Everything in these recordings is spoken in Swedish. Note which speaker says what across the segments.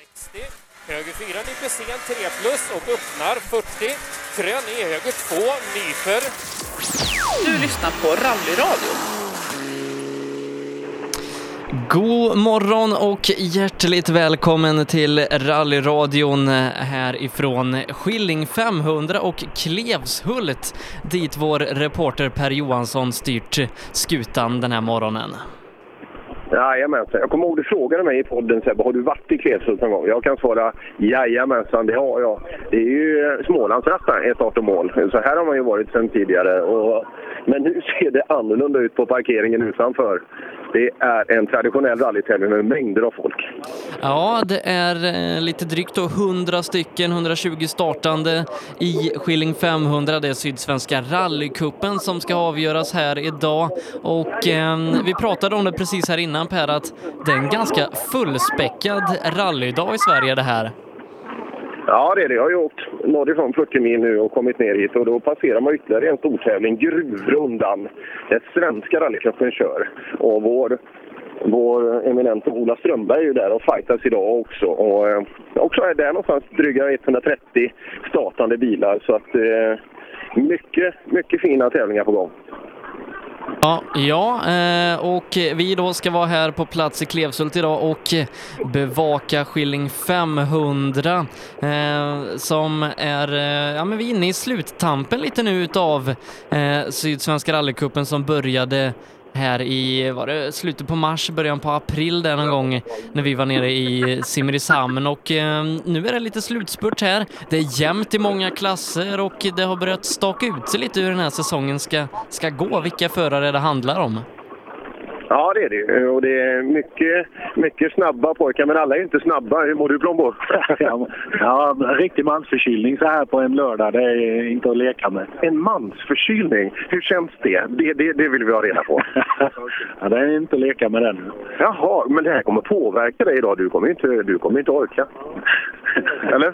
Speaker 1: 60. Höger 4, Nipesén 3 plus och öppnar 40. Frön i höger 2, Nyfer.
Speaker 2: Du lyssnar på Rallyradio.
Speaker 3: God morgon och hjärtligt välkommen till rallyradion härifrån Skilling 500 och Klevshult dit vår reporter Per Johansson styrt skutan den här morgonen.
Speaker 4: Jajamensan. Jag kommer ihåg du frågade mig i podden Sebbe, har du varit i Klevshult någon gång? Jag kan svara jajamensan, det har jag. Det är ju eh, Smålandsrattan är start och mål. Så här har man ju varit sedan tidigare. Och, men nu ser det annorlunda ut på parkeringen utanför. Det är en traditionell rallytävling med mängder av folk.
Speaker 3: Ja, det är eh, lite drygt då 100 stycken, 120 startande i Skilling 500. Det är Sydsvenska rallycupen som ska avgöras här idag. Och eh, vi pratade om det precis här innan Per, att det är en ganska fullspäckad rallydag i Sverige det här.
Speaker 4: Ja, det är det. Jag har ju åkt norrifrån 40 mil nu och kommit ner hit och då passerar man ytterligare en stortävling, Gruvrundan, där svenska rallycupen kör. Och vår, vår eminente Ola Strömberg är ju där och fightas idag också. Och eh, också är där någonstans dryga 130 startande bilar så att eh, mycket, mycket fina tävlingar på gång.
Speaker 3: Ja, ja eh, och vi då ska vara här på plats i Klevshult idag och bevaka Skilling 500 eh, som är, eh, ja men vi är inne i sluttampen lite nu utav eh, Sydsvenska rallycupen som började här i, var det slutet på mars, början på april där någon gång när vi var nere i Simrishamn och eh, nu är det lite slutspurt här. Det är jämnt i många klasser och det har börjat staka ut sig lite hur den här säsongen ska, ska gå, vilka förare det handlar om.
Speaker 4: Ja, det är det ju. Och det är mycket, mycket snabba pojkar, men alla är inte snabba. Hur mår du Plombo?
Speaker 5: Ja, ja, riktig mansförkylning så här på en lördag, det är inte att leka med.
Speaker 4: En mansförkylning, hur känns det? Det, det, det vill vi ha reda på.
Speaker 5: Ja, det är inte att leka med den.
Speaker 4: Jaha, men det här kommer påverka dig idag. Du kommer ju inte, du kommer ju inte orka. Eller?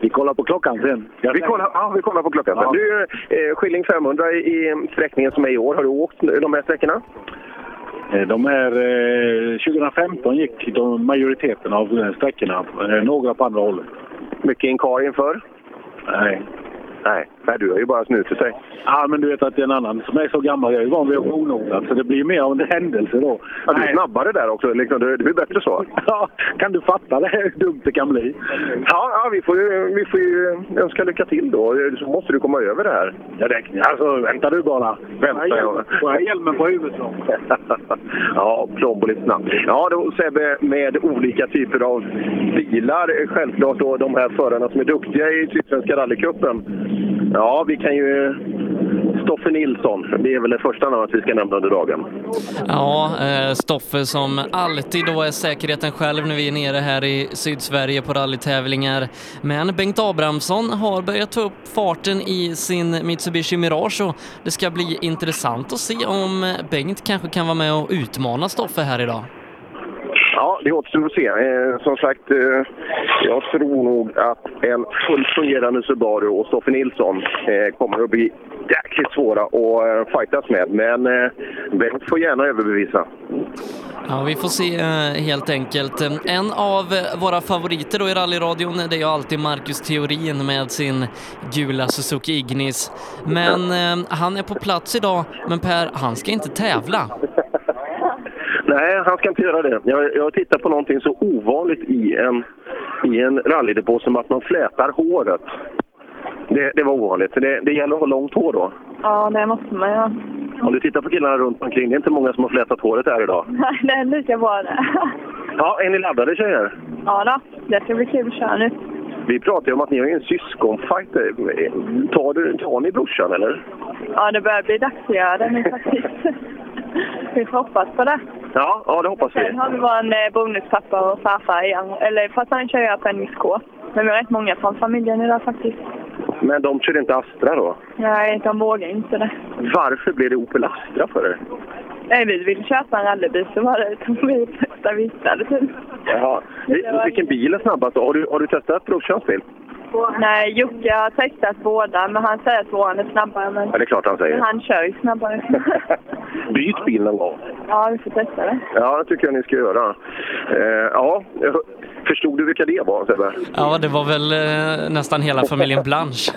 Speaker 5: Vi kollar på klockan sen.
Speaker 4: vi, kollar, ja, vi kollar på klockan sen.
Speaker 5: Ja.
Speaker 4: Du, eh, Skilling 500 i- i sträckningen som är i år. Har du åkt de här sträckorna?
Speaker 5: Eh, De här, eh, 2015 gick de majoriteten av eh, sträckorna, eh, några på andra hållet.
Speaker 4: Mycket inkar inför?
Speaker 5: Nej.
Speaker 4: Nej. Nej, du har ju bara snutit sig.
Speaker 5: Ja, men du vet att det är en annan som är så gammal. Jag är ju van vid att vara onodad, så det blir ju mer av en händelse då.
Speaker 4: Ja, du är
Speaker 5: Nej.
Speaker 4: snabbare där också. Liksom, det, det blir bättre så.
Speaker 5: Ja, kan du fatta det hur dumt det kan bli?
Speaker 4: Ja, ja vi, får ju, vi får ju önska lycka till då. Så måste du komma över det här.
Speaker 5: Ja, det, alltså, vänta du bara.
Speaker 4: Vänta, ja.
Speaker 5: Får jag hjälmen på huvudet då?
Speaker 4: ja, plombo lite snabbt. Ja, då Sebbe, med olika typer av bilar. Självklart då de här förarna som är duktiga i Sydsvenska rallycupen. Ja, vi kan ju... Stoffe Nilsson, det är väl det första namnet vi ska nämna under dagen.
Speaker 3: Ja, eh, Stoffe som alltid då är säkerheten själv när vi är nere här i Sydsverige på rallytävlingar. Men Bengt Abrahamsson har börjat ta upp farten i sin Mitsubishi Mirage och det ska bli intressant att se om Bengt kanske kan vara med och utmana Stoffe här idag.
Speaker 4: Ja, det återstår att se. Eh, som sagt, eh, jag tror nog att en fullt fungerande Subaru och Stoffe Nilsson eh, kommer att bli jäkligt svåra att eh, fightas med. Men eh, Bengt får gärna överbevisa.
Speaker 3: Ja, vi får se eh, helt enkelt. En av eh, våra favoriter då i rallyradion det är ju alltid Marcus Theorin med sin gula Suzuki Ignis. Men eh, han är på plats idag, men Per, han ska inte tävla.
Speaker 4: Nej, han ska inte göra det. Jag, jag tittar på någonting så ovanligt i en, i en rallydepå som att man flätar håret. Det, det var ovanligt. Det, det gäller att ha långt hår då.
Speaker 6: Ja, det måste man göra.
Speaker 4: Om du tittar på killarna runt omkring, det är inte många som har flätat håret här idag.
Speaker 6: Det är lika bra det.
Speaker 4: Ja, är ni laddade tjejer?
Speaker 6: Ja då, det ska bli kul att köra nu.
Speaker 4: Vi pratade ju om att ni har ju en syskonfight. Tar, du, tar ni brorsan eller?
Speaker 6: Ja, det börjar bli dags att göra det nu faktiskt. Vi får hoppas på det.
Speaker 4: Ja, ja det hoppas vi.
Speaker 6: Sen har vi vår eh, bonuspappa och farfar igen. Eller fast han kör ju på NSK. Men vi har rätt många från familjen idag faktiskt.
Speaker 4: Men de kör inte Astra då?
Speaker 6: Nej, de vågar inte det.
Speaker 4: Varför blev det Opel Astra för er?
Speaker 6: Nej, vi ville köpa en rallybil så var det som vi bästa vi hittade typ.
Speaker 4: Jaha. Vi- Vilken bil är snabbast då? Har du, har du testat brorsans bil?
Speaker 6: Nej, Jocke har testat båda men han säger att våran är snabbare. Men
Speaker 4: Ja, det är klart han
Speaker 6: men
Speaker 4: säger.
Speaker 6: han kör ju snabbare.
Speaker 4: Byt bil någon gång.
Speaker 6: ja, vi får testa det.
Speaker 4: Ja, det tycker jag ni ska göra. Eh, ja, Förstod du vilka det var, Sebbe?
Speaker 3: Ja, det var väl eh, nästan hela familjen Blanche.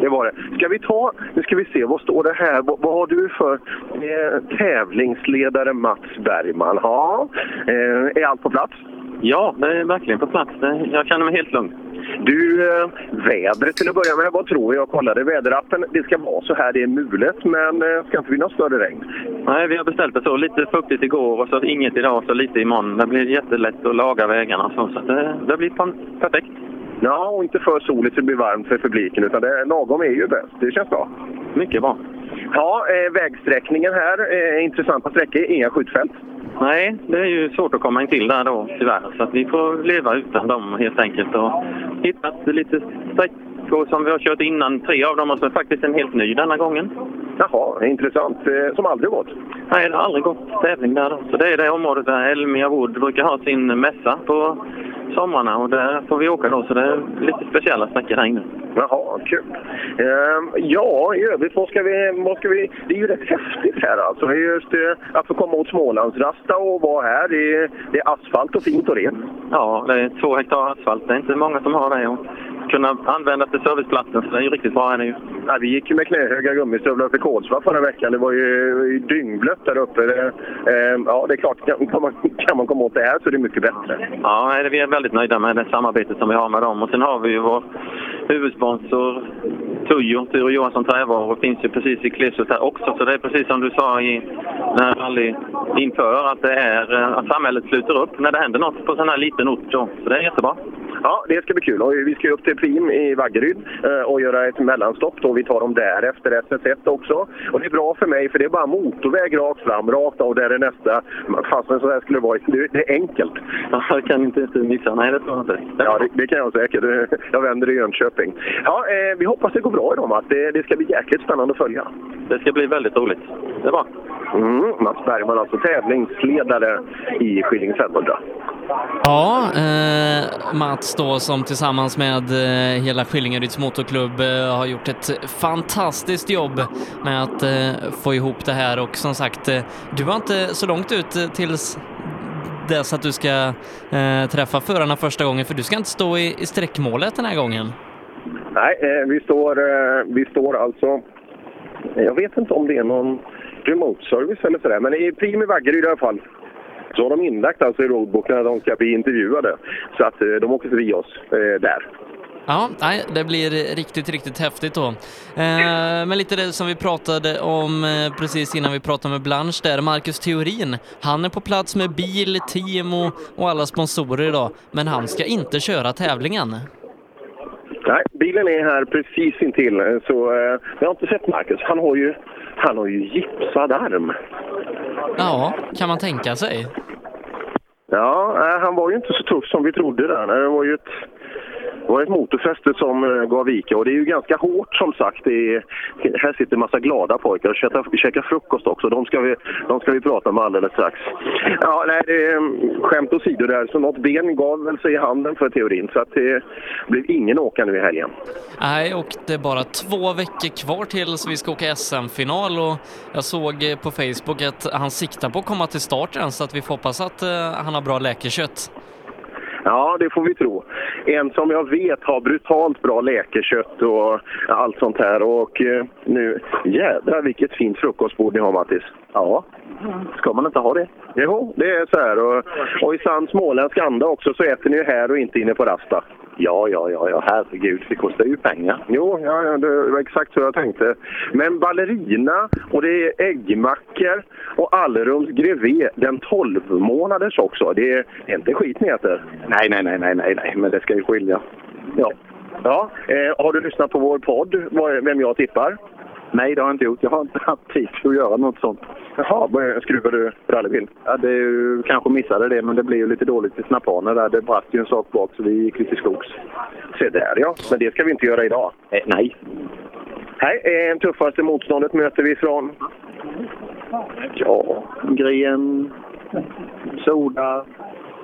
Speaker 4: Det var det. Ska vi ta, nu ska vi se, vad står det här? Vad, vad har du för eh, tävlingsledare Mats Bergman? Ja, eh, är allt på plats?
Speaker 7: Ja, det är verkligen på plats. Det- Jag känner mig helt lugn.
Speaker 4: Du, eh, vädret till att börja med, vad tror vi? Jag kollade väderappen. Det ska vara så här, det är mulet, men eh, ska inte bli något större regn.
Speaker 7: Nej, vi har beställt det så. Lite fuktigt igår och så inget idag och så lite imorgon. Det blir jättelätt att laga vägarna och så. så att det, det blir pan- perfekt.
Speaker 4: Ja, och inte för soligt så det blir varmt för publiken, utan det, lagom är ju bäst. Det känns bra.
Speaker 7: Mycket bra.
Speaker 4: Ja, eh, vägsträckningen här, eh, intressanta sträckor, inga skjutfält.
Speaker 7: Nej, det är ju svårt att komma in till där då tyvärr. Så att vi får leva utan dem helt enkelt. Och hittat lite sträckor som vi har kört innan. Tre av dem och så är faktiskt en helt ny denna gången.
Speaker 4: Jaha, intressant. Eh, som aldrig gått.
Speaker 7: Nej, det har aldrig gått tävling där. Då. Så det är det området där Elmia Wood brukar ha sin mässa på somrarna och där får vi åka då. Så det är lite speciella sträckor där inne.
Speaker 4: Jaha, kul. Ehm, ja, i övrigt, vad ska, vi, vad ska vi... Det är ju rätt häftigt här alltså. Det är Just, eh, att få komma åt Smålandsrasta och vara här. Det är, det är asfalt och fint och rent.
Speaker 7: Ja, det är två hektar asfalt. Det är inte många som har det. Och kunna användas till serviceplatsen, så det är ju riktigt bra. Är det ju.
Speaker 4: Ja, vi gick ju med knähöga gummistövlar för Kolsva förra veckan. Det var ju dyngblött där uppe. Det, ehm, ja, det är klart, kan kan man, kan man komma åt det här så är det mycket bättre.
Speaker 7: Ja, nej, det- vi är väldigt nöjda med det samarbetet som vi har med dem. Och sen har vi ju vår huvudsponsor Tujo, Ture Johansson Trävaror, finns ju precis i Klevshult här också. Så det är precis som du sa i när rally inför, att, det är, eh, att samhället sluter upp när det händer något på sån här liten ort. Då. Så det är jättebra.
Speaker 4: Ja, det ska bli kul. Och vi ska ju upp till Prim i Vaggeryd eh, och göra ett mellanstopp. Då. Vi tar dem där efter SS1 också. Och det är bra för mig, för det är bara motorväg rakt fram, rakt av. Och där är nästa. Fast men så här skulle det vara. Det det är enkelt.
Speaker 7: Ja, det kan inte du missa. Nej, det tror jag inte.
Speaker 4: Ja, det, det kan jag säkert. Jag vänder i Jönköping. Ja, eh, vi hoppas det går bra idag, Mats. Det, det ska bli jäkligt spännande att följa.
Speaker 7: Det ska bli väldigt roligt. Det är bra.
Speaker 4: Mm, Mats Bergman, alltså tävlingsledare i Skilling 500.
Speaker 3: Ja, eh, Mats då som tillsammans med eh, hela Skillingaryds motorklubb eh, har gjort ett fantastiskt jobb med att eh, få ihop det här och som sagt, eh, du var inte så långt ut eh, tills dess att du ska eh, träffa förarna första gången för du ska inte stå i, i sträckmålet den här gången.
Speaker 4: Nej, eh, vi står, eh, vi står alltså... Jag vet inte om det är någon remote service eller sådär, men i Prim i Vaggeryd i alla fall så har de inlagt alltså i roadbooken att de ska bli intervjuade. Så att eh, de åker förbi oss eh, där.
Speaker 3: Ja, nej, det blir riktigt, riktigt häftigt då. Eh, men lite det som vi pratade om eh, precis innan vi pratade med Blanche där, Marcus Theorin, han är på plats med bil, team och, och alla sponsorer idag, men han ska inte köra tävlingen.
Speaker 4: Nej, bilen är här precis intill, eh, så eh, jag har inte sett Marcus. Han har ju, han har ju gipsad arm.
Speaker 3: Ja, kan man tänka sig.
Speaker 4: Ja, nej, han var ju inte så tuff som vi trodde där. Nej, Det var ju ett, det var ett motorfäste som eh, gav vika och det är ju ganska hårt som sagt. Det är, här sitter en massa glada pojkar och käkar, käkar frukost också. De ska, vi, de ska vi prata med alldeles strax. Ja, nej, det är, mm, skämt åsido där, så något ben gav väl sig i handen för teorin så att det blev ingen åka nu i helgen.
Speaker 3: Nej, och det är bara två veckor kvar tills vi ska åka SM-final och jag såg eh, på Facebook att han siktar på att komma till starten så att vi får hoppas att eh, han har bra läkekött.
Speaker 4: Ja, det får vi tro. En som jag vet har brutalt bra läkekött och allt sånt här. Och eh, nu, jädrar vilket fint frukostbord ni har Mattis. Ja, ska man inte ha det? Jo, det är så här. Och, och i sann småländsk anda också så äter ni ju här och inte inne på Rasta. Ja, ja, ja, ja, herregud, det kostar ju pengar. Jo, ja, ja, det var exakt så jag tänkte. Men ballerina och det är äggmackor och allrums grevé, den 12 månaders också. Det är det är inte skit ni äter. Nej, nej, nej, nej, nej, nej, men det ska ju skilja. Ja. Ja, eh, har du lyssnat på vår podd, vad- vem jag tippar? Nej, det har jag inte gjort. Jag har inte haft tid att göra något sånt. Jaha, vad- skruvar du rallybil?
Speaker 7: Ja, du kanske missade det, men det blev ju lite dåligt i snappaner där. Det brast ju en sak bak, så vi gick lite skogs. Eh,
Speaker 4: Se där ja, men det ska vi inte göra idag.
Speaker 7: nej.
Speaker 4: Här är det tuffaste motståndet möter vi från... Ja,
Speaker 7: Gren, Soda,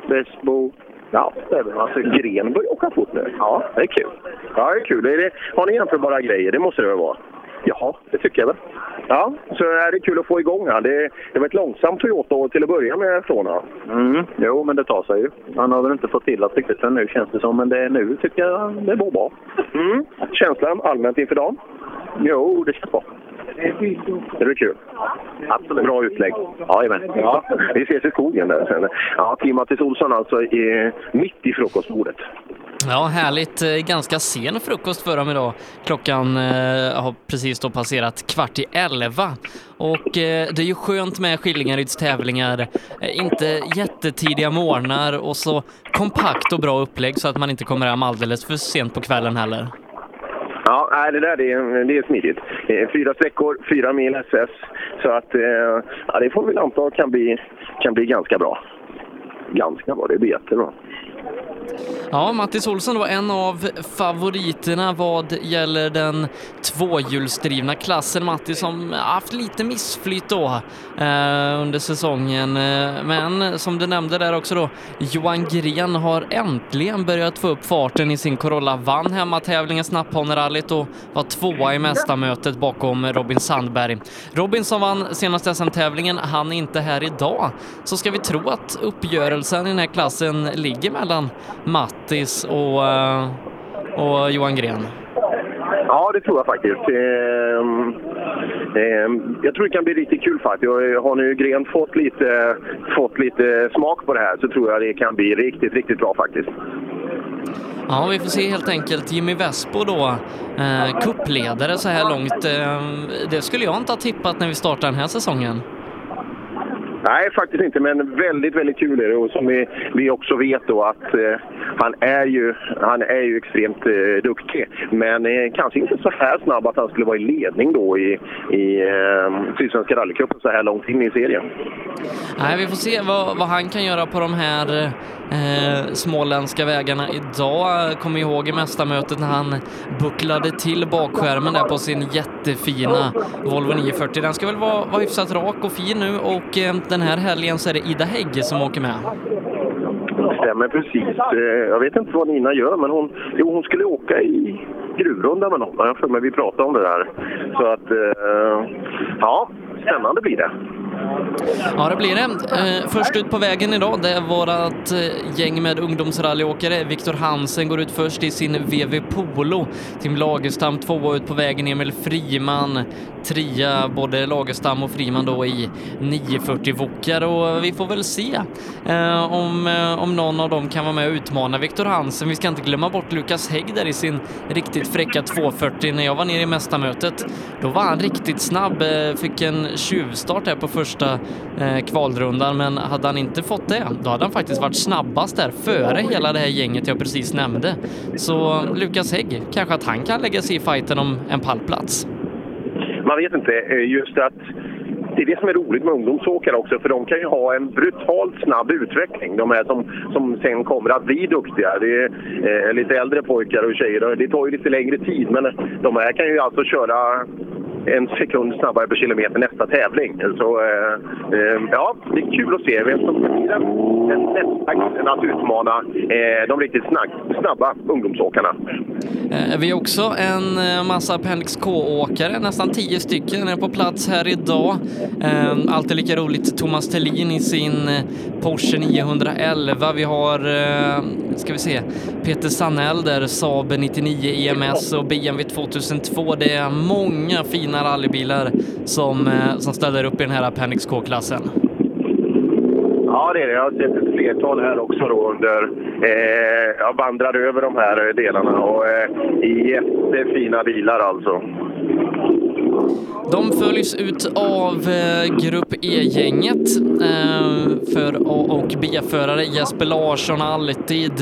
Speaker 7: Vesbo.
Speaker 4: ja det är väl alltså Gren börjar åka fort nu. Ja, det är kul. Ja, det är kul. Är det, har ni jämförbara grejer? Det måste det väl vara? Ja, det tycker jag väl. Ja, så är det kul att få igång här. Det, det var ett långsamt Toyota till att börja med från här.
Speaker 7: Mm, jo, men det tar sig ju. Han har väl inte fått till det riktigt ännu känns det som, men det är nu tycker jag det går bra.
Speaker 4: Mm. Känslan allmänt inför dagen?
Speaker 7: Jo, det känns bra.
Speaker 4: Det blir kul. Absolut. Bra utlägg.
Speaker 7: Jajamän.
Speaker 4: Ja, vi ses i skogen där sen. Ja, Tim-Mattis Olsson alltså är mitt i frukostbordet.
Speaker 3: Ja, härligt. Eh, Ganska sen frukost för dem idag. Klockan eh, har precis då passerat kvart i elva. Och eh, det är ju skönt med Skillingaryds tävlingar. Eh, inte jättetidiga morgnar och så kompakt och bra upplägg så att man inte kommer hem alldeles för sent på kvällen heller.
Speaker 4: Ja, nej, det där det är, det är smidigt. Eh, Fyra sträckor, fyra mil SS. Så att, eh, ja, det får vi väl anta kan bli, kan bli ganska bra. Ganska bra, det blir jättebra.
Speaker 3: Ja, Mattis Olsson var en av favoriterna vad gäller den tvåhjulsdrivna klassen. Mattis som haft lite missflytt då eh, under säsongen. Eh, Men som du nämnde där också då, Johan Gren har äntligen börjat få upp farten i sin Corolla. Vann hemmatävlingen Snapphanerallyt och var tvåa i mästarmötet bakom Robin Sandberg. Robin som vann senaste SM-tävlingen, han är inte här idag. Så ska vi tro att uppgörelsen i den här klassen ligger mellan Mattis och, eh, och Johan Gren.
Speaker 4: Ja, det tror jag faktiskt. Ehm, ehm, jag tror det kan bli riktigt kul faktiskt. Jag har nu Gren fått lite, fått lite smak på det här så tror jag det kan bli riktigt, riktigt bra faktiskt.
Speaker 3: Ja, vi får se helt enkelt. Jimmy Vespo då, eh, kuppledare så här långt. Eh, det skulle jag inte ha tippat när vi startade den här säsongen.
Speaker 4: Nej, faktiskt inte, men väldigt, väldigt kul är det. Och som vi, vi också vet då att eh, han, är ju, han är ju extremt eh, duktig. Men eh, kanske inte så här snabb att han skulle vara i ledning då i, i eh, Sydsvenska rallycupen så här långt in i serien.
Speaker 3: Nej, vi får se vad, vad han kan göra på de här eh, småländska vägarna idag. eh, Kommer ihåg i mästarmötet när han bucklade till bakskärmen där på sin jättefina Volvo 940. Den ska väl vara, vara hyfsat rak och fin nu och eh, den här helgen så är det Ida Hägge som åker med.
Speaker 4: Det stämmer precis. Eh, jag vet inte vad Nina gör, men hon, jo, hon skulle åka i gruvrunda med någon. Jag har för mig vi pratade om det där. Så att, eh, ja, spännande blir det.
Speaker 3: Ja, det blir det. Eh, först ut på vägen idag, det är vårat eh, gäng med ungdomsrallyåkare. Viktor Hansen går ut först i sin VW Polo. Tim Lagerstam tvåa ut på vägen, Emil Friman trea, både Lagerstam och Friman då i 940 Vokar och vi får väl se eh, om, eh, om någon av dem kan vara med och utmana Viktor Hansen. Vi ska inte glömma bort Lukas Hägg där i sin riktigt fräcka 240 när jag var nere i mästarmötet. Då var han riktigt snabb, eh, fick en tjuvstart här på första eh, kvalrundan, men hade han inte fått det, då hade han faktiskt varit snabbast där före hela det här gänget jag precis nämnde. Så Lukas Hägg, kanske att han kan lägga sig i fighten om en pallplats.
Speaker 4: Man vet inte. eh, Just att det är det som är roligt med ungdomsåkare också, för de kan ju ha en brutalt snabb utveckling. De här som, som sen kommer att bli duktiga. Det är eh, lite äldre pojkar och tjejer. och Det tar ju lite längre tid, men de här kan ju alltså köra en sekund snabbare per kilometer nästa tävling. Så eh, eh, ja, det är kul att se vem som blir den- den nästa killen att utmana eh, de riktigt snabb, snabba ungdomsåkarna.
Speaker 3: Eh, Vi har också en eh, massa Appendix K-åkare, nästan tio stycken, är på plats här idag. Eh, Alltid lika roligt, Thomas Tellin i sin eh, Porsche 911. Vi har, eh, ska vi se, Peter Sanell där, Saab 99 EMS och BMW 2002. Det är många fina rallybilar som, eh, som ställer upp i den här Appendix K-klassen.
Speaker 4: Ja, det är det. Jag har sett ett flertal här också då under... Eh, jag vandrar över de här eh, delarna och eh, jättefina bilar alltså.
Speaker 3: De följs ut av eh, Grupp E-gänget eh, för A och B-förare. Jesper Larsson alltid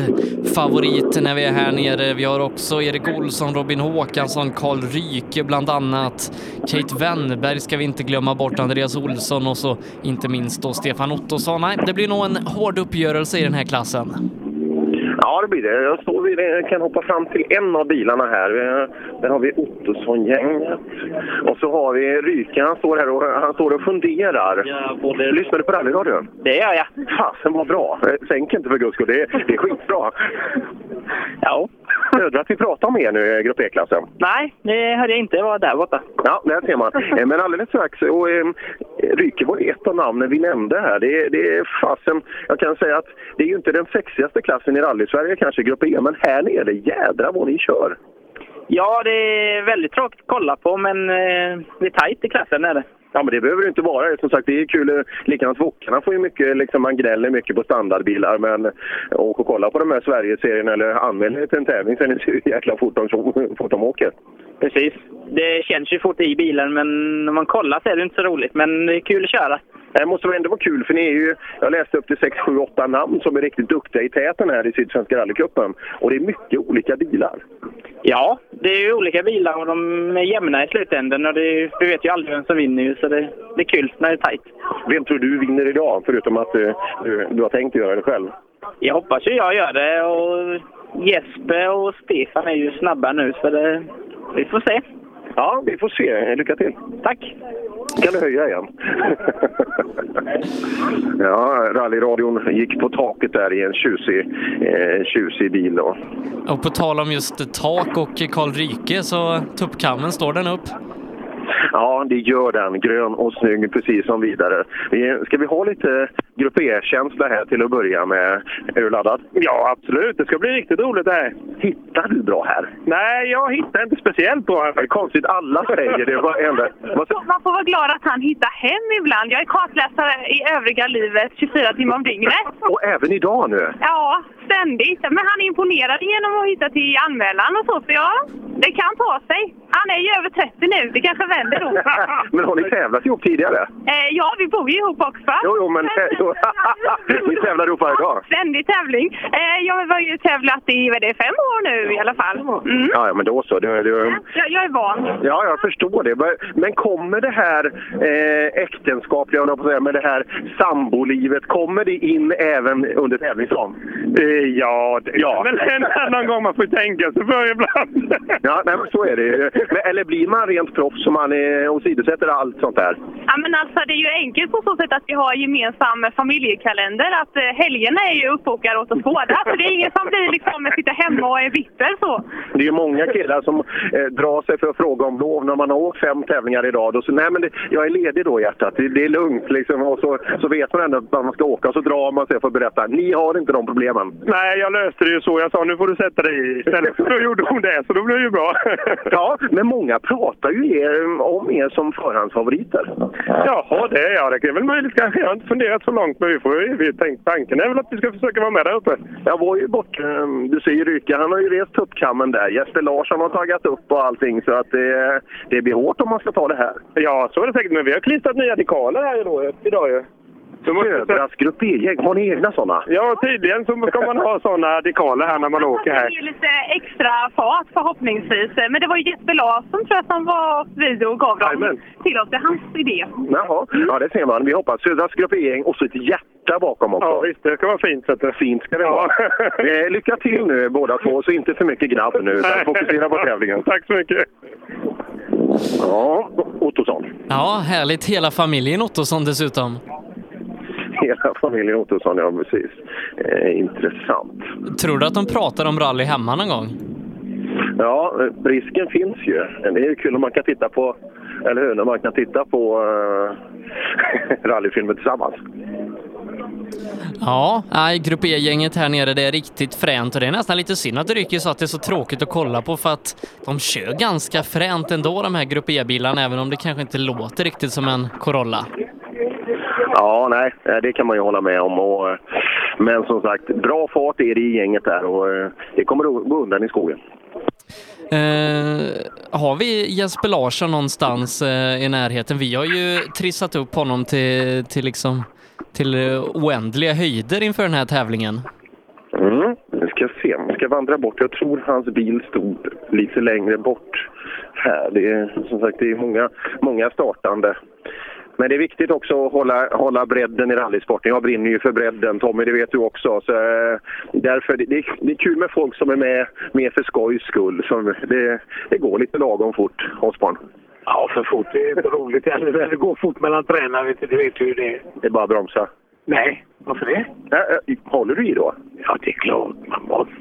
Speaker 3: favorit när vi är här nere. Vi har också Erik Olsson, Robin Håkansson, Karl Ryke bland annat. Kate Wennberg ska vi inte glömma bort, Andreas Olsson och så inte minst då Stefan Ottosson. Nej, det blir nog en hård uppgörelse i den här klassen.
Speaker 4: Ja, det blir det. Jag står vid, jag kan hoppa fram till en av bilarna här. Eh, Där har vi Ottosson-gänget. Och så har vi Ryke. Han står här och, han står och funderar. Lyssnar du på rallyradion?
Speaker 8: Det gör jag.
Speaker 4: Fasen vad bra! Eh, Sänk inte för guds skull. Det, är- det är skitbra.
Speaker 8: Ja.
Speaker 4: hörde du att vi pratade om er nu, eh, Grupp E-klassen?
Speaker 6: Nej, det hörde jag inte. Det var där borta.
Speaker 4: Ja, där ser man. Eh, Men alldeles strax, och eh, Ryke var ju ett av namnen vi nämnde här. Det, det är fasen, jag kan säga att det är ju inte den sexigaste klassen i rally-Sverige kanske, Grupp E, men här nere, jädra vad ni kör!
Speaker 8: Ja, det är väldigt tråkigt att kolla på, men eh, det är tajt i klassen. Är det.
Speaker 4: Ja, men det behöver det inte vara. Som sagt, det är kul. eh, Likadant Wokarna får ju mycket, liksom, man gnäller mycket på standardbilar. Men åk och kolla på de här Sverigeserien eller anmäl er till en tävling så är ni ser hur jäkla fort de, fort de åker.
Speaker 8: Precis. Det känns ju fort i bilen, men när man kollar så är det inte så roligt. Men det är kul att köra.
Speaker 4: Det måste väl ändå vara kul, för ni är ju, jag läste upp till 6, 7, 8 namn som är riktigt duktiga i täten här i Sydsvenska rallycupen. Och det är mycket olika bilar.
Speaker 8: Ja, det är ju olika bilar och de är jämna i slutänden. Och det är, ju- vi vet ju aldrig vem som vinner, ju, så det, det är kul när det är tajt.
Speaker 4: Vem tror du vinner idag, förutom att eh, du, du har tänkt göra det själv?
Speaker 8: Jag hoppas ju jag gör det. Och Jesper och Stefan är ju snabba nu, så det, vi får se.
Speaker 4: Ja, vi får se. Lycka till!
Speaker 8: Tack!
Speaker 4: kan du höja igen. ja, rallyradion gick på taket där i en tjusig, eh, tjusig bil. Då.
Speaker 3: Och på tal om just tak och Karl Ryke så tuppkammen står den upp.
Speaker 4: Ja, det gör den. Grön och snygg, precis som vidare. Vi- Ska vi ha lite Grupp E-känsla här till att börja med? Är du laddad? Ja, absolut. Det ska bli riktigt roligt det här. Hittar du bra här? Nej, jag hittar inte speciellt bra här. Det är konstigt. Alla säger det. Varenda. Vad sa-
Speaker 6: Man får vara glad att han hittar hem ibland. Jag är kartläsare i övriga livet 24 timmar om dygnet.
Speaker 4: Och även idag nu.
Speaker 6: Ja, ständigt. Men han imponerade genom att hitta till anmälan och så. Så ja, det kan ta sig. Han är ju över 30 nu. Det kanske vänder då.
Speaker 4: Men har ni tävlat ihop tidigare?
Speaker 6: eh, ja, vi bor ju ihop också.
Speaker 4: Jo, jo, men... Jo. ni tävlar ihop varje dag?
Speaker 6: Ständig tävling. Eh, jag har ju tävlat i vad är det, fem år nu i alla fall. Mm.
Speaker 4: Ja, ja, men då så. Det, det,
Speaker 6: Jag, jag är van.
Speaker 4: ja, jag förstår det. Men- Men kommer det här eh, äktenskapliga, höll jag på att säga, med det här sambolivet, kommer det in även under tävlingsdagen? Ja, det ja.
Speaker 9: Eh, Men en annan gång man får tänka sig för ibland.
Speaker 4: Ja, nej, men så är det Men- Eller blir man rent proffs som man eh, åsidosätter allt sånt där?
Speaker 6: Ja, men alltså, det är ju enkelt på så sätt att vi har gemensam familjekalender. Att eh, helgerna är ju uppbokade åt oss båda. Så det är ingen som blir liksom att sitta hemma och är bitter så.
Speaker 4: Det är ju många killar som eh, drar sig för att fråga om lov när man har åkt fem tävlingar i rad. Och så, nej men det, jag är ledig då hjärtat, det, det är lugnt liksom. Och så, så vet man ändå att man ska åka och så drar man sig för att berätta. Ni har inte de problemen.
Speaker 9: Nej, jag löste det ju så. Jag sa nu får du sätta dig i istället. Så då gjorde hon det, så då blev det ju bra.
Speaker 4: Ja, men många pratar ju er, om er som förhandsfavoriter.
Speaker 9: Jaha, det ja. Det är väl möjligt kanske. Jag har inte funderat så långt, men vi får ju- vi tänkt, tanken är väl att vi ska försöka vara med där uppe.
Speaker 4: Jag var ju bort, eh, du ser ju Ryka, han har ju rest tuppkammen där. Jesper Larsson har tagit upp och allting så att det, det blir hårt om man ska ta det här.
Speaker 9: Ja, så är det säkert. Men vi har klistrat nya dekaler här idag, idag ju. Så måste,
Speaker 4: Södras grupp E-gäng, har ni egna sådana?
Speaker 9: ja, tydligen så ska man ha sådana dekaler här när man åker
Speaker 6: Det
Speaker 9: här.
Speaker 6: är ju lite extra fart förhoppningsvis. Men det var ju Jesper Larsson tror jag som var video och gav dem
Speaker 4: Jajamän.
Speaker 6: till oss. Det är hans idé.
Speaker 4: Jaha, ja det ser man. Vi hoppas Södras grupp E-gäng och så ett hjärta bakom också.
Speaker 9: Ja, visst. Det ska vara fint. Så att det...
Speaker 4: Fint ska det vara. Eh, lycka till nu båda två, så inte för mycket grabb nu. Utan fokusera på tävlingen.
Speaker 9: Tack så mycket.
Speaker 4: Ja, Ottosson.
Speaker 3: Ja, härligt. Hela familjen Ottosson dessutom.
Speaker 4: Hela familjen Ottosson, ja precis. Eh, intressant.
Speaker 3: Tror du att de pratar om rally hemma någon gång?
Speaker 4: Ja, eh, risken finns ju. Men Det är ju kul om man kan titta på, eller hur, när man kan titta på eh, rallyfilmer tillsammans.
Speaker 3: Ja, nej, Grupp E-gänget här nere, det är riktigt fränt och det är nästan lite synd att Ryke sa att det är så tråkigt att kolla på för att de kör ganska fränt ändå de här Grupp E-bilarna även om det kanske inte låter riktigt som en Corolla.
Speaker 4: Ja, nej, eh, det kan man ju hålla med om. Och, eh, men som sagt, bra fart är det i gänget där och eh, det kommer att gå undan i skogen.
Speaker 3: Eh, har vi Jesper Larsson någonstans eh, i närheten? Vi har ju trissat upp honom till, till, liksom, till eh, oändliga höjder inför den här tävlingen.
Speaker 4: Mm. Nu ska jag se, jag ska vandra bort. Jag tror hans bil stod lite längre bort här. Det är som sagt det är många, många startande. Men det är viktigt också att hålla, hålla bredden i rallysporten. Jag brinner ju för bredden, Tommy, det vet du också. Så, eh, därför, det, det, är- det är kul med folk som är med mer för skojs skull. Som, det, det går lite lagom fort, Osborn.
Speaker 10: Ja, för fort. Det är inte roligt heller. Det går fort mellan tränare, vet du, du vet hur det är.
Speaker 4: Det är bara att bromsa.
Speaker 10: Nej, varför det?
Speaker 4: Äh, äh, håller du i då?
Speaker 10: Ja, det är klart man måste.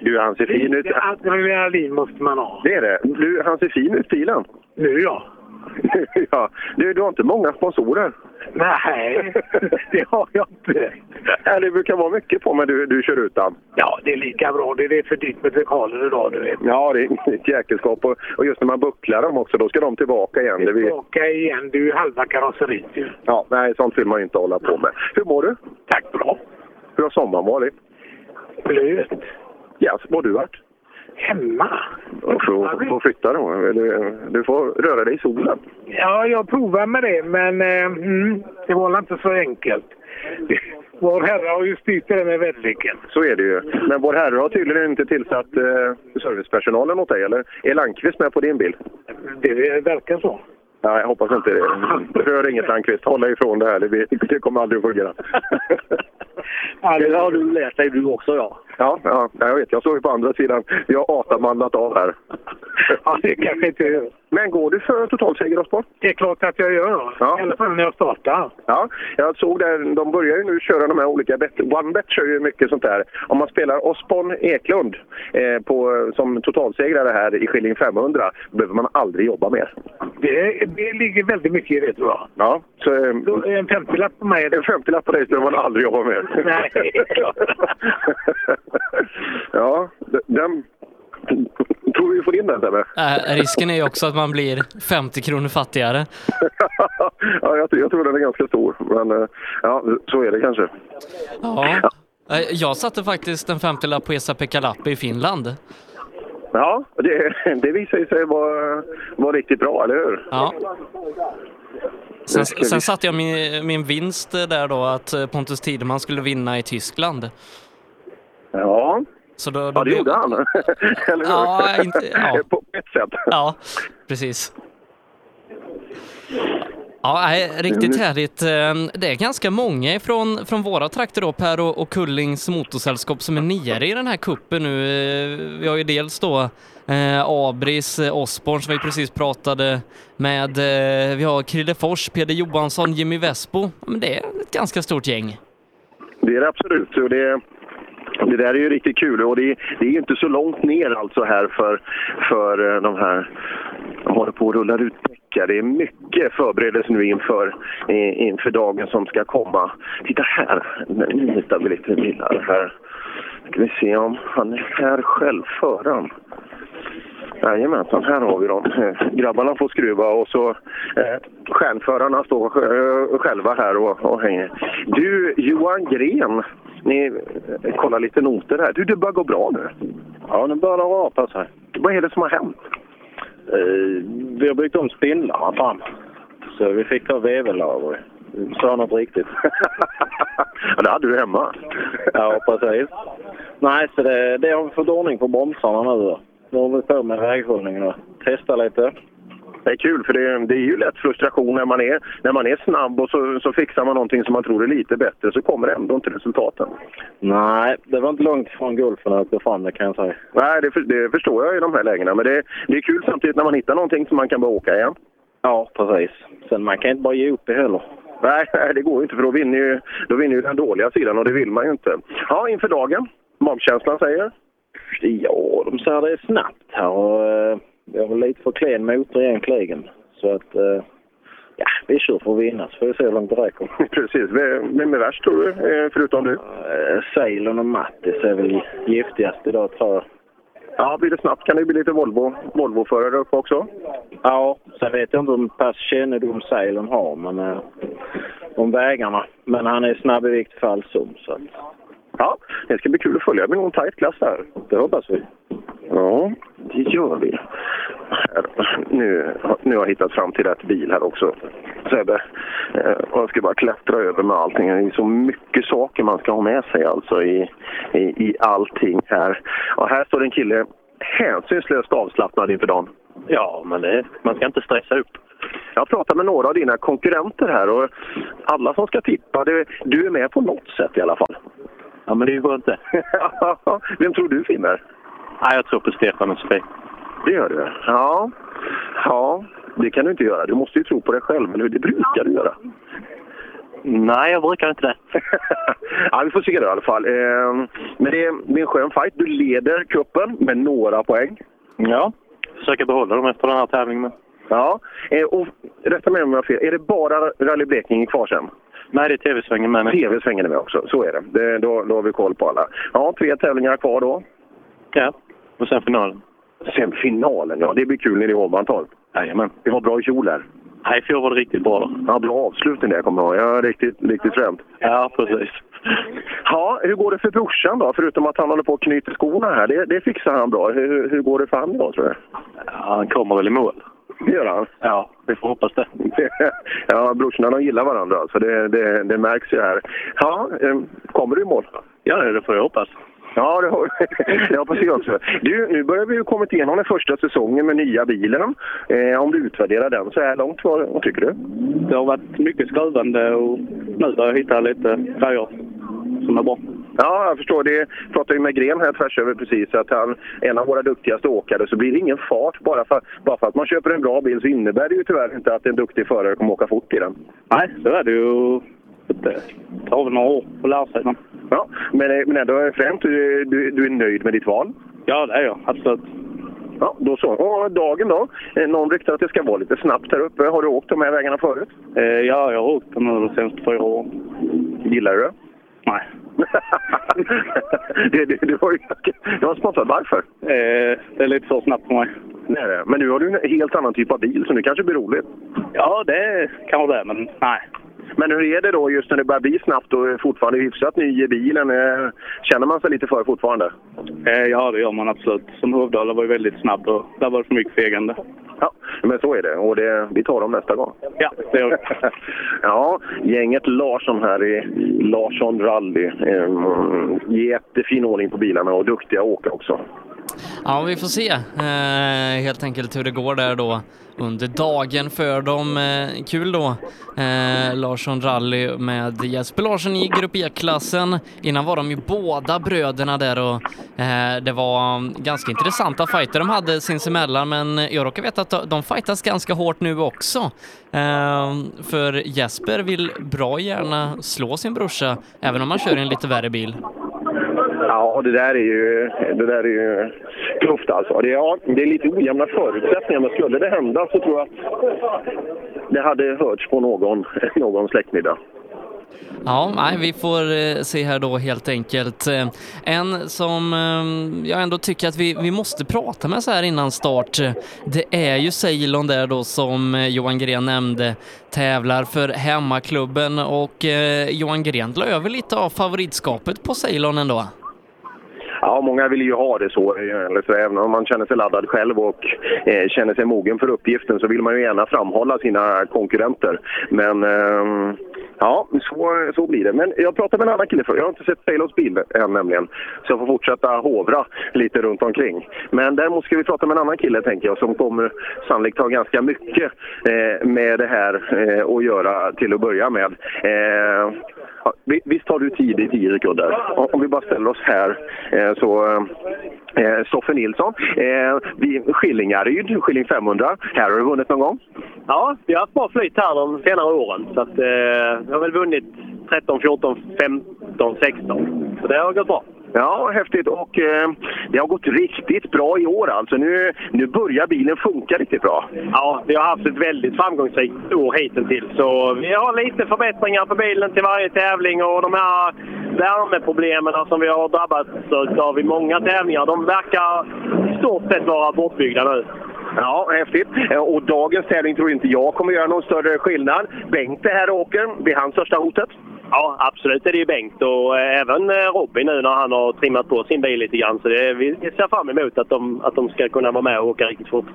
Speaker 4: Du, han ser fin ut.
Speaker 7: Lite adrenalin måste man ha.
Speaker 4: Det är det. Du, han ser fin ut, bilen.
Speaker 7: Nu ja.
Speaker 4: ja. Du, du har inte många sponsorer.
Speaker 7: Nej, det har jag inte.
Speaker 4: Ja, det brukar vara mycket på men du, du kör utan.
Speaker 7: Ja, det är lika bra. Det är för dyrt med dekaler idag, du vet.
Speaker 4: Ja, det är ett jäkelskap. Och, och just när man bucklar dem också, då ska de tillbaka igen. Det blir-
Speaker 7: Åka igen, du är ju halva karosseriet ju.
Speaker 4: Ja, nej, sånt vill man ju inte hålla på med. Hur mår du? Tack, bra. Hur har sommaren varit?
Speaker 7: Blöt.
Speaker 4: Ja, var du varit?
Speaker 7: Hemma?
Speaker 4: Du får, får flytta då. Eller, du får röra dig i solen.
Speaker 7: Ja, jag provar med det, men eh, mm, det var väl inte så enkelt. Vår herre har ju styrt det med väderleken.
Speaker 4: Så är det ju. Men vår herre har tydligen inte tillsatt eh, servicepersonalen åt dig, eller? Är Landqvist med på din bil?
Speaker 7: Det verkar så.
Speaker 4: Nej, jag hoppas inte det. Rör inget Landqvist. Håll dig ifrån det här. Det, blir, det kommer aldrig att fungera.
Speaker 7: Det har du lärt dig du också, ja.
Speaker 4: Ja, ja, ja, jag vet. Jag står ju på andra sidan. Jag har atamandlat av här.
Speaker 7: Ja, det kanske inte gör.
Speaker 4: Men går du för totalseger, Osborg?
Speaker 7: Det är klart att jag gör.
Speaker 4: Ja.
Speaker 7: I alla fall när jag startar.
Speaker 4: Ja, jag såg där, de börjar ju nu köra de här olika bet. OneBet kör ju mycket sånt där. Om man spelar Osborn Eklund eh, på, som totalsegrare här i Skilling 500 behöver man aldrig jobba mer.
Speaker 7: Det, det ligger väldigt mycket i det, tror jag.
Speaker 4: Ja, så, eh,
Speaker 7: En 50-lapp på mig.
Speaker 4: En 50-lapp på dig behöver man aldrig jobba mer.
Speaker 7: Nej, det är klart.
Speaker 4: ja, d- den... Tror du vi får in den, Sebbe?
Speaker 3: Äh, risken är ju också att man blir 50 kronor fattigare.
Speaker 4: ja, jag, jag tror den är ganska stor, men eh, ja, så är det kanske.
Speaker 3: Ja. Äh, Jag satte faktiskt en 50-lapp på Esa Pekalappi i Finland.
Speaker 4: Ja, det, det visar ju sig vara vara riktigt bra, eller hur?
Speaker 3: Ja. Sen, sen satte jag min, min vinst där då att eh, Pontus Tideman skulle vinna i Tyskland.
Speaker 4: Ja,
Speaker 3: Så då, då
Speaker 4: ja det
Speaker 3: blev-
Speaker 4: gjorde han. eller hur?
Speaker 3: Ja, inte- ja.
Speaker 4: På ett sätt.
Speaker 3: Ja, precis. Ja, nej, riktigt härligt. Eh, Det är ganska många från, från våra trakter då, Per och, och Kullings motorsällskap som är nere i den här kuppen nu. Eh, Vi har ju dels då eh, Abris, eh, Osborn som vi precis pratade med. Eh, vi har Krille Fors, Peder Johansson, Jimmy Vespo. Ja, Men det är ett ganska stort gäng.
Speaker 4: Det är det absolut. Och det, det där är ju riktigt kul. Och det, det är ju inte så långt ner alltså här för, för eh, de här... De håller på att rulla ut däckar. Det är mycket förberedelse nu inför, eh, inför dagen som ska komma. Titta här! Nu hittar vi lite bilar här. Ska vi se om han är här själv, föraren. Jajamensan, här har vi dem. Eh, Grabbarna får skruva och så eh, stjärnförarna står eh, själva här och, och hänger. Du, Johan Gren, ni eh, kollar lite noter här. Du, det börjar gå bra nu. Ja, nu börjar det rapa sig. Vad är det som har hänt?
Speaker 11: Eh, vi har byggt om spindlarna fram. Så vi fick ta vevellager. Sa något riktigt.
Speaker 4: ja, det hade du hemma.
Speaker 11: ja, precis. Nej, så det, det har vi fått ordning på bromsarna nu. då. Nu håller vi på med väghållningen och testar lite.
Speaker 4: Det är kul, för det, det är ju lätt frustration när man är, när man är snabb och så, så fixar man någonting som man tror är lite bättre så kommer ändå inte resultaten.
Speaker 11: Nej, det var inte långt från golfen att gå fram det kan jag säga.
Speaker 4: Nej, det, för, det förstår jag i de här lägena. Men det, det är kul samtidigt när man hittar någonting som man kan bara åka igen.
Speaker 11: Ja, precis. Sen man kan inte bara ge upp det heller.
Speaker 4: Nej, nej, det går ju inte för då vinner ju, då vinner ju den dåliga sidan och det vill man ju inte. Ja, inför dagen. Magkänslan säger?
Speaker 11: Ja, de säger det är snabbt här och eh, vi har väl lite för klen motor egentligen. Så att, eh, ja, vi kör för att vinna så får vi se hur långt det räcker.
Speaker 4: Precis. Vem vem är värst tror du, eh, förutom du?
Speaker 11: Ceylon Eh, och Mattis är väl giftigast idag tror jag.
Speaker 4: Ja, blir det snabbt kan det bli lite Volvo, Volvo-förare uppe också.
Speaker 11: Ja, sen vet jag inte om pass kännedom Ceylon har men, eh, om vägarna. Men han är snabb i vilket fall som. Så att,
Speaker 4: Ja, det ska bli kul att följa. Det blir nog en tajt klass där.
Speaker 11: det hoppas vi.
Speaker 4: Ja, det gör vi. Här. Nu, nu har jag hittat fram till rätt bil här också. Sebbe, eh, och jag ska bara klättra över med allting. Det är så mycket saker man ska ha med sig alltså i, i, i allting här. Och här står en kille hänsynslöst avslappnad inför dagen. Ja, men man ska inte stressa upp. Jag pratar med några av dina konkurrenter här och alla som ska tippa, det, du är med på något sätt i alla fall. Ja, men det går inte. Vem tror du vinner?
Speaker 11: Nej, jag tror på Stefan och Sofie.
Speaker 4: Det gör du? Ja. Ja, det kan du inte göra. Du måste ju tro på dig själv, eller hur? Det brukar du göra.
Speaker 12: Nej, jag brukar inte det.
Speaker 4: ja, vi får se det i alla fall. Eh, Men det är, det är en skön fight. Du leder kuppen med några poäng.
Speaker 12: Ja, försöker behålla dem efter den här tävlingen.
Speaker 4: Ja, eh, och rätta mig om jag har fel. Är det bara Rally Blekinge kvar sen?
Speaker 12: Nej, det är tv-svängen med.
Speaker 4: TV-svängen är med också, så är det. det då, då har vi koll på alla. Ja, tre tävlingar kvar då.
Speaker 12: Ja, och sen finalen.
Speaker 4: Sen finalen, ja. Det blir kul nere i Hovmantorp. Jajamän. Det var bra i fjol där.
Speaker 12: Nej, i fjol var det riktigt bra då.
Speaker 4: Ja, bra avslutning där kommer jag ihåg. Ja, riktigt, riktigt främt.
Speaker 12: Ja, precis.
Speaker 4: Ja, hur går det för brorsan då? Förutom att han håller på att knyta skorna här. Det, det fixar han bra. Hur, hur går det för han idag tror du?
Speaker 12: Han kommer väl i mål.
Speaker 4: Det gör han?
Speaker 12: Ja, vi får hoppas det.
Speaker 4: ja, brorsorna de gillar varandra alltså. Det, det, det märks ju här. Ja, eh, kommer du i mål?
Speaker 12: Ja, det får jag hoppas.
Speaker 4: Ja, det har- det hoppas jag också. Du, nu börjar vi ju kommit igenom den första säsongen med nya bilen. Eh, om du utvärderar den så här långt, vad, vad tycker du?
Speaker 13: Det har varit mycket skruvande och nu börjar jag hitta lite grejer som är bra.
Speaker 4: Ja, jag förstår. Det pratade ju med Gren här tvärs över precis, att han en av våra duktigaste åkare, så blir det ingen fart. Bara för, bara för att man köper en bra bil så innebär det ju tyvärr inte att en duktig förare kommer åka fort i den.
Speaker 13: Nej, så är det ju. Det tar väl några år att lära sig. Men...
Speaker 4: Ja, men, eh, men ändå främt, du, du, du är nöjd med ditt val?
Speaker 13: Ja, det är jag. Absolut.
Speaker 4: Ja, då så. Och dagen då? Eh, Någon ryktar att det ska vara lite snabbt här uppe. Har du åkt de här vägarna förut?
Speaker 13: Eh, ja, jag har åkt den nu de senaste fyra åren.
Speaker 4: Gillar du det?
Speaker 13: Nej.
Speaker 4: det, det, det var ju det var sponsrat. Varför?
Speaker 13: Eh, det är lite för snabbt för mig.
Speaker 4: Nej, det. Men nu har du en helt annan typ av bil, så nu kanske blir roligt.
Speaker 13: Ja, det kan vara det, men nej.
Speaker 4: Men hur är det då just när det börjar bli snabbt och fortfarande hyfsat ny i bilen? eh, Känner man sig lite för fortfarande?
Speaker 13: Eh, ja, det gör man absolut. Som Hovdala var ju väldigt snabb och där var det för mycket fegande.
Speaker 4: Ja, men så är det. Och det, vi tar dem nästa gång.
Speaker 13: Ja, det gör vi.
Speaker 4: ja, gänget Larsson här i Larsson Rally. Ehm, Jättefin ordning på bilarna och duktiga åkare också.
Speaker 3: Ja, vi får se eh, helt enkelt hur det går där då under dagen för dem. Eh, kul då, eh, Larsson Rally med Jesper Larsson i Grupp E-klassen. Innan var de ju båda bröderna där och eh, det var ganska intressanta fighter de hade sinsemellan, men jag råkar veta att de fightas ganska hårt nu också. Eh, för Jesper vill bra gärna slå sin brorsa, även om han kör i en lite värre bil.
Speaker 4: Ja, det där är ju, det där är ju tufft alltså. Det är, ja, det är lite ojämna förutsättningar, men skulle det hända så tror jag att det hade hörts på någon, någon släktmiddag.
Speaker 3: Ja, nej, vi får eh, se här då helt enkelt. Eh, En som eh, jag ändå tycker att vi, vi måste prata med så här innan start, eh, det är ju Ceylon där då som eh, Johan Gren nämnde, tävlar för hemmaklubben och eh, Johan Gren la över lite av favoritskapet på Ceylon ändå.
Speaker 4: Ja, många vill ju ha det så. eh, Eller så även om man känner sig laddad själv och eh, känner sig mogen för uppgiften så vill man ju gärna framhålla sina konkurrenter. Men ehm, ja, så, så blir det. Men jag pratade med en annan kille förut. Jag har inte sett Taylors bil än nämligen. Så jag får fortsätta hovra lite runt omkring. Men däremot ska vi prata med en annan kille tänker jag som kommer sannolikt ha ganska mycket eh, med det här eh, att göra till att börja med. Eh, Ja, vi- visst har du tid i tio sekunder? Om- Om vi bara ställer oss här eh, så... eh, Stoffe Nilsson, eh, vi, Skillingaryd, Skilling 500. Här har du vunnit någon gång?
Speaker 7: Ja, vi har haft bra flyt här de senare åren. Så att, eh, vi har väl vunnit 13, 14, 15, 16. Så det har gått bra.
Speaker 4: Ja, häftigt. Och eh, det har gått riktigt bra i år alltså. Nu, nu börjar bilen funka riktigt bra.
Speaker 7: Ja, vi har haft ett väldigt framgångsrikt år hittills. Så vi har lite förbättringar på bilen till varje tävling och de här värmeproblemen som vi har drabbats av i många tävlingar, de verkar i stort sett vara bortbyggda nu.
Speaker 4: Ja, häftigt. Eh, Och dagens tävling tror inte jag kommer göra någon större skillnad. Bengt är här och åker. Det är hans största hotet.
Speaker 7: Ja, absolut är det ju Bengt och eh, även eh, Robin nu när han har trimmat på sin bil lite grann. Så det, vi ser fram emot att de, att de ska kunna vara med och åka riktigt fort.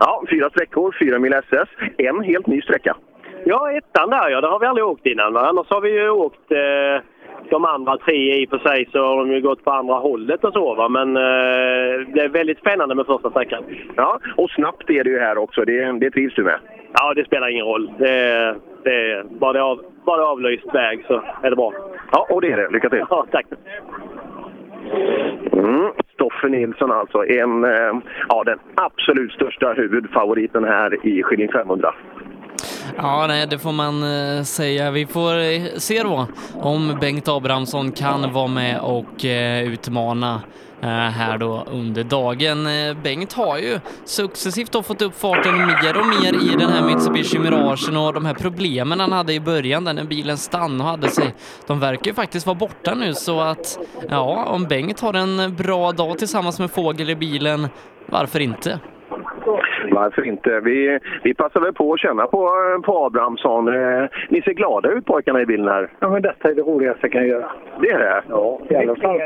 Speaker 4: Ja, fyra sträckor, fyra mil SS. En helt ny sträcka.
Speaker 7: Ja, ettan där ja. Där har vi aldrig åkt innan. Va? Annars har vi ju åkt eh, de andra tre i och för sig så har de ju gått på andra hållet och så. Va? Men eh, det är väldigt spännande med första sträckan.
Speaker 4: Ja, och snabbt är det ju här också. Det, det trivs du med?
Speaker 7: Ja, det spelar ingen roll. Det, det, bara, det av, bara det är avlyst väg så är det bra.
Speaker 4: Ja, och det är det. Lycka till!
Speaker 7: Ja, tack!
Speaker 4: Mm. Stoffe Nilsson alltså, en, eh, ja, den absolut största huvudfavoriten här i Skilling 500.
Speaker 3: Ja, nej, det får man eh, säga. Vi får eh, se då om Bengt Abrahamsson kan vara med och eh, utmana eh, här då under dagen. Eh, Bengt har ju successivt då fått upp farten mer och mer i den här Mitsubishi Miragen och de här problemen han hade i början där när bilen stannade och hade sig, de verkar ju faktiskt vara borta nu så att ja, om Bengt har en bra dag tillsammans med Fågel i bilen, varför inte?
Speaker 4: Varför inte? Vi, vi passar väl på att känna på, på Abrahamsson. Eh, Ni ser glada ut pojkarna i bilen här.
Speaker 7: Ja, men detta är det roligaste jag kan göra.
Speaker 4: Det är det? Ja,
Speaker 7: jävla klart.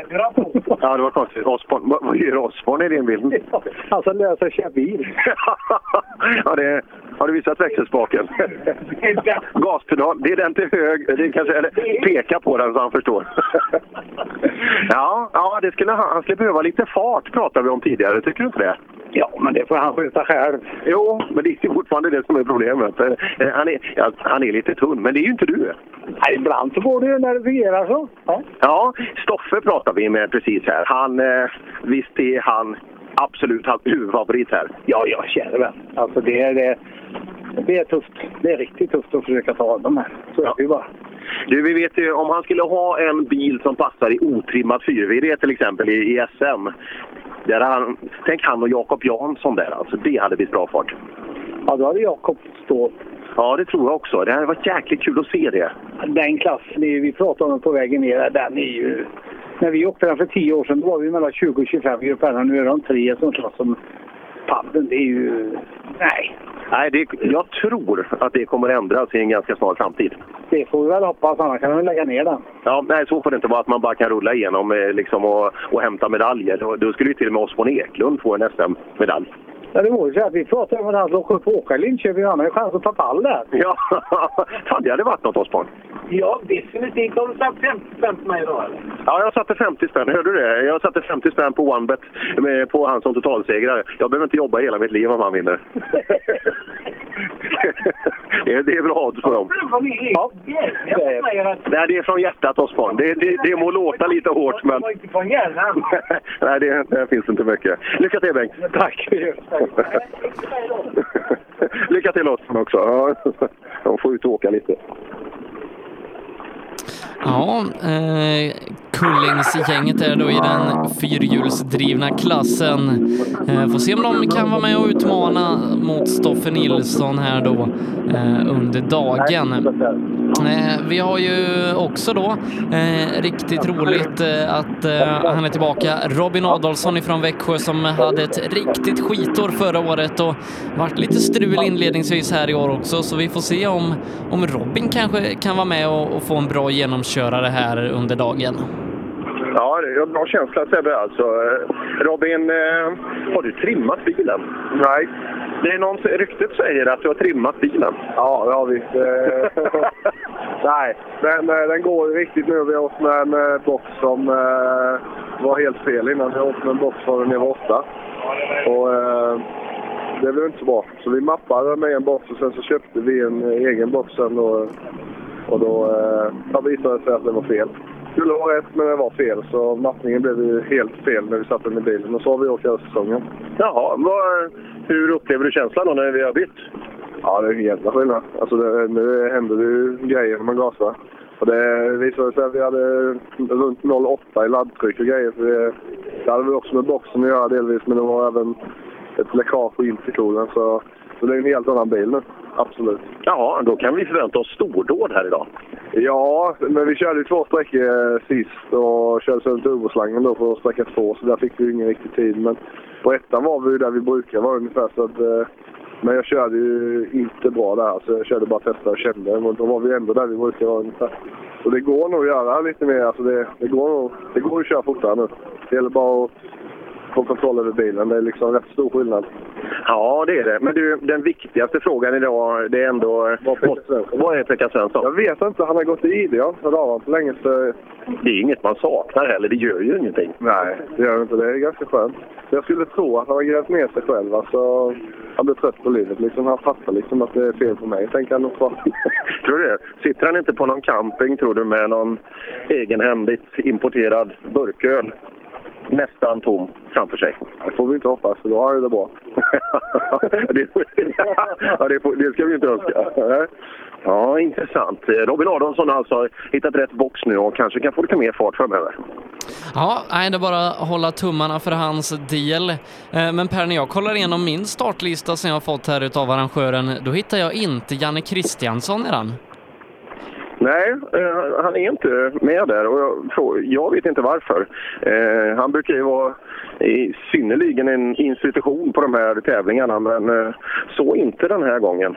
Speaker 4: Ja, det var konstigt. Osborn, vad, vad gör Osborn i din bil?
Speaker 7: Han som lär sig att köra bil.
Speaker 4: Ja, det, har du visat växelspaken? Gaspedal, det är den till höger. Det är kanske, eller peka på den så han förstår. Ja, ja det skulle, han han skulle behöva lite fart pratade vi om tidigare. Tycker du inte det?
Speaker 7: Ja, men det får han sköta själv.
Speaker 4: Jo, men det är fortfarande det som är problemet. Eh, Han är, ja, han är lite tunn, men det är ju inte du.
Speaker 7: Nej, ibland så går det ju när det fungerar så. Ja.
Speaker 4: Ja, Stoffe pratar vi med precis här. Han, eh, visst är han absolut hans huvudfavorit här.
Speaker 7: Ja, ja, käre vän. Alltså det är, det, det är tufft. Det är riktigt tufft att försöka ta av dem här. Så är det ju bara.
Speaker 4: Du, vi vet ju om han skulle ha en bil som passar i otrimmat 4VD till exempel i, i SM. Där han, tänk han och Jakob Jansson där alltså. Det hade blivit bra fart.
Speaker 7: Ja, då hade Jakob stått.
Speaker 4: Ja, det tror jag också. Det hade varit jäkligt kul att se det.
Speaker 7: Den klassen, är- vi pratade om på vägen ner, den är ju... När vi åkte den för tio år sedan då var vi mellan 20 och 25 grupper. Nu är de tre som slåss om paddeln. Det är ju... Nej,
Speaker 4: Nej, det, jag tror att det kommer ändras i en ganska snar framtid.
Speaker 7: det får vi väl hoppas. Annars kan vi lägga ner den.
Speaker 4: Ja, nej, så får det inte vara att man bara kan rulla igenom eh, liksom, och, och hämta medaljer. Då, då skulle ju till och med Osborn Eklund få en SM-medalj.
Speaker 7: Ja, det vore så att vi pratade om att han som åker upp och åker i Linköping. Han har ju chans att ta pall där.
Speaker 4: Ja, fan det hade varit något Osborn.
Speaker 7: Ja, definitivt. Har du satt 50 spänn på mig idag eller?
Speaker 4: Ja, jag satte 50 spänn. Hörde du det? Jag satte 50 spänn på OneBet eh, på han som totalsegrare. Jag behöver inte jobba hela mitt liv om han vinner. det, är, det är bra odds på dem.
Speaker 7: Ja,
Speaker 4: Nej, det är från hjärtat, Osborn. Det, det, det må låta lite hårt, men... Nej, det, det finns inte mycket. Lycka till, Bengt!
Speaker 7: Tack!
Speaker 4: Lycka till, Osborn, också. Ja, de får ut och åka lite.
Speaker 3: Ja, eh, Kullingsgänget är då i den fyrhjulsdrivna klassen. Eh, får se om de kan vara med och utmana mot Stoffe Nilsson här då eh, under dagen. Eh, vi har ju också då eh, riktigt roligt eh, att eh, han är tillbaka. Robin Adolfsson ifrån Växjö som hade ett riktigt skitår förra året och varit lite strul inledningsvis här i år också så vi får se om, om Robin kanske kan vara med och, och få en bra genomkörare här under dagen.
Speaker 4: Ja, det är en bra känsla Sebbe alltså. Eh, Robin, eh, har du trimmat bilen? Nej. Det är någon, ryktet säger att du har trimmat bilen.
Speaker 14: Ja, det har vi. Eh, Nej, den, eh, den går ju riktigt nu. Vi har åkt med en eh, box som eh, var helt fel innan. Vi har åkt med en box från en nivå 8. Och, eh, det blev inte så bra. Så vi mappade med en box och sen så köpte vi en eh, egen box sen. Och, och då eh, ja, visade det sig att den var fel. Skulle vara rätt, men den var fel. Så mappningen blev ju helt fel när vi satte den i bilen. Och så har vi åkt hela säsongen.
Speaker 4: Jaha, vad, hur upplever du känslan då när vi har bytt?
Speaker 14: Ja, det är en jävla skillnad. Alltså, det, nu händer det ju grejer när man gasar. Och det visade sig att vi hade runt 0,8 i laddtryck och grejer. För det, det hade väl också med boxen att göra delvis, men det var även ett läckage på intercoolen. Så, så det är en helt annan bil nu. Absolut.
Speaker 4: Jaha, då kan vi förvänta oss stordåd här idag.
Speaker 14: Ja, men vi körde ju två sträckor eh, sist och körde sönder turboslangen då på sträcka två, så där fick vi ju ingen riktig tid. Men på ettan var vi ju där vi brukar vara ungefär. Så att, eh, men jag körde ju inte bra där, så jag körde bara testa och kände. Men då var vi ändå där vi brukar vara ungefär. Så det går nog att göra lite mer. Alltså det, det, går, nog- det går att köra fortare nu. Det gäller bara att få kontroll över bilen. Det är liksom rätt stor skillnad.
Speaker 4: Ja, det är det. Men du, den viktigaste frågan idag, det är ändå... Vad är Pekka Svensson?
Speaker 14: Jag vet inte, han har gått i ID. Jag har inte hört av honom på länge. Så
Speaker 4: Det är inget man saknar heller, det gör ju ingenting.
Speaker 14: Nej, det gör det inte. Det är ganska skönt. Jag skulle tro att han har grävt ner sig själv. Alltså, han blir trött på livet. Liksom. Han fattar liksom att det är fel på mig, tänker han nog på.
Speaker 4: Tror du det? Sitter han inte på någon camping, tror du, med någon egenhändigt importerad burköl nästan tom framför sig?
Speaker 14: Det får vi inte hoppas, för då har han ju det bra.
Speaker 4: det, ja, det, får- det ska vi inte önska. Ja, intressant. Robin Adolfsson har alltså hittat rätt box nu och kanske kan få lite mer fart framöver.
Speaker 3: Ja, nej, det är bara att hålla tummarna för hans del. Eh, Men Per, när jag kollar igenom min startlista som jag har fått här utav arrangören, då hittar jag inte Janne Kristiansson i den.
Speaker 4: Nej, eh, han är inte med där och jag, tror- jag vet inte varför. Eh, han brukar ju vara i, synnerligen en institution på de här tävlingarna men eh, så inte den här gången.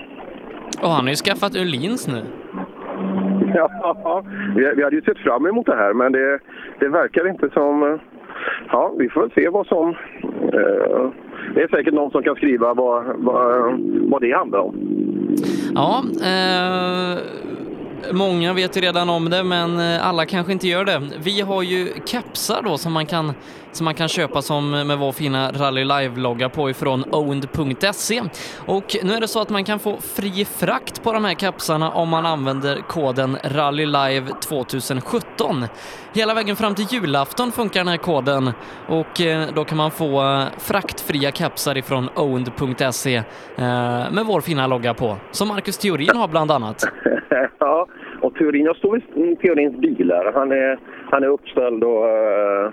Speaker 3: Och han har ju skaffat Öhlins nu.
Speaker 4: Ja, vi, vi hade ju sett fram emot det här men det, det verkar inte som... eh, Ja, vi får väl se vad som... Eh, det är säkert någon som kan skriva vad, vad, vad det handlar om.
Speaker 3: Ja, eh, många vet ju redan om det, men eh, alla kanske inte gör det. Vi har ju kepsar då som man kan, som man kan köpa som med vår fina Rally Live-logga på ifrån owned.se. Och nu är det så att man kan få fri frakt på de här kepsarna om man använder koden RallyLive2017. Hela vägen fram till julafton funkar den här koden och eh, då kan man få eh, fraktfria kepsar ifrån owned.se eh, med vår fina logga på, som Marcus Theorin har bland annat.
Speaker 4: ja, och Theorin, jag står i Theorins bilar. Han är, han är uppställd och, eh,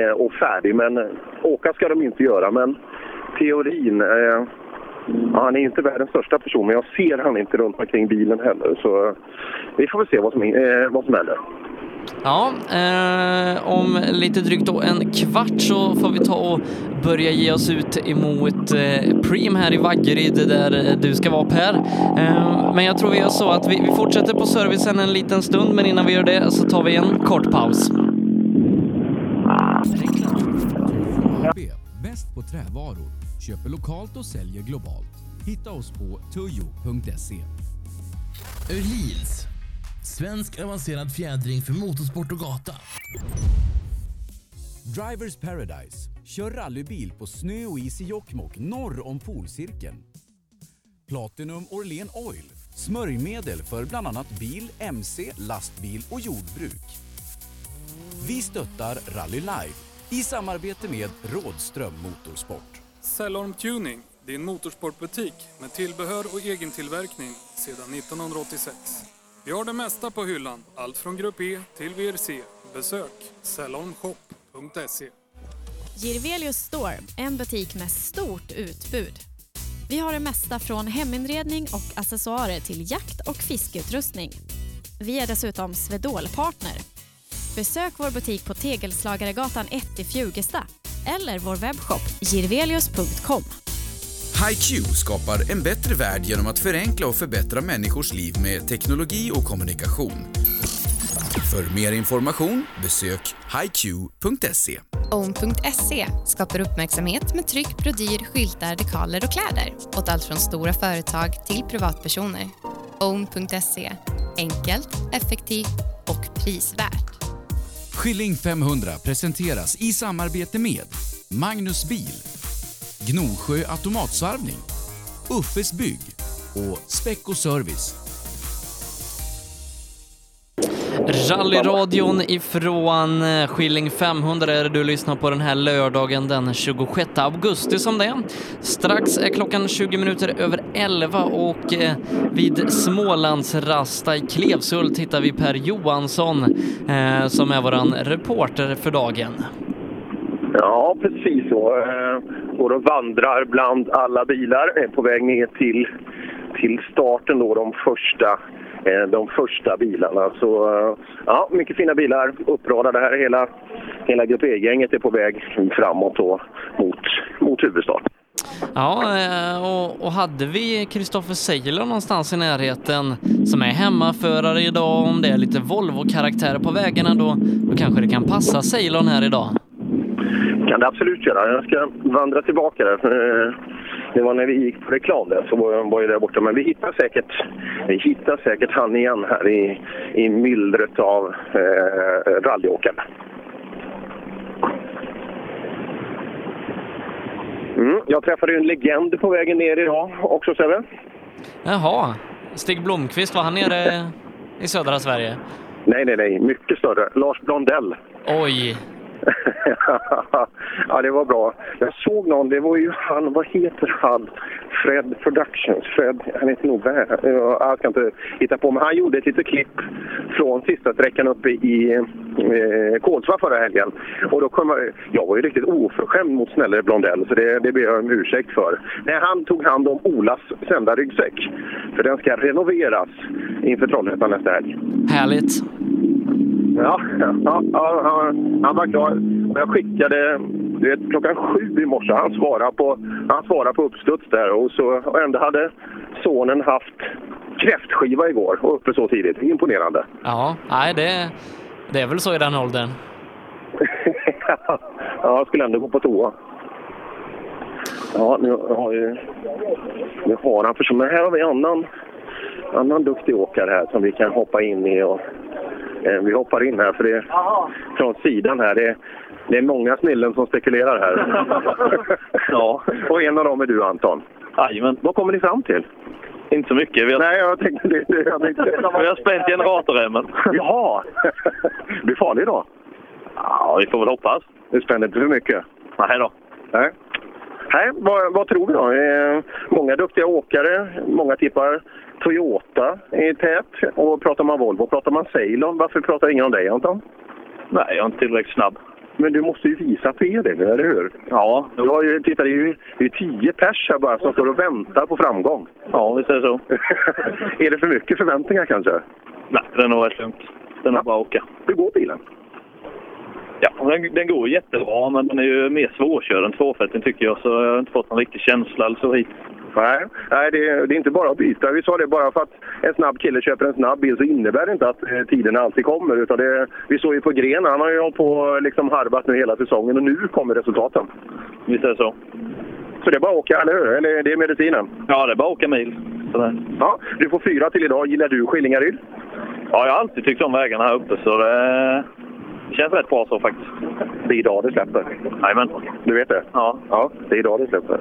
Speaker 4: eh, och färdig, men åka ska de inte göra. Men Theorin, eh, ja, han är inte världens största person, men jag ser han inte runt omkring bilen heller. Så eh, vi får väl se vad som, eh, vad som händer.
Speaker 3: Ja, eh, om lite drygt då en kvart så får vi ta och börja ge oss ut emot eh, Preem här i Vaggeryd där eh, du ska vara Per. Eh, men jag tror vi gör så att vi, vi fortsätter på servicen en liten stund, men innan vi gör det så tar vi en kort paus.
Speaker 15: B. Bäst på trävaror. Köper lokalt och säljer globalt. Hitta oss på tujo.se.
Speaker 16: Öhlins. Svensk avancerad fjädring för motorsport och gata.
Speaker 15: Drivers Paradise. Kör rallybil på snö och is i Jokkmokk norr om polcirkeln. Platinum Orlen Oil. Smörjmedel för bland annat bil, mc, lastbil och jordbruk. Vi stöttar Rally Live i samarbete med Rådström Motorsport.
Speaker 17: Cellorm Tuning, din motorsportbutik med tillbehör och egen tillverkning sedan 1986. Vi har det mesta på hyllan, allt från Grupp E till VRC. Besök cellormshop.se.
Speaker 18: Girvelius Store, en butik med stort utbud. Vi har det mesta från heminredning och accessoarer till jakt och fiskeutrustning. Vi är dessutom Swedol-partner. Besök vår butik på Tegelslagaregatan 1 i Fjugesta eller vår webbshop girvelius.com.
Speaker 19: HiQ skapar en bättre värld genom att förenkla och förbättra människors liv med teknologi och kommunikation. För mer information besök hiq.se.
Speaker 20: Own.se E skapar uppmärksamhet med tryck, brodyr, skyltar, dekaler och kläder åt allt från stora företag till privatpersoner. Own.se E, enkelt, effektivt och prisvärt.
Speaker 15: Skilling 500 presenteras i samarbete med Magnus Bil, Gnosjö Automatsarvning, Uffes Bygg och Specco Service.
Speaker 3: Rallyradion ifrån eh, Skilling 500 är det du lyssnar på den här lördagen den 26 augusti som det är. Strax är klockan 20 minuter över 11 och eh, vid Smålandsrasta i Klevshult hittar vi Per Johansson eh, som är våran reporter för dagen.
Speaker 4: Ja, precis så. Eh, Går och vandrar bland alla bilar eh, på väg ner till, till starten då, de första eh, de första bilarna. Så eh, ja, mycket fina bilar uppradade här. Hela, hela Grupp E-gänget är på väg framåt då mot, mot huvudstart.
Speaker 3: Ja, eh, och, och hade vi Kristoffer Seiler någonstans i närheten som är hemmaförare idag, om det är lite Volvo-karaktär på vägarna då, då kanske det kan passa Ceylon här idag.
Speaker 4: kan det absolut göra. Jag ska vandra tillbaka där. för, eh, Det var när vi gick på reklam där, så var jag, var jag där borta. Men vi hittar säkert, vi hittar säkert han igen här i, i myllret av eh, rallyåkarna. Mm, jag träffade ju en legend på vägen ner idag också, Sebbe.
Speaker 3: Jaha, Stig Blomqvist, var han nere i södra Sverige?
Speaker 4: Nej, nej, nej. Mycket större. Lars Blondell.
Speaker 3: Oj,
Speaker 4: ja, det var bra. Jag såg någon, det var ju han, vad heter han? Fred Productions, Fred, han heter nog Vär. ja, Jag ska inte hitta på, men han gjorde ett litet klipp från sista sträckan uppe i eh, Kolsva förra helgen. Och då kom jag, jag var ju riktigt oförskämd mot snällare Blondell, så det, det ber jag om ursäkt för. Nej, han tog hand om Olas sända ryggsäck, för den ska renoveras inför Trollhättan nästa helg.
Speaker 3: Härligt.
Speaker 4: Ja, ja, ja, ja, han var klar. Och Jag skickade du vet, klockan sju i morse. Han svarade på, han svarade på uppstuds där. Och, så, och ändå hade sonen haft kräftskiva igår och uppe så tidigt. Imponerande.
Speaker 3: Ja, nej, det, det är väl så i den åldern.
Speaker 4: ja, jag skulle ändå gå på toa. Ja, nu har, ju, nu har han försvunnit. Men här har vi en annan, annan duktig åkare här som vi kan hoppa in i. Och, eh, vi hoppar in här för det från sidan här. Det, det är många snillen som spekulerar här. ja, och en av dem är du Anton. Jajamän. Vad kommer ni fram till?
Speaker 7: Inte så mycket. Vi har,
Speaker 4: Nej, jag tänkte det. det jag tänkte.
Speaker 7: vi har spänt generatorremmen.
Speaker 4: Jaha! Det blir farlig idag.
Speaker 7: Ja, vi får väl hoppas.
Speaker 4: Det spänner inte för mycket.
Speaker 7: Nej då.
Speaker 4: Nej. Nej, vad, vad tror vi då? Eh, många duktiga åkare, många tippar Toyota i tät. Och pratar man Volvo pratar man Ceylon. Varför pratar ingen om dig Anton?
Speaker 7: Nej, jag är inte tillräckligt snabb.
Speaker 4: Men du måste ju visa att du är det, eller hur? Ja. Du har ju, titta, det är ju det är tio pers här bara som står och väntar på framgång.
Speaker 7: Ja, visst är det så.
Speaker 4: är det för mycket förväntningar kanske?
Speaker 7: Nej, det är nog rätt lugnt. Den är bara att åka.
Speaker 4: Hur går bilen?
Speaker 7: Ja, den, den går jättebra, men den är ju mer svårkörd än tvåfälten tycker jag. Så jag har inte fått någon riktig känsla eller så hit.
Speaker 4: Nej, nej det, det är inte bara att byta. Vi sa det bara för att en snabb kille köper en snabb bil så innebär det inte att eh, tiderna alltid kommer. Utan det, vi såg ju på Gren, han har ju hållit på och liksom harvat nu hela säsongen och nu kommer resultaten.
Speaker 7: Visst är det så.
Speaker 4: Så det är bara att åka, eller hur? Eller det är medicinen?
Speaker 7: Ja, det är bara att åka mil. Sådär.
Speaker 4: Ja, du får fyra till idag. Gillar du Skillingaryd?
Speaker 7: Ja, jag har alltid tyckt om vägarna här uppe så det känns rätt bra så faktiskt.
Speaker 4: Det är idag det släpper.
Speaker 7: Jajamän.
Speaker 4: Du vet det?
Speaker 7: Ja.
Speaker 4: Ja, det är idag det släpper.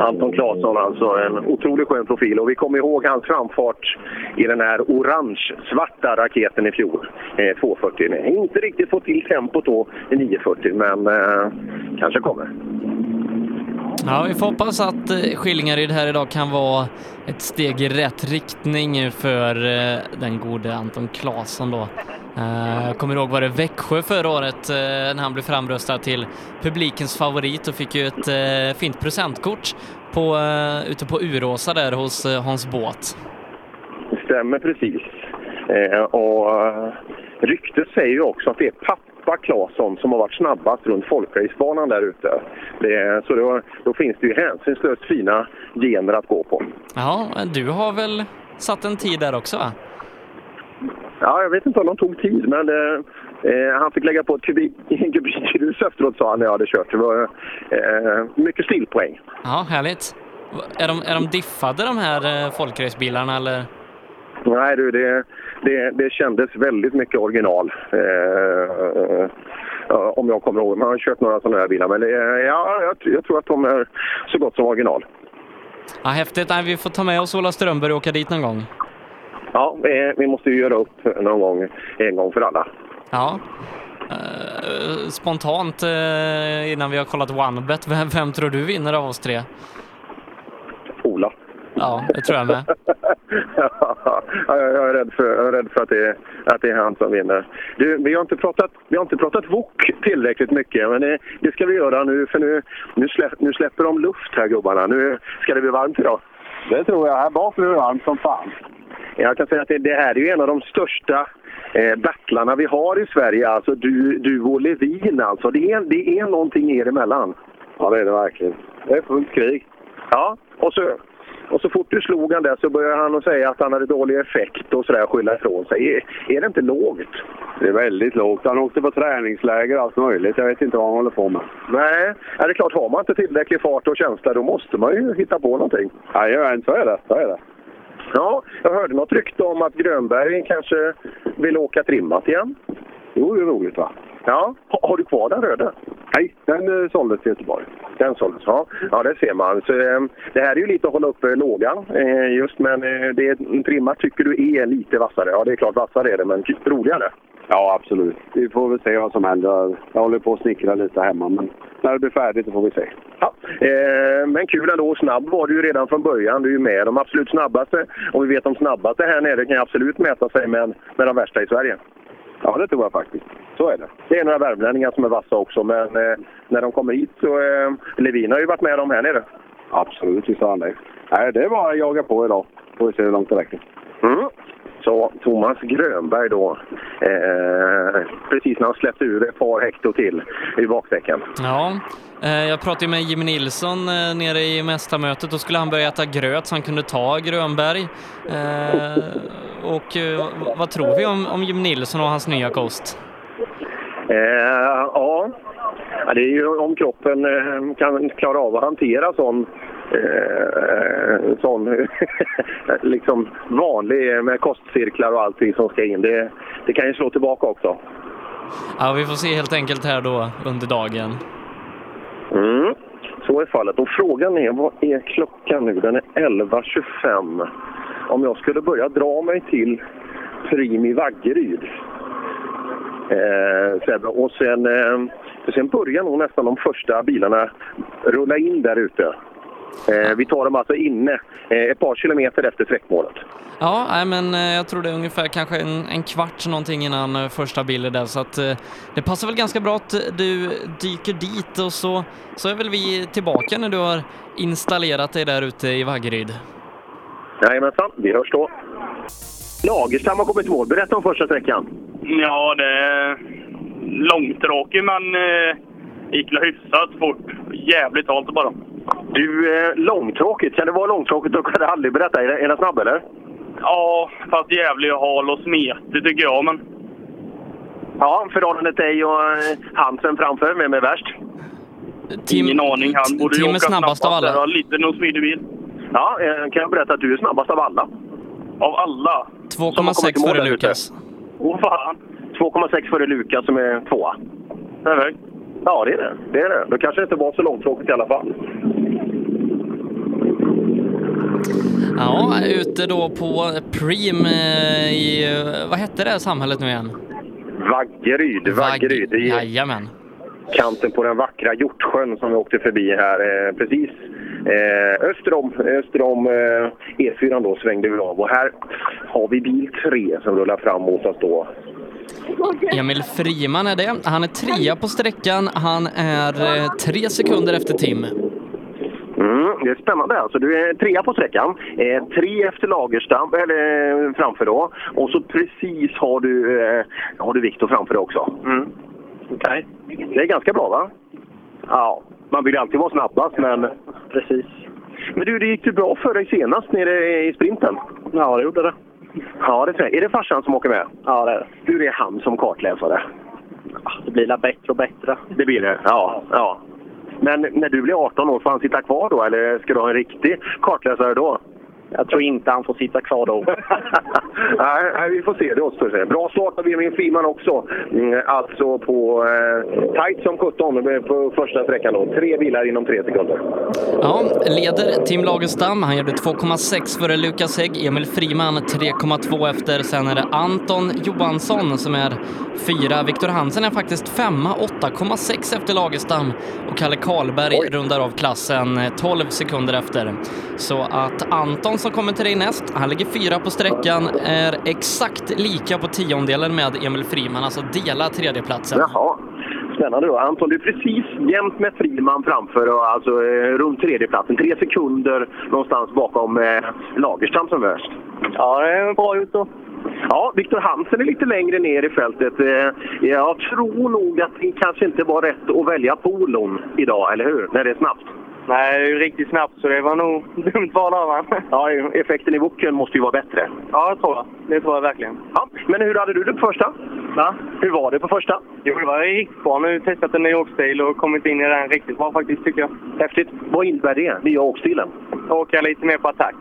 Speaker 4: Anton Claesson alltså, en otroligt skön profil. Och vi kommer ihåg hans framfart i den här orange-svarta raketen i fjol, eh, 240. Nej, Inte riktigt fått till tempot då i 940, men eh, kanske kommer.
Speaker 3: Ja, vi får hoppas att eh, Skillingaryd här idag kan vara ett steg i rätt riktning för eh, den gode Anton Claesson då. Eh, Jag kommer ihåg var det Växjö förra året eh, när han blev framröstad till publikens favorit och fick ju ett eh, fint presentkort på, eh, ute på Uråsa där hos eh, Hans Båt.
Speaker 4: Det stämmer precis. Eh, och eh, ryktet säger ju också att det är pappa Claesson som har varit snabbast runt folkracebanan där ute. Det- Så då, då finns det ju hänsynslöst fina gener att gå på.
Speaker 3: Ja, du har väl satt en tid där också va?
Speaker 4: Ja, jag vet inte om de tog tid, men eh, eh, han fick lägga på ett kubik- en kubikrus efteråt sa han när jag hade kört. Det var eh, mycket stilpoäng.
Speaker 3: Ja, härligt. Va- Är de, är de diffade de här eh, folkracebilarna eller?
Speaker 4: Nej du, det, det, det kändes väldigt mycket original. Eh, ja, om jag kommer ihåg. Man har kört några sådana här bilar, men det, ja, jag, jag tror att de är så gott som original.
Speaker 3: Ja, häftigt. Nej, vi får ta med oss Ola Strömberg och åka dit någon gång.
Speaker 4: Ja, eh, vi måste ju göra upp någon gång, en gång för alla.
Speaker 3: Ja. Eh, Spontant eh, innan vi har kollat OneBet, vem, vem tror du vinner av oss tre?
Speaker 4: Ola.
Speaker 3: Ja, det tror jag med.
Speaker 4: Ja, jag är rädd för, jag är rädd för att, det, att det är han som vinner. Du, vi har inte pratat, vi har inte pratat VOK tillräckligt mycket, men det, det ska vi göra nu för nu, nu, släpp, nu släpper de luft här gubbarna. Nu ska det bli varmt idag. Det tror jag. Här bak blir det varmt som fan. Jag kan säga att det, det här är ju en av de största eh, battlarna vi har i Sverige. Alltså du, du och Levin alltså. Det är, det är någonting er emellan. Ja, det är det verkligen. Det är fullt krig. Ja, och så, och så fort du slog han där så började han att säga att han hade dålig effekt och sådär skylla ifrån sig. Är, är det inte lågt?
Speaker 21: Det är väldigt lågt. Han åkte på träningsläger och allt möjligt. Jag vet inte vad han håller på med.
Speaker 4: Nej, ja, det är klart har man inte tillräcklig fart och känsla då måste man ju hitta på någonting.
Speaker 21: Jajamän, så är det. Så är det.
Speaker 4: Ja, jag hörde något rykte om att Grönberg kanske vill åka trimmat igen.
Speaker 21: Jo, det är roligt va?
Speaker 4: Ja, ha, har du kvar den röda?
Speaker 21: Nej, den eh, såldes till Göteborg.
Speaker 4: Den såldes, ja. Ja, det ser man. Så, eh, det här är ju lite att hålla uppe lågan eh, just, men eh, det, trimmat tycker du är lite vassare. Ja, det är klart vassare är det, men roligare.
Speaker 21: Ja, absolut. Vi får väl se vad som händer. Jag håller på att snickra lite hemma, men när det blir färdigt så får vi se.
Speaker 4: Ja, eh, men kul ändå. Snabb var du ju redan från början. Du är ju med de absolut snabbaste. Och vi vet de snabbaste här nere kan ju absolut mäta sig med, med de värsta i Sverige.
Speaker 21: Ja, det tror jag faktiskt. Så är det.
Speaker 4: Det är några värmlänningar som är vassa också, men eh, när de kommer hit så... Eh, Levin har ju varit med dem här nere.
Speaker 21: Absolut, visst har han det. Nej, det är bara att jaga på idag. Får vi se hur långt det räcker.
Speaker 4: Mm. Så Thomas Grönberg då, eh, precis när han släppte ur ett par hekto till i bakdäcken.
Speaker 3: Ja, eh, jag pratade ju med Jimmy Nilsson eh, nere i mästarmötet. Då skulle han börja äta gröt så han kunde ta Grönberg. Eh, och eh, vad- vad tror vi om, om Jimmy Nilsson och hans nya kost?
Speaker 4: Eh, ja. ja, det är ju om kroppen eh, kan klara av att hantera sån, eh, sån liksom vanlig eh, med kostcirklar och allting som ska in. Det, det kan ju slå tillbaka också.
Speaker 3: Ja, vi får se helt enkelt här då under dagen.
Speaker 4: Mm. Så är fallet. Och frågan är, vad är klockan nu? Den är 11.25. Om jag skulle börja dra mig till Prim i Vaggeryd. Eh, Sebbe. och sen, eh, för sen börjar nog nästan de första bilarna rulla in där ute. Eh, vi tar dem alltså inne eh, ett par kilometer efter sträckmålet.
Speaker 3: Ja, nej, men eh, jag tror det är ungefär kanske en, en kvart någonting innan eh, första bilen där, så att eh, det passar väl ganska bra att eh, du dyker dit och så, så är väl vi tillbaka när du har installerat dig där ute i Vaggeryd.
Speaker 4: Jajamensan, vi hörs då. Lagerstam har kommit i mål. Berätta om första sträckan.
Speaker 22: Ja, det är långtråkig men eh, gick väl hyfsat fort. Jävligt halt bara.
Speaker 4: Du, eh, långtråkigt. Kan det vara långtråkigt att kunna aldrig berätta? Är den- är den snabb eller?
Speaker 22: Ja, fast jävligt hal och smetig tycker jag men.
Speaker 4: Ja, förhållandet dig och eh, Hansen framför, vem är värst?
Speaker 22: Ingen aning. Han borde ju
Speaker 4: Tim är
Speaker 22: åka
Speaker 4: snabbast av alla.
Speaker 22: där. Han har Lite nog smidig bil.
Speaker 4: Ja, eh, kan jag berätta att du är snabbast av alla.
Speaker 22: Av alla?
Speaker 3: 2,6 före Lukas.
Speaker 4: Åh fan! 2,6 före Lukas som är tvåa. Perfekt. Ja, det är det. det är det. Då kanske det inte var så långtråkigt i alla fall.
Speaker 3: Ja, ute då på Preem eh, i, eh, vad hette det här samhället nu igen?
Speaker 4: Vaggeryd, Vaggeryd. Det är
Speaker 3: Jajamän.
Speaker 4: kanten på den vackra Hjortsjön som vi åkte förbi här eh, precis. Eh, öster om, öster om eh, E4 då svängde vi av och här har vi bil 3 som rullar fram mot oss då.
Speaker 3: Emil Friman är det. Han är trea på sträckan. Han är eh, tre sekunder efter Tim.
Speaker 4: Mm, det är spännande. Alltså, du är trea på sträckan. Eh, tre efter Lagerstam, eller eh, framför då. Och så precis har du, eh, har du Viktor framför dig också. Mm. Okej. Det är ganska bra va? Ja, man vill ju alltid vara snabbast men... Precis. Men du, det gick ju bra för dig senast nere i sprinten. Ja, det gjorde det. Ja, det tror jag. Är det farsan som åker med? Ja, det är det. Hur är han som kartläsare? Det blir bättre och bättre. Det blir det? Ja. ja. Men när du blir 18 år, får han sitta kvar då eller ska du ha en riktig kartläsare då? Jag tror inte han får sitta kvar då. nej, nej, vi får se. Det återstår att se. Bra start av Benjamin Friman också. Mm, alltså på eh, tight som 17 på första sträckan då. Tre bilar inom tre sekunder.
Speaker 3: Ja, leder Tim Lagerstam. Han gjorde 2,6 före Lukas Hägg. Emil Friman 3,2 efter. Sen är det Anton Johansson som är fyra. Viktor Hansen är faktiskt femma, 8,6 efter Lagerstam. Och Kalle Karlberg rundar av klassen eh, 12 sekunder efter. Så att Anton som kommer till dig näst, han ligger fyra på sträckan, är exakt lika på tiondelen med Emil Friman, alltså delar tredjeplatsen.
Speaker 4: Jaha. Spännande då. Anton, du är precis jämt med Friman framför, och alltså eh, runt tredjeplatsen. Tre sekunder någonstans bakom eh, Lagerstam som värst. Ja, det är bra gjort då. Ja, Viktor Hansen är lite längre ner i fältet. Eh, Jag tror nog att det kanske inte var rätt att välja polon idag, eller hur? När det är snabbt.
Speaker 8: Nej, det är ju riktigt snabbt så det var nog dumt val av honom.
Speaker 4: Ja, effekten i boken måste ju vara bättre.
Speaker 8: Ja, det tror jag. Det tror jag verkligen.
Speaker 4: Ja, men hur hade du det på första?
Speaker 8: Va?
Speaker 4: Hur var det på första?
Speaker 8: Jo, det var riktigt bra. Nu har vi testat en New York-stil och kommit in i den riktigt bra faktiskt, tycker jag.
Speaker 4: Häftigt. Vad innebär det, nya åkstilen?
Speaker 8: Åka lite mer på attack.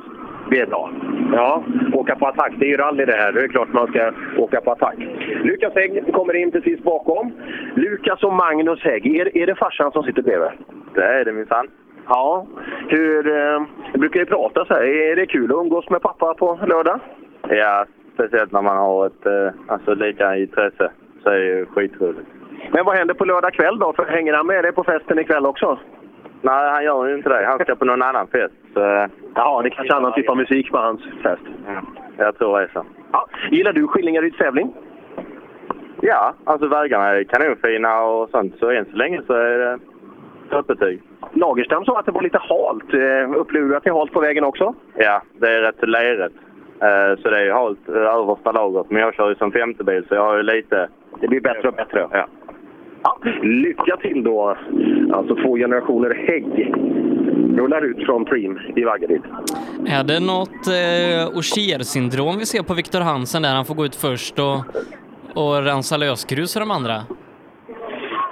Speaker 4: Det är bra. Ja, åka på attack. Det är ju rally det här. Det är klart man ska åka på attack. Lukas Hägg kommer in precis bakom. Lukas och Magnus Hägg. Är, är det farsan som sitter bredvid? Det är det minsann. Ja. Hur... Eh, jag brukar ju prata så här. Är det kul att umgås med pappa på lördag?
Speaker 23: Ja,
Speaker 7: speciellt när man har ett eh, alltså, lika intresse så är det ju skitroligt.
Speaker 4: Men vad händer på lördag kväll då? För hänger han med dig på festen ikväll också?
Speaker 7: Nej, han gör ju inte det. Han ska på någon annan fest.
Speaker 4: eh,
Speaker 7: Så...
Speaker 4: Ja, det kanske är annan typ av musik på hans fest.
Speaker 7: Jag tror det är så.
Speaker 4: Ja, gillar du Skillingaryds tävling?
Speaker 7: Ja, alltså vägarna är kanonfina och sånt. Så än så länge så är det toppbetyg.
Speaker 4: Lagerstam sa att det var lite halt. Eh, Upplevde du att det är halt på vägen också?
Speaker 7: Ja, det är rätt lerigt. Eh, Så det är ju halt eh, översta lagret. Men jag kör ju som femtebil så jag har ju lite...
Speaker 4: Det blir bättre och bättre.
Speaker 7: Ja.
Speaker 4: Lycka till då! Alltså två generationer hägg rullar ut från Preem i Vaggeryd.
Speaker 3: Är det något eh, Ogier-syndrom vi ser på Viktor Hansen där han får gå ut först och, och rensa lösgrus för de andra?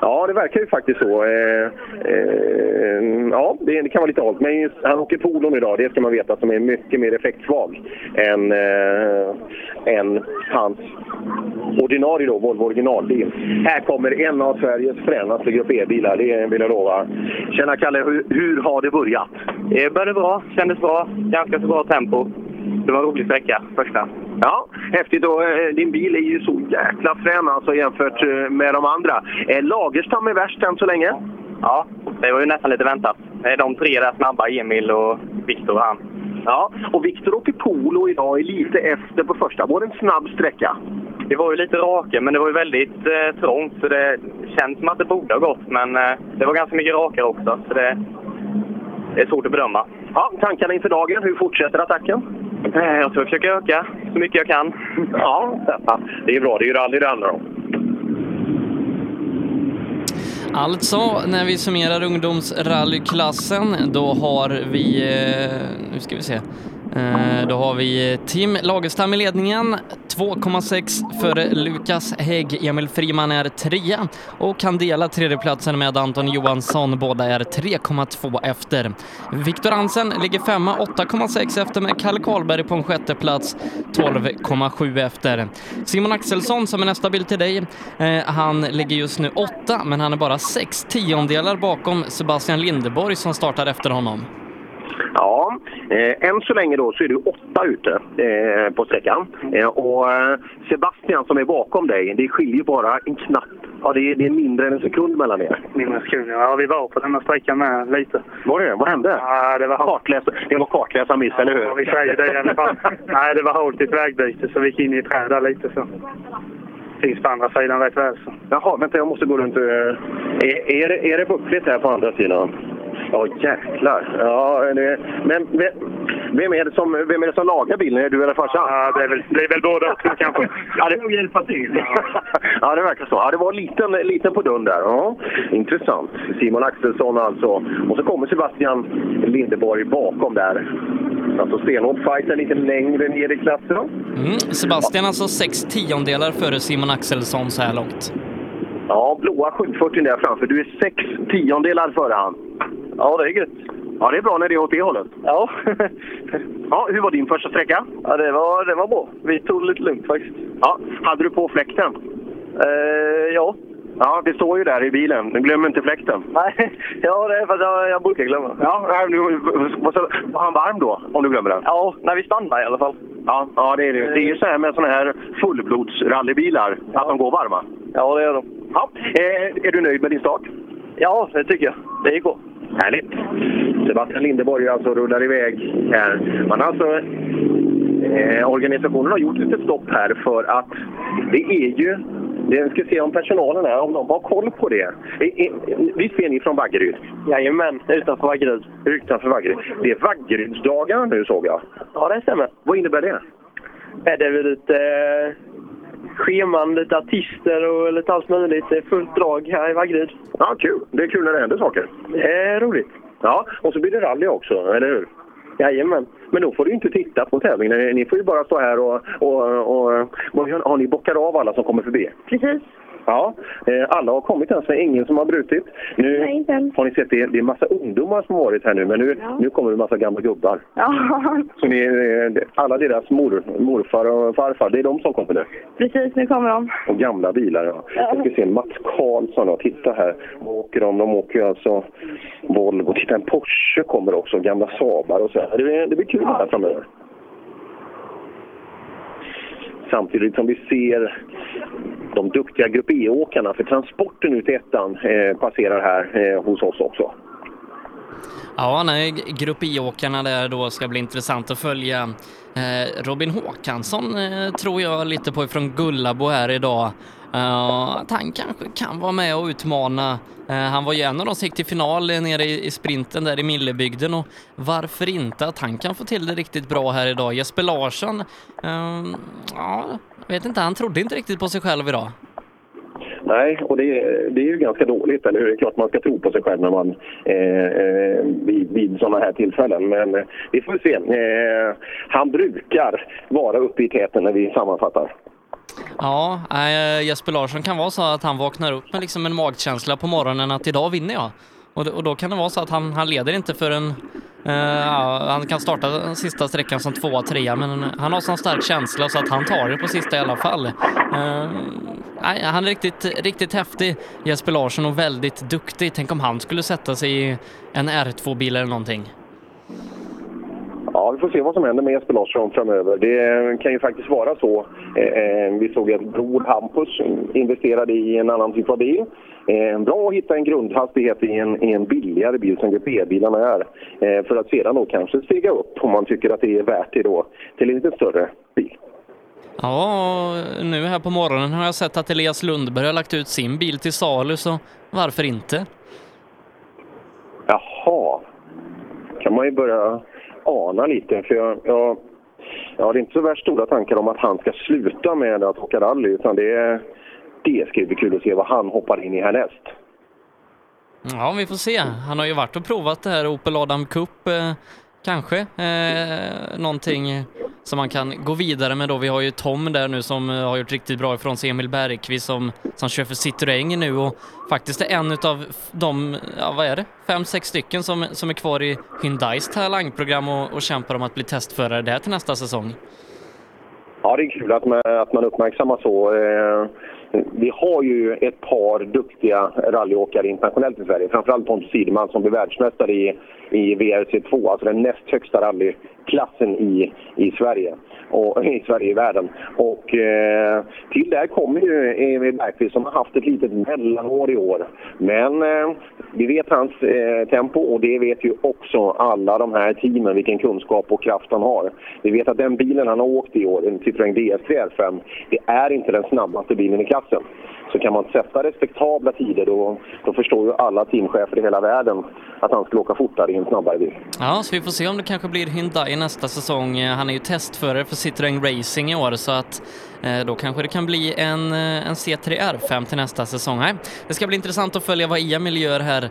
Speaker 4: Ja, det verkar ju faktiskt så. Eh, eh, ja, det, det kan vara lite halt. Men just- han åker fordon idag, det ska man veta, som är mycket mer effektsvag än, eh, än hans ordinarie då, Volvo originalbil. Här kommer en av Sveriges fränaste Grupp E-bilar, det vill jag lova. Tjena Kalle, hur, hur har det börjat?
Speaker 24: Det började bra, kändes bra. Ganska så bra tempo. Det var en rolig sträcka, första.
Speaker 4: Ja, häftigt. Och, eh, din bil är ju så jäkla frän alltså, jämfört eh, med de andra. Eh, Lagerstam är värst än så länge.
Speaker 24: Ja, det var ju nästan lite väntat. Det är de tre där snabba, Emil och Viktor och han.
Speaker 4: Ja, och Viktor åker polo idag, är lite efter på första. Var det en snabb sträcka?
Speaker 24: Det var ju lite raka, men det var ju väldigt eh, trångt så det känns som att det borde ha gått. Men eh, det var ganska mycket rakare också, så det, det är svårt att bedöma. Eh,
Speaker 4: Ja, tankarna inför dagen. Hur fortsätter attacken?
Speaker 24: Jag ska försöka öka så mycket jag kan.
Speaker 4: Ja, det är bra. Det är ju rally det handlar om.
Speaker 3: Alltså, när vi summerar ungdomsrallyklassen, då har vi... eh, Nu ska vi se. Eh, Då har vi eh, Tim Lagerstam i ledningen, 2,6 före Lukas Hägg. Emil Friman är trea och kan dela tredjeplatsen med Anton Johansson. Båda är 3,2 efter. Viktor Hansen ligger femma, 8,6 efter med Kalle Karlberg på en sjätteplats, 12,7 efter. Simon Axelsson, som är nästa bild till dig, eh, han ligger just nu åtta, men han är bara sex tiondelar bakom Sebastian Lindeborg som startar efter honom.
Speaker 4: Ja, eh, än så länge då så är du åtta ute eh, på sträckan. Eh, och eh, Sebastian som är bakom dig, det skiljer bara en knapp. Ja, det är, det är mindre än en sekund mellan er.
Speaker 25: Mindre sekund, ja. Vi var på den här sträckan med lite.
Speaker 4: Var det? Vad hände?
Speaker 25: Ja, det var
Speaker 4: kartläsa, det var kartläsarmiss, eller hur?
Speaker 25: Ja, vi säger det i alla fall. Nej, det var halt i ett vägbyte så vi gick in i ett träd där lite så. Finns på andra sidan rätt väl så.
Speaker 4: Jaha, vänta jag måste gå runt och... eh, Är, är, det, är det buckligt här på andra sidan? Ja, jäklar. Ja, det, men vem, vem, är det som, vem är det som lagar bilen? Är du eller farsan? Ja, det är väl, det är väl båda också kanske. Ja, det nog hjälpa till. ja, det verkar så. Ja, det var en liten, liten på dun där. Ja, intressant. Simon Axelsson alltså. Och så kommer Sebastian Lindeborg bakom där. Alltså stenhård fight, en lite längre ner i klassen.
Speaker 3: Mm, Sebastian alltså sex tiondelar före Simon Axelsson så här långt.
Speaker 4: Ja, blåa 740 där framför. Du är sex tiondelar före han. Ja, det är gött. Ja, det är bra när det är åt det hållet. Ja. ja hur var din första sträcka? Ja, det var, det var bra. Vi tog det lite lugnt faktiskt. Ja, hade du på fläkten? ja. Ja, det står ju där i bilen. Glöm inte fläkten. Nej, ja, det är för att jag, brukar glömma. Ja, nej, nu, vad sa- var han varm då, om du glömmer den? Ja, när vi stannade i alla fall. Ja, ja det är det. Det är ju så här med såna här fullblodsrallybilar, att de går varma. Ja, det gör de. Ja. Eh, är du nöjd med din start? Ja, det tycker jag. Det gick bra. Härligt. Sebastian Lindeborg alltså rullar iväg här. Man har alltså, eh, organisationen har gjort lite stopp här för att det är ju... Vi ska se om personalen här, om de har koll på det. I, i, visst är ni från Vaggeryd? Jajamän, utanför Vaggeryd. Utanför Vaggeryd. Det är Vaggerydsdagar nu såg jag. Ja, det stämmer. Vad innebär det?
Speaker 26: Det är väl lite eh, scheman, lite artister och lite allt möjligt. Det är fullt drag här i Vaggeryd.
Speaker 4: Ja, kul. Det är kul när det händer saker. Det är roligt. Ja, och så blir det rally också, eller hur? Jajamän. Men då får du ju inte titta på tävlingen. Ni- Ni får ju bara stå här och... och, och, och har ni bockat av alla som kommer förbi? Precis. Ja, eh, alla har kommit än, så är det ingen som har brutit. Nu
Speaker 27: Nej, inte än.
Speaker 4: har ni sett, det, det är massa ungdomar som har varit här nu, men nu,
Speaker 27: Ja.
Speaker 4: nu kommer det massa gamla gubbar.
Speaker 27: Ja,
Speaker 4: Så ni, eh, alla deras mor, morfar och farfar, det är de som kommer nu.
Speaker 27: precis. Nu kommer de.
Speaker 4: Och gamla bilar, ja.
Speaker 27: Ja.
Speaker 4: Jag ska se Mats Karlsson, ja. titta här. Vad åker de? De åker ju alltså Volvo. Titta, en Porsche kommer också. Gamla Saabar och så. här. Det blir, det blir kul det här framöver. samtidigt som vi ser de duktiga Grupp E-åkarna, för transporten ut i ettan eh, passerar här eh, hos oss också.
Speaker 3: Ja, nej, Grupp I-åkarna där då ska bli intressant att följa. Eh, Robin Håkansson eh, tror jag lite på ifrån Gullabo här idag. Eh, att han kanske kan vara med och utmana. Eh, han var ju en av de som gick till final eh, nere i, i sprinten där i Millebygden och varför inte att han kan få till det riktigt bra här idag. Jesper Larsson, eh, ja, jag vet inte, han trodde inte riktigt på sig själv idag.
Speaker 4: Nej, och det, det är ju ganska dåligt, eller hur? Det är klart man ska tro på sig själv när man, eh, eh, vid, vid sådana här tillfällen. Men eh, vi får se. Eh, han brukar vara uppe i täten när vi sammanfattar.
Speaker 3: Ja, eh, Jesper Larsson kan vara så att han vaknar upp med liksom en magkänsla på morgonen att idag vinner jag. Och, d- och då kan det vara så att han, han leder inte förrän... Eh, ja, han kan starta den sista sträckan som tvåa, trea, men han har sån stark känsla så att han tar det på sista i alla fall. Eh, nej, han är riktigt, riktigt häftig, Jesper Larsson, och väldigt duktig. Tänk om han skulle sätta sig i en R2-bil eller någonting.
Speaker 4: Ja, vi får se vad som händer med Jesper Larsson framöver. Det kan ju faktiskt vara så. Eh, eh, vi såg att Bror Hampus investerade i en annan typ av bil. Eh, bra att hitta en grundhastighet i en, i en billigare bil som GP-bilarna är. Eh, för att sedan då kanske stiga upp om man tycker att det är värt det då till en lite större bil.
Speaker 3: Ja, och nu här på morgonen har jag sett att Elias Lundberg har lagt ut sin bil till salu, så varför inte?
Speaker 4: Jaha, kan man ju börja ana lite. För jag, jag, jag har inte så värst stora tankar om att han ska sluta med att åka rally. Utan det, det ska ju bli kul att se vad han hoppar in i härnäst.
Speaker 3: Mm, Ja, vi får se. Han har ju varit och provat det här Opel Adam Cup, eh, kanske. Eh, någonting som man kan gå vidare med då. Vi har ju Tom där nu som eh, har gjort riktigt bra ifrån sig, Emil Bergqvist som, som kör för Citroën nu och faktiskt är en av de, ja vad är det, fem, sex stycken som, som är kvar i Hyundais talangprogram och, och kämpar om att bli testförare där till nästa säsong.
Speaker 4: Ja, det är kul att man, att man uppmärksammar så. Eh, vi har ju ett par duktiga rallyåkare internationellt i Sverige. Framförallt Pontus Sideman som blev världsmästare i, i VRC2, alltså den näst högsta rallyklassen i, i Sverige. Och, I Sverige i världen. Och eh, till det här kommer ju Emil Bergqvist som har haft ett litet mellanår i år. Men eh, vi vet hans eh, tempo och det vet ju också alla de här teamen vilken kunskap och kraft han har. Vi vet att den bilen han har åkt i år, en Citroën DS3 R5, det är inte den snabbaste bilen i klassen. Så kan man sätta respektabla tider då, då förstår ju alla teamchefer i hela världen att han skulle åka fortare i en snabbare bil.
Speaker 3: Ja, så vi får se om det kanske blir Hyundai nästa säsong. Eh, Han är ju testförare för Citroën Racing i år, så att eh, då kanske det kan bli en, eh, en C3 R5 till nästa säsong. Nej, det ska bli intressant att följa vad Emil gör här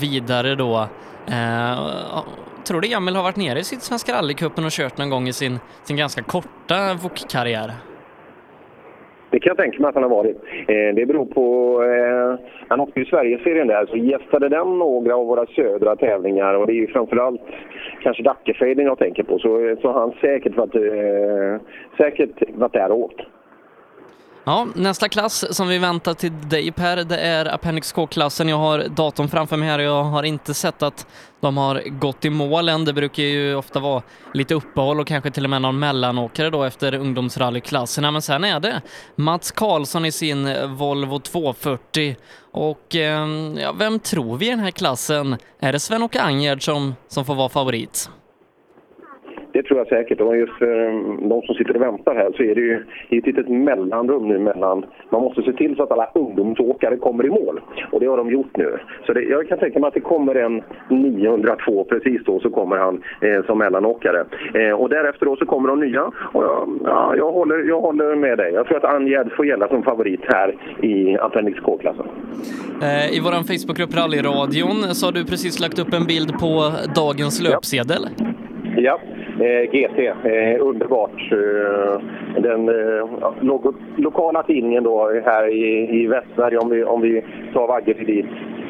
Speaker 3: vidare då. Eh, ja, tror du Emil har varit nere i Sydsvenska rallycupen och kört någon gång i sin, sin ganska korta VOK-karriär?
Speaker 4: Det kan jag tänka mig att han har varit. Eh, det beror på... Eh, han åkte ju Sverigeserien där, så gästade den några av våra södra tävlingar. Och det är ju framförallt kanske Dackefejden jag tänker på. Så, så har han säkert varit, eh, säkert varit där och åkt.
Speaker 3: Ja, nästa klass som vi väntar till dig Per, det är Appendix K-klassen. Jag har datorn framför mig här och jag har inte sett att de har gått i mål än. Det brukar ju ofta vara lite uppehåll och kanske till och med någon mellanåkare då efter ungdomsrallyklasserna. Men sen är det Mats Karlsson i sin Volvo 240. Och eh, ja, vem tror vi i den här klassen? Är det Sven-Åke Angerd som, som får vara favorit?
Speaker 4: Det tror jag säkert. Och just för eh, de som sitter och väntar här så är det ju det är ett litet mellanrum nu mellan... Man måste se till så att alla ungdomsåkare kommer i mål. Och det har de gjort nu. Så det, jag kan tänka mig att det kommer en 902 precis då, så kommer han eh, som mellanåkare. Eh, och därefter då så kommer de nya. Och jag, ja, jag, håller, jag håller med dig. Jag tror att Angerd får gälla som favorit här i Appendix K-klassen.
Speaker 3: Eh, I vår Facebookgrupp Rallyradion så har du precis lagt upp en bild på dagens löpsedel.
Speaker 4: Ja, eh, GT. Eh, underbart. Eh, den eh, ja, lo- lokala tidningen då här i, i Västsverige, om vi, om vi tar Vaggeryd dit.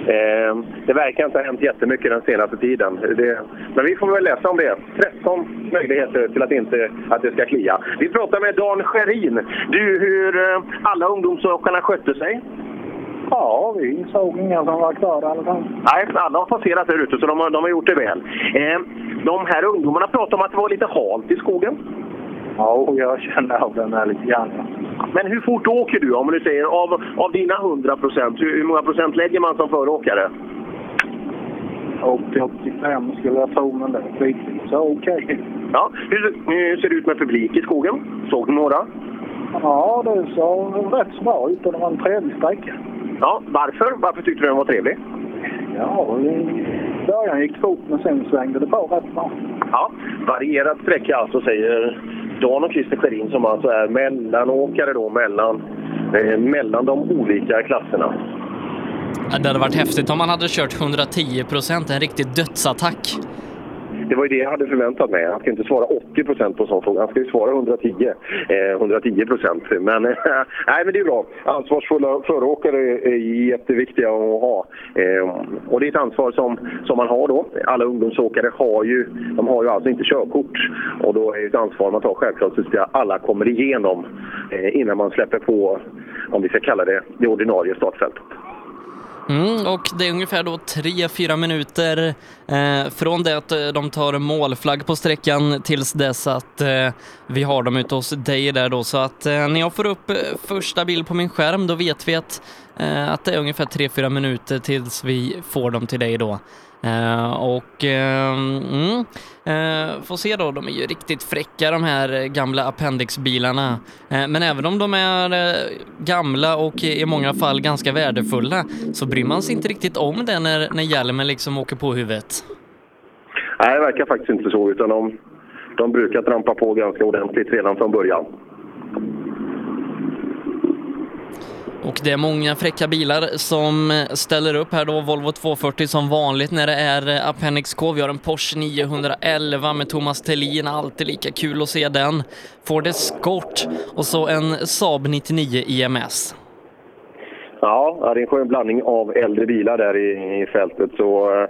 Speaker 4: Eh, det verkar inte ha hänt jättemycket den senaste tiden. Det, men vi får väl läsa om det. 13 möjligheter till att, inte, att det ska klia. Vi pratar med Dan Scherin. Du, hur eh, alla ungdomsåkarna skötte sig? Ja, vi såg inga som var klara i alla fall. Nej, alla har passerat där ute så de har, de har gjort det väl. Eh, de här ungdomarna pratade om att det var lite halt i skogen.
Speaker 28: Ja, jag känner av den här lite grann.
Speaker 4: Men hur fort åker du om du säger av, av dina 100 procent? Hur, hur många procent lägger man som föråkare?
Speaker 28: Och 85 skulle jag tro, men det är skitigt. Så okej.
Speaker 4: Ja, hur, hur ser det ut med publik i skogen? Såg du några?
Speaker 28: Ja, det såg rätt så bra ut och det var en trevlig sträcka.
Speaker 4: Ja, varför? Varför tyckte du den var trevlig?
Speaker 28: Ja, i början gick det fort men sen svängde det på rätt bra.
Speaker 4: Ja, varierad sträcka alltså säger Dan och Christer Scherin som alltså är mellanåkare då mellan, eh, mellan de olika klasserna.
Speaker 3: Ja, Det hade varit häftigt om man hade kört 110 procent, en riktig dödsattack.
Speaker 4: Det var ju det jag hade förväntat mig. Han ska inte svara 80 procent på en sån fråga. Han ska ju svara 110 eh, 110 procent. Men, eh, nej, men det är bra. Ansvarsfulla föråkare är är jätteviktiga att ha. Eh, och det är ett ansvar som, som man har då. Alla ungdomsåkare har ju, de har ju alltså inte körkort. Och då är det ett ansvar man tar självklart så att alla kommer igenom eh, innan man släpper på, om vi ska kalla det, det ordinarie startfältet.
Speaker 3: Mm, och det är ungefär då 3-4 minuter eh, från det att eh, de tar målflagg på sträckan tills dess att eh, vi har dem ute hos dig där då. Så att eh, när jag får upp eh, första bild på min skärm då vet vi att, eh, att det är ungefär 3-4 minuter tills vi får dem till dig då. Eh, och eh, mm, eh, får se då, de är ju riktigt fräcka de här eh, gamla appendixbilarna. Eh, men även om de är eh, gamla och i många fall ganska värdefulla så bryr man sig inte riktigt om det när, när hjälmen liksom åker på huvudet.
Speaker 4: Nej, det verkar faktiskt inte så. Utan de, de brukar trampa på ganska ordentligt redan från början.
Speaker 3: Och det är många fräcka bilar som eh, ställer upp här då. Volvo 240 som vanligt när det är eh, Appendix K. Vi har en Porsche 911 med Thomas Thelin. Alltid lika kul att se den. Ford Escort och så en Saab 99 IMS.
Speaker 4: Ja, ja, det är en skön blandning av äldre bilar där i, i fältet. Så, eh,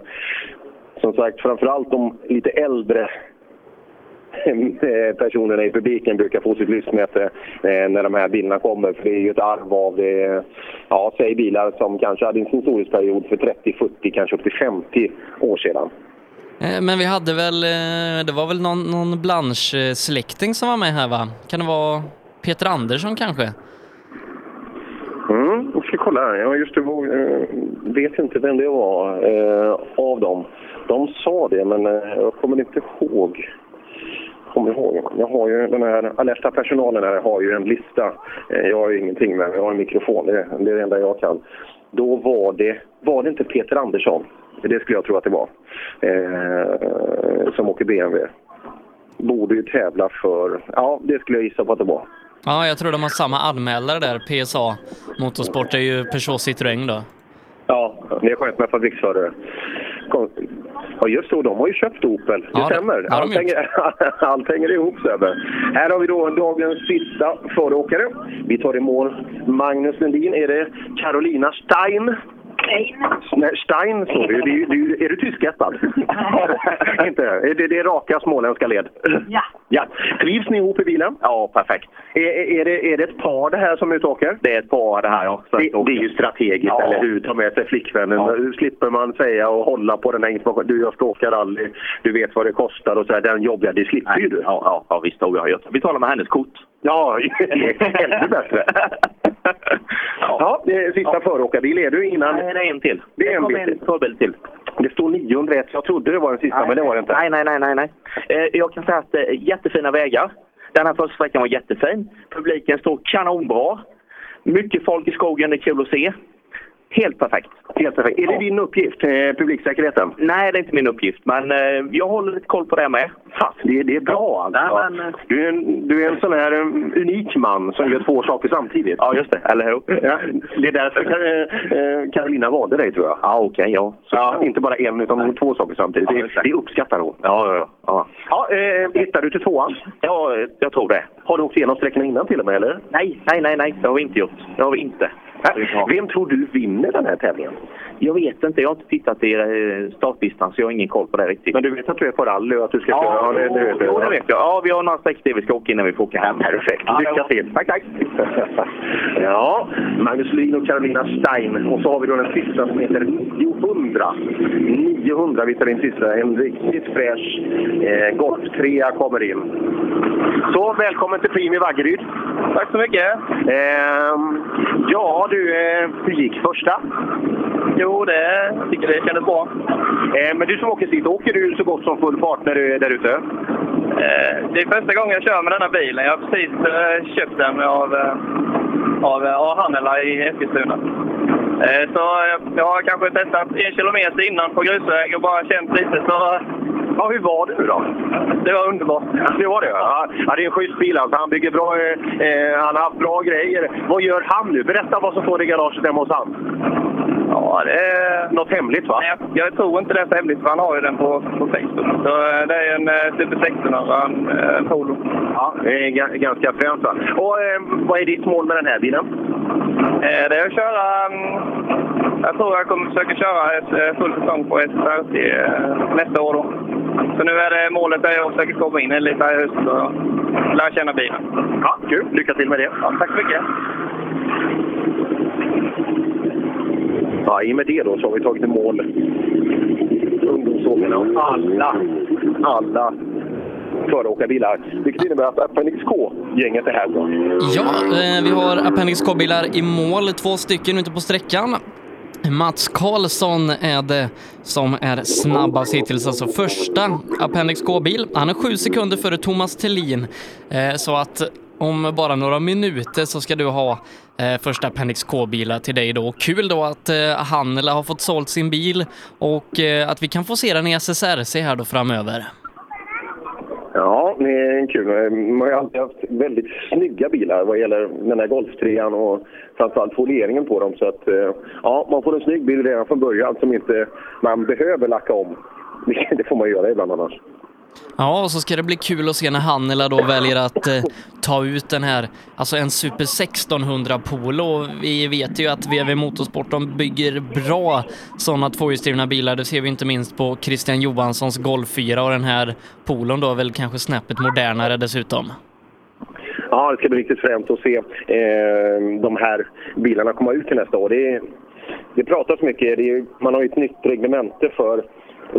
Speaker 4: som sagt, framförallt de lite äldre eh, personerna i publiken brukar få sitt lystmäte eh, när de här bilarna kommer. För det är ju ett arv av, eh, ja, säg bilar som kanske hade sin storhetsperiod för 30, 40, kanske upp till 50 år sedan.
Speaker 3: Eh, Men vi hade väl, eh, det var väl någon, någon Blanche-släkting som var med här va? Kan det vara Peter Andersson kanske?
Speaker 4: Mm, jag ska kolla här. Jag just det, eh, vet inte vem det var eh, av dem. De sa det, men eh, jag kommer inte ihåg. Kommer ihåg. Jag har ju den här alerta personalen här har ju en lista. Eh, jag har ju ingenting med mig. Jag har en mikrofon. Det, det är det enda jag kan. Då var det, var det inte Peter Andersson? Det skulle jag tro att det var. Eh, som åker BMW. Borde ju tävla för... Ja, det skulle jag gissa på att det var.
Speaker 3: Ja, jag tror de har samma anmälare där, PSA. Motorsport är ju Peugeot Citroën då.
Speaker 4: Ja, det är skönt med fabriksförare. Kom. Ja, just det. och De har ju köpt Opel. Det
Speaker 3: Ja, det-
Speaker 4: stämmer.
Speaker 3: det har de
Speaker 4: allt, hänger, allt hänger ihop, Sebbe. Här har vi då dagens sista föråkare. Vi tar i mål Magnus Lundin. Är det Carolina Stein? Stein. Nej, Stein står det ju. Det är ju- det är ju. Är du tyskättad? Inte? Är Det, det är raka småländska led.
Speaker 7: Ja.
Speaker 4: ja. Trivs ni ihop i bilen? Ja, perfekt. Är, är, är, det, är det ett par det här som utåker? Det är ett par det här, ja. Det, det är ju strategiskt,
Speaker 28: Ja.
Speaker 4: eller hur? Ta med sig flickvännen. Nu slipper man säga och hålla på den här informationen. Du, jag ska åka rally. Du vet vad det kostar och så här. Den jobbiga, det slipper ju du. Ja, ja, ja visst. Jag har gjort. Vi talar med hennes kort. Ja, ännu bättre. Ja, det är sista föråkarbil är du innan... Nej, det är en till. Det är en bil till. till. Det står 901. Jag trodde det var den sista, men det var det inte.
Speaker 7: Nej, nej, nej, nej. nej. Eh, jag kan säga att eh, jättefina vägar. Den här första sträckan var jättefin. Publiken stod kanonbra. Mycket folk i skogen, det är kul att se. Helt perfekt.
Speaker 4: Helt perfekt. Är det din uppgift, eh, publiksäkerheten?
Speaker 7: Nej, det är inte min uppgift, men eh, jag håller lite koll på det med.
Speaker 4: Fast det, det är bra alltså.
Speaker 7: Nej, men, eh,
Speaker 4: Du är, en, du är en sån här um, unik man som gör två saker samtidigt. Ja, just det. Eller hur? Ja, det är därför Kar eh, eh, Carolina valde dig, tror jag. Ja, okej. ja. Så Inte bara en, utan två saker samtidigt. det, det uppskattar hon. Ja, ja, ja. ja eh, hittar du till tvåan? Ja, jag tror det. Har du åkt igenom sträckorna innan till och med, eller? Äh,
Speaker 7: Nej, nej, nej, nej, det har vi inte gjort. Det har vi inte.
Speaker 4: Vem tror du vinner den här tävlingen?
Speaker 29: Jag vet inte. Jag har inte tittat i eh, startlistan så jag har ingen koll på det riktigt. Men
Speaker 4: du vet att du är på rally och att du ska
Speaker 29: köra?
Speaker 4: ja, det- det vet du.
Speaker 29: Jo, det vet jag. Ja, vi har några sträckor vi ska åka innan vi får åka hem. Perfekt. Lycka till. Tack, tack.
Speaker 4: Ja, Magnus Lyn och Carolina Stein. Och så har vi då den sista som heter 900. 900 vi tar in sista. En riktigt fräsch eh, golftrea kommer in. Så, välkommen till Primi Vaggeryd. Tack så mycket. ja, du, eh, hur gick första? Jo, det tycker det kändes bra. Eh, men du som åker sitt, åker du så gott som full fart när du är där ute?
Speaker 30: Eh, Det är första gången jag kör med denna bilen. Jag har precis eh, köpt den av, eh, av eh, A. Hannela i Eskilstuna. Eh, Så eh, jag har kanske testat en kilometer innan på grusväg och bara känt lite. Så...
Speaker 4: eh, Ja, hur var det nu då?
Speaker 30: Det var underbart.
Speaker 4: Det var det? Ja, Ja, det är en schysst bil alltså. Han bygger bra, eh, eh, han har haft bra grejer. Vad gör han nu? Berätta vad som står i garaget hemma hos han.
Speaker 30: Ja, det är...
Speaker 4: Något hemligt va?
Speaker 30: Nej, jag tror inte det är så hemligt för han har ju den på, på Facebook. Så eh, det är en eh, Super 1600, en eh, Polo.
Speaker 4: Ja, det är ga- ganska fränt va? Och eh, vad är ditt mål med den här bilen?
Speaker 30: Eh, Det är att köra... mm, Jag tror jag kommer försöka köra ett eh, full säsong på ett eh, nästa år. Då. Så nu är det målet är att försöka komma in lite här i höst och lära känna bilen.
Speaker 4: Ja, kul. Lycka till med det.
Speaker 30: tack så mycket.
Speaker 4: Ja, i och med det då så har vi tagit i mål ungdomsåkarna och alla, alla föråkarbilar. Vilket innebär att Appendix K-gänget är här. Då.
Speaker 3: Ja, eh, vi har Appendix K-bilar i mål, två stycken ute på sträckan. Mats Karlsson är det som är snabbast hittills, alltså första Appendix K-bil. Han är sju sekunder före Thomas Thelin, eh, så att om bara några minuter så ska du ha eh, första Appendix K-bilar till dig då. Kul då att eh, Hannela har fått sålt sin bil och eh, att vi kan få se den i SSRC här då framöver.
Speaker 4: Ja, det är en kul. Man har ju alltid haft väldigt snygga bilar vad gäller den här golftrean och framförallt folieringen på dem. Så att, eh, ja, man får en snygg bil redan från början som inte man behöver lacka om. Det får man göra ibland annars.
Speaker 3: Ja, och så ska det bli kul att se när Hannela då väljer att eh, ta ut den här, alltså en Super 1600 Polo. Vi vet ju att VW Motorsport de bygger bra sådana tvåhjulsdrivna bilar. Det ser vi inte minst på Christian Johanssons Golf 4 och den här Polon då är väl kanske snäppet modernare dessutom.
Speaker 4: Ja, det ska bli riktigt främt att se eh, de här bilarna komma ut till nästa år. Det, är- det pratas mycket. Det är, man har ju ett nytt reglemente för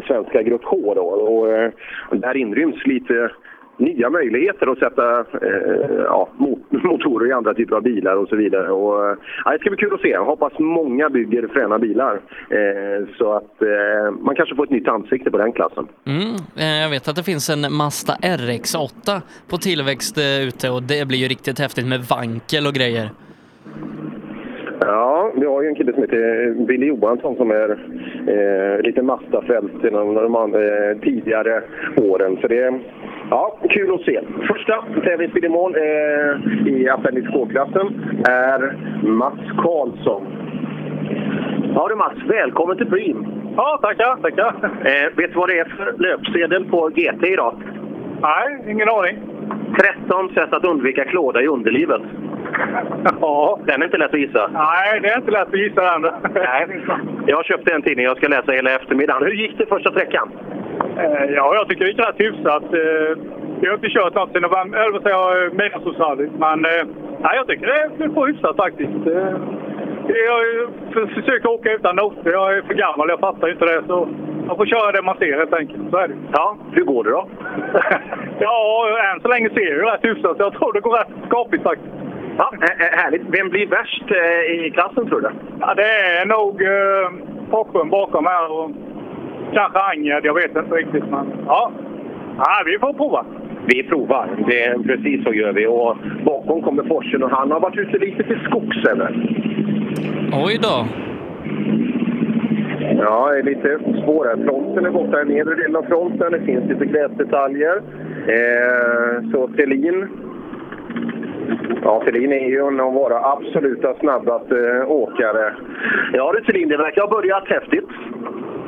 Speaker 4: svenska grupp H då, och eh, där inryms lite nya möjligheter att sätta eh, ja, mot, motorer i andra typer av bilar och så vidare. Och, eh, ja, det ska bli kul att se. Jag hoppas många bygger fräna bilar eh, så att eh, man kanske får ett nytt ansikte på den klassen.
Speaker 3: Mm, eh, jag vet att det finns en Mazda RX8 på tillväxt eh, ute och det blir ju riktigt häftigt med vankel och grejer.
Speaker 4: Ja, vi har ju en kille som heter Billy Johansson som är eh, lite Mazda-frälst i de, de andra, eh, tidigare åren. Så det är ja, kul att se. Första tävlingsbil i mål eh, i Appendix K-klassen är Mats Karlsson. Ja du Mats, välkommen till Prim!
Speaker 7: Ja, tackar, tackar.
Speaker 4: Eh, vet du vad det är för löpsedel på GT idag?
Speaker 7: Nej, ingen aning.
Speaker 4: 13 sätt att undvika klåda i underlivet. Ja. Den är inte lätt att gissa.
Speaker 7: Nej, det är inte lätt att gissa den. Nej.
Speaker 4: Jag köpte en tidning jag ska läsa hela eftermiddagen. Hur gick det första sträckan?
Speaker 7: Eh, Ja, jag tycker det gick rätt hyfsat. Eh, Vi har inte kört något sen november- eller vad säger jag, eh, midnattsrally. Men eh, nej, jag tycker det blev på hyfsat faktiskt. Eh, Jag eh, försöker åka utan noter. Jag är för gammal, jag fattar inte det. Så man får köra det man ser helt enkelt. Så är det.
Speaker 4: Ja, hur går det då?
Speaker 7: ja, än så länge ser det ju rätt hyfsat. Så jag tror det går rätt skapligt faktiskt.
Speaker 4: Ja, eh, härligt. Vem blir värst eh, i klassen tror du?
Speaker 7: Ja, det är nog eh, Porsche bakom här och kanske Angerd. Jag vet inte riktigt. Men ja, ja vi får prova.
Speaker 4: Vi provar. Det är precis så gör vi. Och bakom kommer Forsen och han har varit ute lite till skogs eller?
Speaker 3: Oj då.
Speaker 4: Ja, det är lite svårare. Fronten är borta, den nedre delen av fronten. Det finns lite gräsdetaljer. Eh, så Thelin. Ja, Thelin är ju en av våra absoluta snabbaste eh, åkare. Ja du Thelin, det verkar ha börjat häftigt.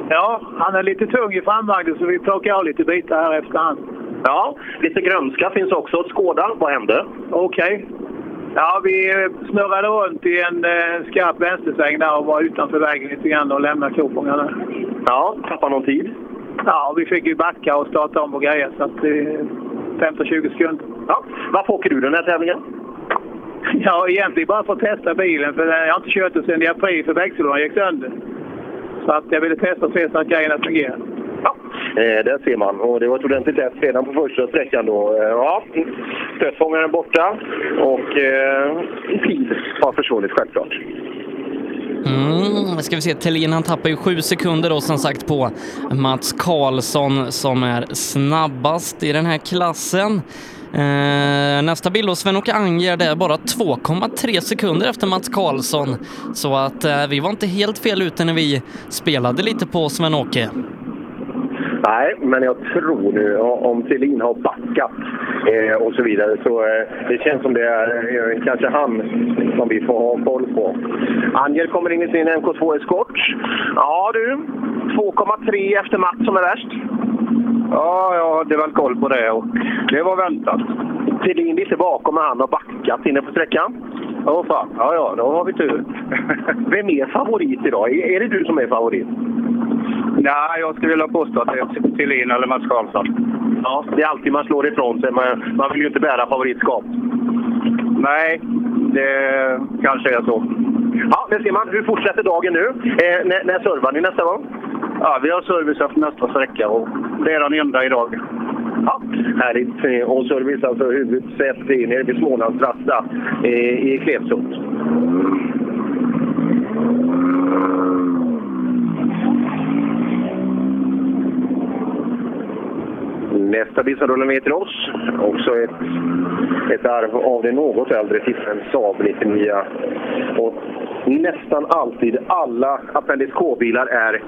Speaker 31: Ja, han är lite tung i framvagnen så vi plockar av lite bitar här efterhand.
Speaker 4: Ja, lite grönska finns också att skåda. Vad hände?
Speaker 31: Okej.
Speaker 5: Ja, vi eh, snurrade runt i en eh, skarp vänstersväng där och var utanför vägen lite grann och lämnade Kofångarna.
Speaker 4: Ja, tappade någon tid?
Speaker 5: Ja, vi fick ju backa och starta om och grejer så att eh, 15-20 sekunder.
Speaker 4: Ja. Varför åker du den här tävlingen?
Speaker 5: Ja, egentligen bara för att testa bilen för jag har inte kört den sedan i april för växellådan gick sönder. Så att jag ville testa och se så att grejerna fungerar.
Speaker 4: Eh, där ser man. Och det var ett ordentligt test redan på första sträckan. Då. Eh, ja, stötfångaren borta och eh, pil har försvunnit självklart.
Speaker 3: Mm, ska vi se, Thelin han tappar ju sju sekunder då som sagt på Mats Karlsson som är snabbast i den här klassen. Eh, nästa bild då, Sven-Åke Anger, det är bara 2,3 sekunder efter Mats Karlsson. Så att eh, vi var inte helt fel ute när vi spelade lite på Sven-Åke.
Speaker 4: Nej, men jag tror nu o- om Thelin har backat eh, och så vidare så eh, det känns som det är eh, kanske han som vi får ha koll på. Anger kommer in i sin MK2 Escort. Ja du, 2,3 efter Mats som är värst. Ja, jag hade väl koll på det och det var väntat. Thelin lite bakom men han har backat inne på sträckan. Åh fan, ja ja, då har vi tur. Vem är favorit idag? Är är det du som är favorit?
Speaker 8: Nej, jag skulle vilja påstå att det är Thelin eller Mats Karlsson.
Speaker 4: Ja, det är alltid man slår ifrån sig. Man, man vill ju inte bära favoritskap. Nej, det kanske är så. Ja, det ser man. Hur fortsätter dagen nu? Eh, när, när servar ni nästa gång? Ja, vi har service efter nästa sträcka och det är den enda idag. Ja, härligt. Eh, Och service alltså huvudsätet är nere vid Smålandsrasta eh, i Klevsund. Nästa bil som rullar ner till oss, också ett, ett arv av det något äldre tippen Saab 99. Och nästan alltid alla Appendix K-bilar är...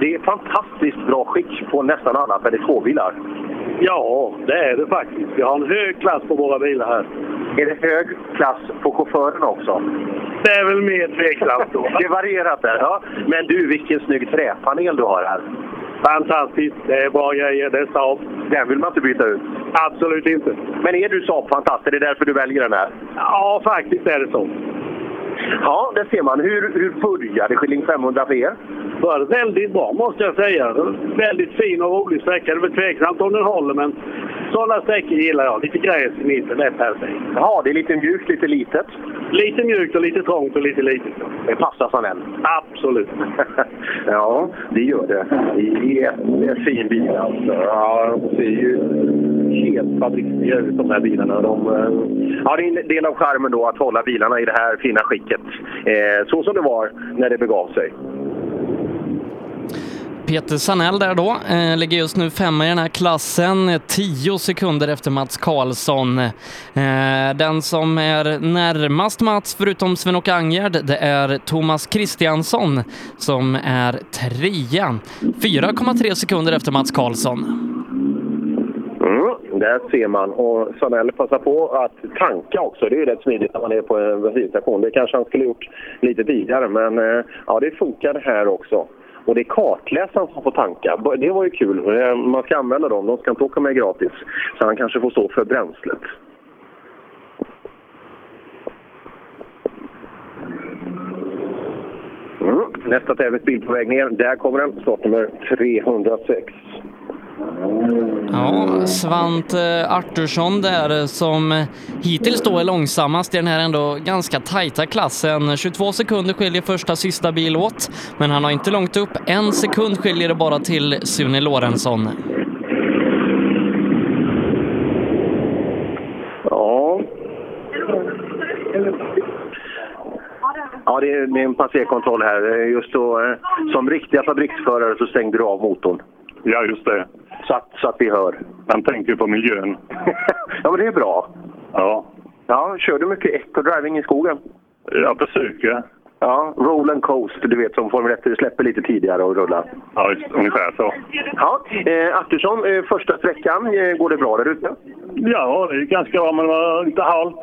Speaker 4: Det är fantastiskt bra skick på nästan alla Appendix K-bilar. Ja, det är det faktiskt. Vi har en hög klass på våra bilar här. Är det hög klass på chauffören också? Det är väl mer tveksamt då. det varierar där. Ja. Men du, vilken snygg träpanel du har här. Fantastiskt. Det är bra grejer. Det är Saab. Den vill man inte byta ut. Absolut inte. Men är du Saab-fantast? Är det därför du väljer den här? Ja, faktiskt är det så. Ja, det ser man. Hur, hur började Skilling 500 för er?
Speaker 6: Var väldigt bra måste jag säga. Väldigt fin och rolig sträcka. Det var tveksamt om den håller men sådana sträckor gillar jag. Lite gräs i mitten, det är perfekt.
Speaker 4: Ja, det är lite mjukt, lite litet.
Speaker 6: Lite mjukt och lite trångt och lite litet.
Speaker 4: Det passar som en. Absolut. ja, det gör det. Jättefin bil alltså. Ja, de ser ju helt fabriksnya ut de här bilarna. De, eh, ja, det är en del av charmen då att hålla bilarna i det här fina skicket. Eh, så som det var när det begav sig.
Speaker 3: Peter Sanell där då, eh, ligger just nu femma i den här klassen, eh, 10 sekunder efter Mats Karlsson. Eh, den som är närmast Mats, förutom Sven-Åke Angerd, det är Thomas Kristiansson som är trea, 4,3 sekunder efter Mats Karlsson.
Speaker 4: Mm, där ser man. Och Sanell passar på att tanka också. Det är ju rätt smidigt när man är på en bensinstation. Det kanske han skulle gjort lite tidigare, men eh, ja, det funkar här också. Och det är kartläsaren som får tanka. B- Det var ju kul. Eh, Man ska använda dem. De ska inte åka med gratis. Så han kanske får stå för bränslet. Mm. Nästa tävlingsbil på väg ner. Där kommer den. Startnummer 306.
Speaker 3: Ja, Svante Artursson där eh, som eh, hittills då är långsammast i den här ändå ganska tajta klassen. 22 sekunder skiljer första sista bil åt, men han har inte långt upp. En sekund skiljer det bara till Sune Lorentzon.
Speaker 4: Ja. Ja, det är, det är en passerkontroll här. Eh, Just då, eh, som riktiga fabriksförare så stängde du av motorn. Ja, just det. Så att, så att vi hör. Man tänker på miljön. ja, men det är bra. Ja. Ja, kör du mycket eco-driving i skogen? Jag försöker. Ja, roll and coast, du vet som Formel 1 släpper lite tidigare och rullar. Ja, ungefär så. Ja, eh, Artursson, eh, första sträckan, eh, går det bra där ute? Ja, det är ganska bra, men det var lite halt.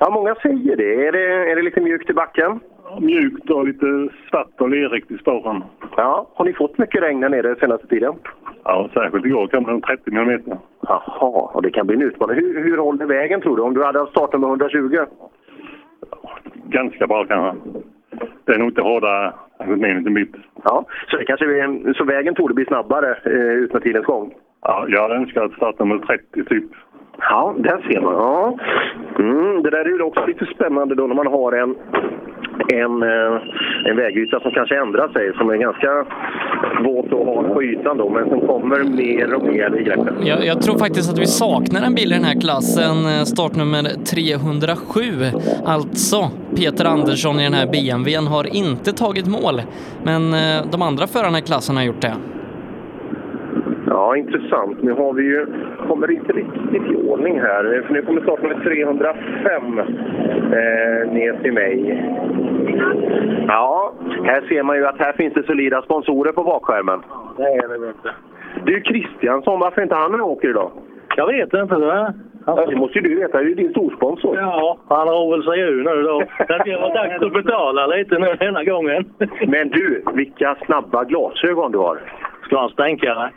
Speaker 4: Ja, många säger det. Är det, är det lite mjukt i backen?
Speaker 32: mjukt och lite svart och lerigt i spåren.
Speaker 4: Ja, har ni fått mycket regn där nere senaste tiden?
Speaker 32: Ja, särskilt igår kom det en 30 millimeter.
Speaker 4: Jaha, och det kan bli en utmaning. Hur, hur håller vägen tror du? Om du hade startat med 120?
Speaker 32: Ganska bra kanske. Det är nog inte hårdare än minus en bit.
Speaker 4: Ja, så, det kanske blir en, så vägen tror du blir snabbare eh, ut med tidens gång?
Speaker 32: Ja, jag hade önskat att starta med 30 typ.
Speaker 4: Ja, där ser man. Ja. Mm, det där är ju också lite spännande då när man har en, en, eh, en vägyta som kanske ändrar sig, som är ganska våt och hal på ytan då, men som kommer mer och mer i greppet.
Speaker 3: Jag, jag tror faktiskt att vi saknar en bil i den här klassen, eh, startnummer 307. Alltså, Peter Andersson i den här BMWn har inte tagit mål, men eh, de andra förarna i klassen har gjort det.
Speaker 4: Ja, intressant. Nu har vi ju, kommer inte riktigt i ordning här. För nu kommer startnummer 305 eh, ner till mig. Ja, här ser man ju att här finns det solida sponsorer på bakskärmen.
Speaker 7: Nej, det vet inte.
Speaker 4: Du Kristiansson, varför inte han åker idag?
Speaker 7: Jag vet inte. Det, är...
Speaker 4: ja, det måste ju du veta, det är ju din storsponsor.
Speaker 7: Ja, han har väl sig ur nu då. Det blir väl dags att betala lite nu denna gången.
Speaker 4: Men du, vilka snabba glasögon du har!
Speaker 7: Ska han stänkare?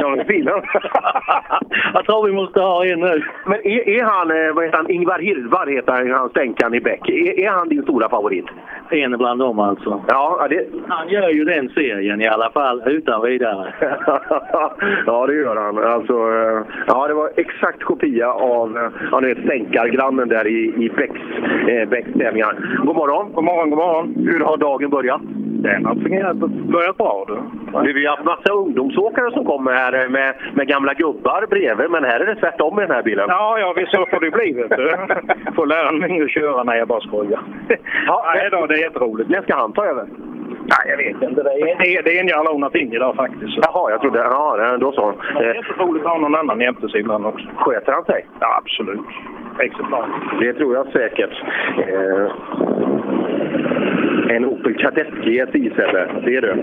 Speaker 4: De är fina.
Speaker 7: Jag tror vi måste ha en nu.
Speaker 4: Men är, är han, eh, vad heter han, Ingvar Hirvar heter han, han stänkaren i Bäck. Är, är han din stora favorit?
Speaker 7: En bland dem alltså.
Speaker 4: Ja, det...
Speaker 7: Han gör ju den serien i alla fall, utan vidare.
Speaker 4: ja, det gör han. Alltså, eh, ja, det var exakt kopia av eh, ja, ni vet, stänkargrannen där i, i Bäcks, eh, Bäcks tävlingar. God morgon! God morgon, god morgon! Hur har dagen börjat? Den har fungerat börjat bra. Du. Vi har haft massa ungdomsåkare som kommer här eh, med, med gamla gubbar bredvid, men här är det tvärtom i den här bilen.
Speaker 7: Ja, ja, visst så får det bli.
Speaker 4: vet du.
Speaker 7: Får lära mig att köra.
Speaker 4: Nej, jag bara skojar. Ja, nej då, det är jätteroligt. När ska han ta över?
Speaker 7: Nej, jag vet inte. Det är, det är en jävla onat in idag faktiskt.
Speaker 4: Jaha, jag trodde... Ja, då så.
Speaker 7: Det är jätteroligt att ha någon annan jämte sig ibland också.
Speaker 4: Sköter han sig?
Speaker 7: Ja, absolut. Exemplar.
Speaker 4: Det tror jag säkert. Eh, en Opel Kadett GS Iselle, det är du.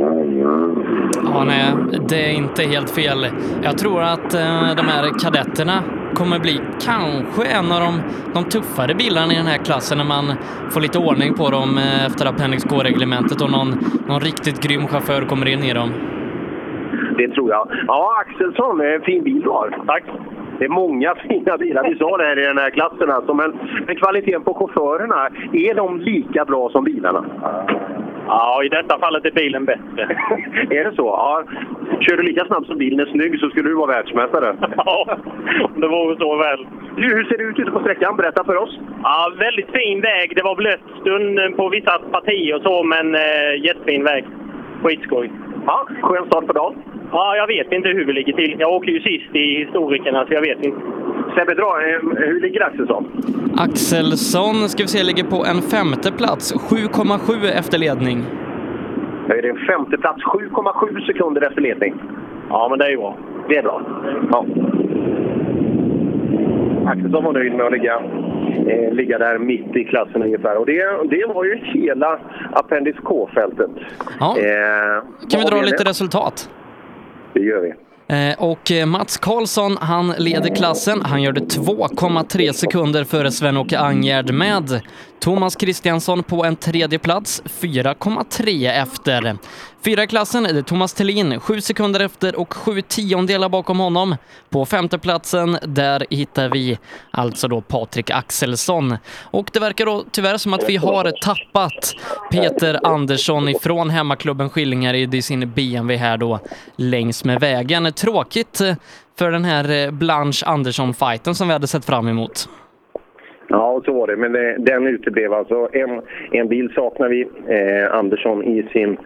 Speaker 3: Ja, nej, det är inte helt fel. Jag tror att eh, de här kadetterna kommer bli kanske en av de, de tuffare bilarna i den här klassen när man får lite ordning på dem eh, efter Appendix K-reglementet och någon, någon riktigt grym chaufför kommer in i dem.
Speaker 4: Det tror jag. Ja, Axelsson, eh, fin bil du har. Tack. Det är många fina bilar vi sa det här i den här klassen. Alltså, men, men kvaliteten på chaufförerna, är de lika bra som bilarna?
Speaker 7: Ja, i detta fallet är bilen bättre.
Speaker 4: är det så? Ja. Kör du lika snabbt som bilen är snygg så skulle du vara världsmästare.
Speaker 7: Ja, det vore så väl.
Speaker 4: Du, hur ser det ut ute på sträckan? Berätta för oss.
Speaker 7: Ja, väldigt fin väg. Det var blött stund på vissa partier och så, men eh, jättefin väg. Skitskoj.
Speaker 4: Ja, skön start på dagen.
Speaker 7: Ja, jag vet inte hur vi ligger till. Jag åker ju sist i historikerna, så jag vet inte.
Speaker 4: Sebbe, dra. eh, Hur ligger Axelsson?
Speaker 3: Axelsson ska vi se, ligger på en femte plats, 7,7 efter ledning.
Speaker 4: Det är en femte plats 7,7 sekunder efter ledning. Ja, men det är ju bra. Det är bra. Ja. Axelsson var nöjd med att ligga, eh, ligga där mitt i klassen ungefär. Och det, det var ju hela Appendix K-fältet.
Speaker 3: Ja.
Speaker 4: Eh,
Speaker 3: Kan vi
Speaker 4: vad
Speaker 3: dra
Speaker 4: har
Speaker 3: lite
Speaker 4: nu?
Speaker 3: resultat?
Speaker 4: Det gör vi.
Speaker 3: Eh, Och eh, Mats Karlsson, han leder klassen. Han gör det 2,3 sekunder före Sven-Åke Angerd med Thomas Kristiansson på en tredje plats, 4,3 efter. Fyra i klassen är det Thomas Thelin, 7 sekunder efter och 7 tiondelar bakom honom. På femte platsen, där hittar vi alltså då Patrik Axelsson. Och det verkar då tyvärr som att vi har tappat Peter Andersson ifrån hemmaklubben Skillingaryd i sin BMW här då längs med vägen. Tråkigt eh, för den här eh, Blanche Andersson-fighten som vi hade sett fram emot.
Speaker 4: Ja, och så var det. Men det, den uteblev alltså. En, en bil saknar vi. Eh, Andersson i sin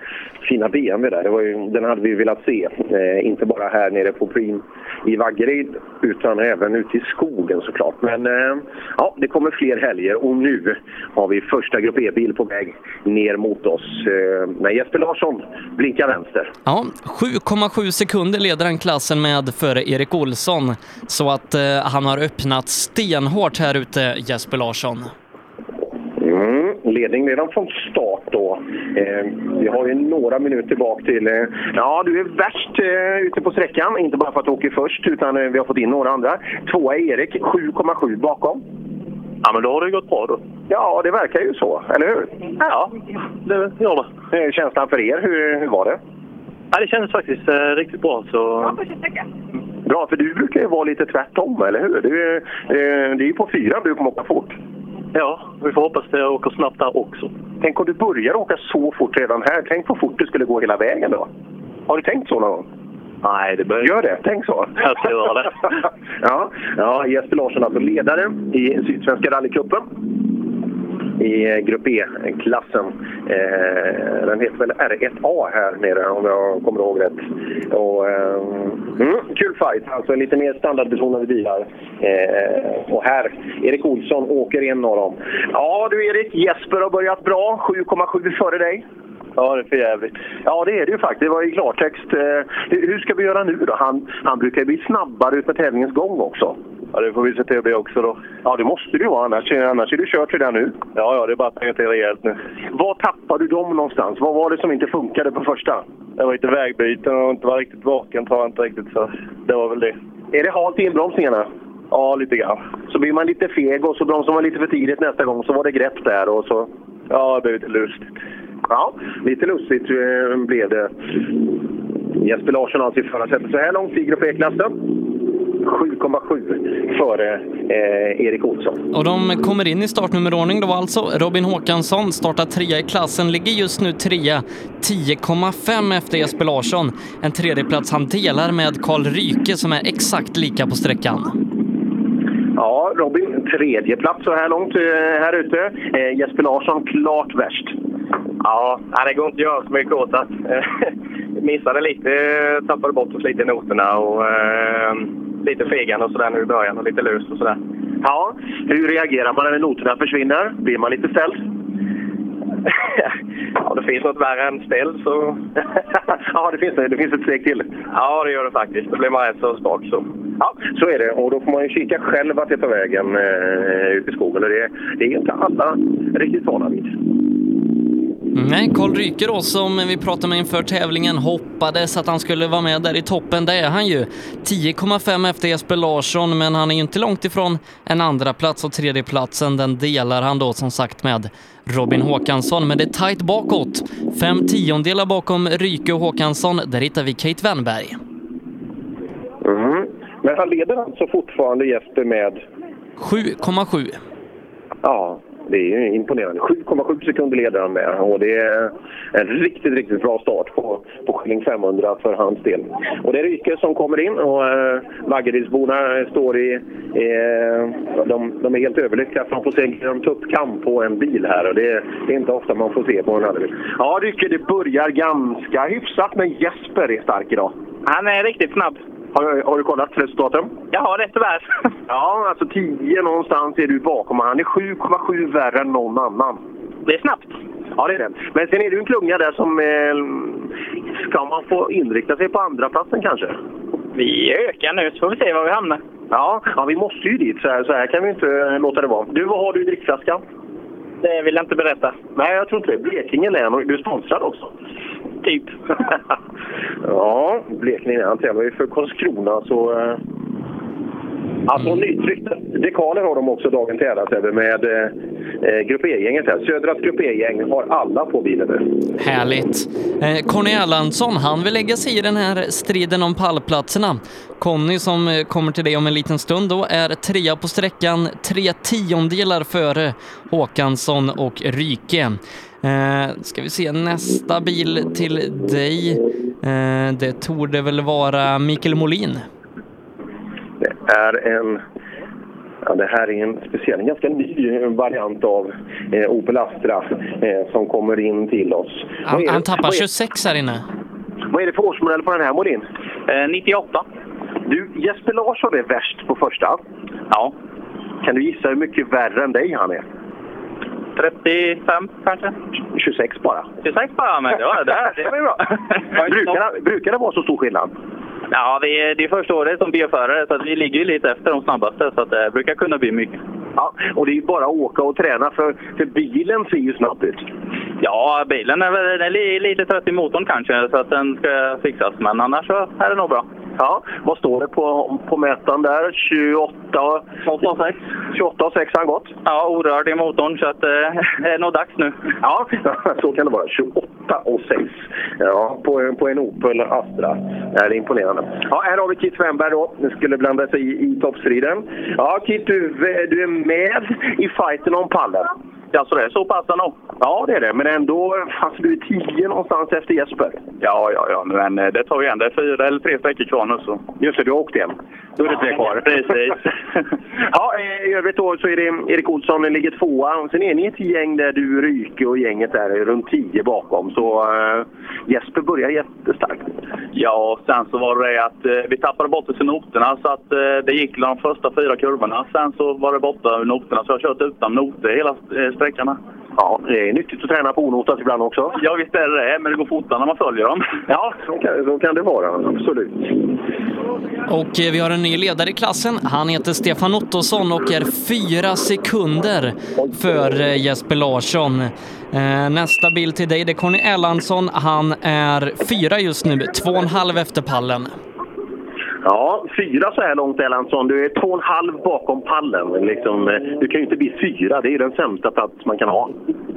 Speaker 4: fina BMW där. Det var ju, den hade vi velat se. Eh, inte bara här nere på Prim i Vaggeryd utan även ute i skogen såklart. Men eh, ja, det kommer fler helger och nu har vi första grupp E-bil på väg ner mot oss. Eh, men Jesper Larsson blinkar vänster.
Speaker 3: Ja, 7,7 sekunder leder han klassen med före Erik Olsson. Så att eh, han har öppnat stenhårt här ute, Jesper Larsson.
Speaker 4: Mm, ledning redan från start då. Eh, vi har ju några minuter bak till... Eh, ja, du är värst eh, ute på sträckan. Inte bara för att du åker först, utan eh, vi har fått in några andra. Tvåa är Erik, 7,7 bakom.
Speaker 7: Ja,
Speaker 33: Ja, men då har det ju gått bra då.
Speaker 4: Ja, det verkar ju så, eller hur?
Speaker 33: Ja, det gör det.
Speaker 4: Hur är känslan för er? Hur, hur var det?
Speaker 33: Ja, det kändes faktiskt eh, riktigt bra. Så...
Speaker 4: Bra, för du brukar ju vara lite tvärtom, eller hur? Du, eh, det är ju på fyran du kommer åka fort.
Speaker 33: Ja, vi får hoppas det åker snabbt där också.
Speaker 4: Tänk om du börjar åka så fort redan här. Tänk vad fort du skulle gå hela vägen då. Har du tänkt så någon gång?
Speaker 33: Nej, det behöver
Speaker 4: Gör det, tänk så.
Speaker 33: Jag ska göra det.
Speaker 4: ja, ja, Jesper Larsson alltså ledare i Sydsvenska rallycupen. I eh, grupp E-klassen. Eh, den heter väl R1A här nere om jag kommer ihåg rätt. Och, eh, mm, kul fight, alltså lite mer standardbetonade bilar. Eh, och här, Erik Olsson åker en av dem. Ja du Erik, Jesper har börjat bra. 7,7 före dig.
Speaker 33: Ja, det är för jävligt.
Speaker 4: Ja, det är det ju faktiskt. Det var i klartext. Eh, hur hur ska vi göra nu då? Han, han brukar ju bli snabbare utmed tävlingens gång också.
Speaker 33: Ja, det får vi se till att bli också då.
Speaker 4: Ja, det måste du vara, annars, annars är du kört redan nu.
Speaker 33: Ja, ja, det är bara att tänka till rejält nu.
Speaker 4: Var tappade du dem någonstans? Vad var det som inte funkade på första?
Speaker 33: Det var lite vägbyten och inte var riktigt vaken tror jag inte riktigt. Så det var väl det.
Speaker 4: Är det halt i inbromsningarna?
Speaker 33: Ja, lite grann.
Speaker 4: Så blir man lite feg och så de som var lite för tidigt nästa gång så var det grepp där och så...
Speaker 33: Ja, det blev lite lustigt.
Speaker 4: Ja, lite lustigt eh, blev det. Jesper Larsson har sitt förarsätt så här långt i Grupp E-klassen. 7,7 före eh, Erik Olsson.
Speaker 3: Och de kommer in i startnummerordning då alltså. Robin Håkansson startar trea i klassen, ligger just nu trea, 10,5 efter Jesper Larsson. En tredjeplats han delar med Karl Ryke som är exakt lika på sträckan.
Speaker 4: Ja, Robin tredje plats så här långt eh, här ute. Eh, Jesper Larsson klart värst.
Speaker 8: Ja, nej, det går inte att göra så mycket åt att eh, missade lite, eh, tappade bort oss lite i noterna och eh, lite fegan och sådär nu i början och lite lus och sådär.
Speaker 4: Ja, hur reagerar man när noterna försvinner? Blir man lite ställd?
Speaker 8: Ja, det finns något värre än ställ så...
Speaker 4: ja, det finns det. Det finns ett steg till.
Speaker 8: Ja, det gör det faktiskt. Då blir man rätt så spak så.
Speaker 4: Ja, så är det. Och då får man ju kika själv att det tar vägen eh, ut i skogen. Och det, det är inte alla riktigt vana vid.
Speaker 3: Mm. Nej, Karl Ryke då, som vi pratade med inför tävlingen, hoppades att han skulle vara med där i toppen. Det är han ju. 10,5 efter Jesper Larsson, men han är ju inte långt ifrån en andra plats och tredje platsen. Den delar han då som sagt med Robin Håkansson, men det är tajt bakåt. Fem tiondelar bakom Ryke och Håkansson, där hittar vi Kate Wennberg.
Speaker 4: Mhm. Men han leder alltså fortfarande Jesper med...
Speaker 3: 7,7.
Speaker 4: Ja, det är ju imponerande. 7,7 sekunder leder han med. Och det är en riktigt, riktigt bra start på, på Skilling 500 för hans del. Och det är Ryke som kommer in och eh, Vaggerydsborna står i... Eh, de, de är helt överlyckliga för de får se en tuppkamp på en bil här. Och det, det är inte ofta man får se på en rallybil. Ja, Ryke, det börjar ganska hyfsat, men Jesper är stark idag.
Speaker 23: Han är riktigt snabb.
Speaker 4: Har, har du kollat resultaten?
Speaker 23: Jag har det tyvärr.
Speaker 4: Ja, alltså 10 någonstans är du bakom och han är 7,7 värre än någon annan.
Speaker 23: Det är snabbt.
Speaker 4: Ja, det är det. Men sen är det ju en klunga där som... Eh, ska man få inrikta sig på andra platsen kanske?
Speaker 23: Vi ökar nu så får vi se var vi hamnar.
Speaker 4: Ja, ja vi måste ju dit. Så här, så här kan vi inte eh, låta det vara. Du, vad har du i drickflaskan?
Speaker 23: Det vill jag inte berätta.
Speaker 4: Nej, jag tror inte det. Blekinge län och du är sponsrad också.
Speaker 23: Typ.
Speaker 4: ja, Blekinge län. Han tävlar ju för Karlskrona så... Eh, Alltså nytryckta dekaler har de också dagen till ära Sebbe, med eh, eh, Grupp E-gänget här. Södras Grupp E-gäng har alla på bilen nu.
Speaker 3: Härligt. Eh, Conny Erlandsson, han vill lägga sig i den här striden om pallplatserna. Conny, som eh, kommer till dig om en liten stund då, är trea på sträckan, tre tiondelar före Håkansson och Ryke. Eh, ska vi se, nästa bil till dig, eh, det torde väl vara Mikael Molin.
Speaker 4: Det är en... Ja, det här är en speciell, en ganska ny variant av eh, Opel Astra eh, som kommer in till oss. Vad
Speaker 3: Han,
Speaker 4: är det-
Speaker 3: han tappar
Speaker 4: vad är-
Speaker 3: 26 här inne.
Speaker 4: Vad är det för årsmodell på den här Molin?
Speaker 23: Eh, 98.
Speaker 4: Du, Jesper Larsson är värst på första.
Speaker 23: Ja.
Speaker 4: Kan du gissa hur mycket värre än dig han är?
Speaker 23: 35 kanske?
Speaker 4: 26 bara.
Speaker 23: 26 bara, men det var det. Där. Det var ju bra.
Speaker 4: brukar, det- brukar det vara så stor skillnad?
Speaker 23: Ja, vi, det är första året som bilförare så att vi ligger ju lite efter de snabbaste så att det brukar kunna bli mycket.
Speaker 4: Ja, och det är ju bara att åka och träna för, för bilen ser ju snabb ut.
Speaker 23: Ja, bilen är väl den är li- lite trött i motorn kanske så att den ska fixas men annars så är det nog bra.
Speaker 4: Ja, vad står det på, på mätaren där? 28 28,6. 28,6 har han gått.
Speaker 34: Ja, orörd i motorn, så att, eh, det är nog dags nu.
Speaker 4: Ja, så kan det vara. 28,6 ja, på, en- på en Opel Astra. Ja, det är imponerande. Ja, här har vi Kit Svenberg då. Nu skulle blanda sig i, i toppstriden. Ja, Kit, du, eh, du är med i fighten om pallen. Ja, så det är så pass ändå? Ja, det är det. Men ändå, fast du är tio någonstans efter Jesper.
Speaker 7: Ja, ja, ja, men eh, det tar vi igen. Det är fyra eller tre sträckor kvar nu. Så.
Speaker 4: Just det, du har åkt igen.
Speaker 7: Då är det tre kvar. Precis.
Speaker 4: Ja, eh, i övrigt då så är det Erik Olsson som ligger tvåa. Och sen är ni ett gäng där du, Ryke och gänget där är runt tio bakom. Så eh, Jesper börjar jättestarkt.
Speaker 7: Ja, och sen så var det det att eh, vi tappade bort oss i noterna så att eh, det gick de första fyra kurvorna. Sen så var det borta ur noterna så jag har kört utan noter hela eh, sträckan. här.
Speaker 4: Ja, det är nyttigt att träna på onotat ibland också.
Speaker 7: Ja, visst är det det, men det går fortare när man följer dem.
Speaker 4: Ja, så kan, så kan det vara. Absolut.
Speaker 3: Och eh, vi har en ny ledare i klassen. Han heter Stefan Ottosson och är fyra sekunder för eh, Jesper Larsson. Eh, Nästa bil till dig, det är Conny Erlandsson. Han är fyra just nu, två och en halv efter pallen.
Speaker 4: Ja, fyra så här långt Erlandsson. Du är två och en halv bakom pallen. Liksom, eh, du kan ju inte bli fyra. Det är ju den sämsta plats man kan ha.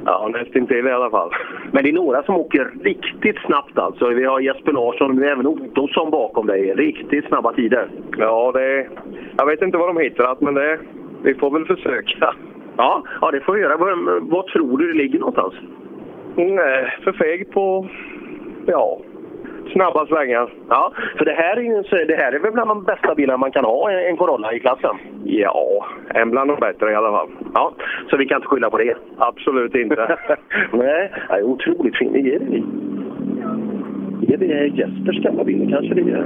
Speaker 4: Ja, nästintill i alla fall. Men det är några som åker riktigt snabbt alltså. Vi har Jesper Larsson, men även Ottosson bakom dig. Riktigt snabba tider.
Speaker 7: Ja, det...
Speaker 35: Jag vet inte vad de hittat, men det... Vi får väl försöka.
Speaker 4: Ja, ja det får vi göra. Vad, vad tror du det ligger någonstans? Mm, eh,
Speaker 35: Nej, för feg på... Ja, snabba svängar.
Speaker 4: Ja, för det här är, ju, så- det här är väl bland de bästa bilarna man kan ha, en en Corolla i klassen?
Speaker 35: Ja, en bland de bättre i alla fall.
Speaker 4: Ja, så vi kan inte skylla på det?
Speaker 35: Absolut inte.
Speaker 4: Nej, det är otroligt fin. Är det, är det Jespers gamla bil? Kanske det är.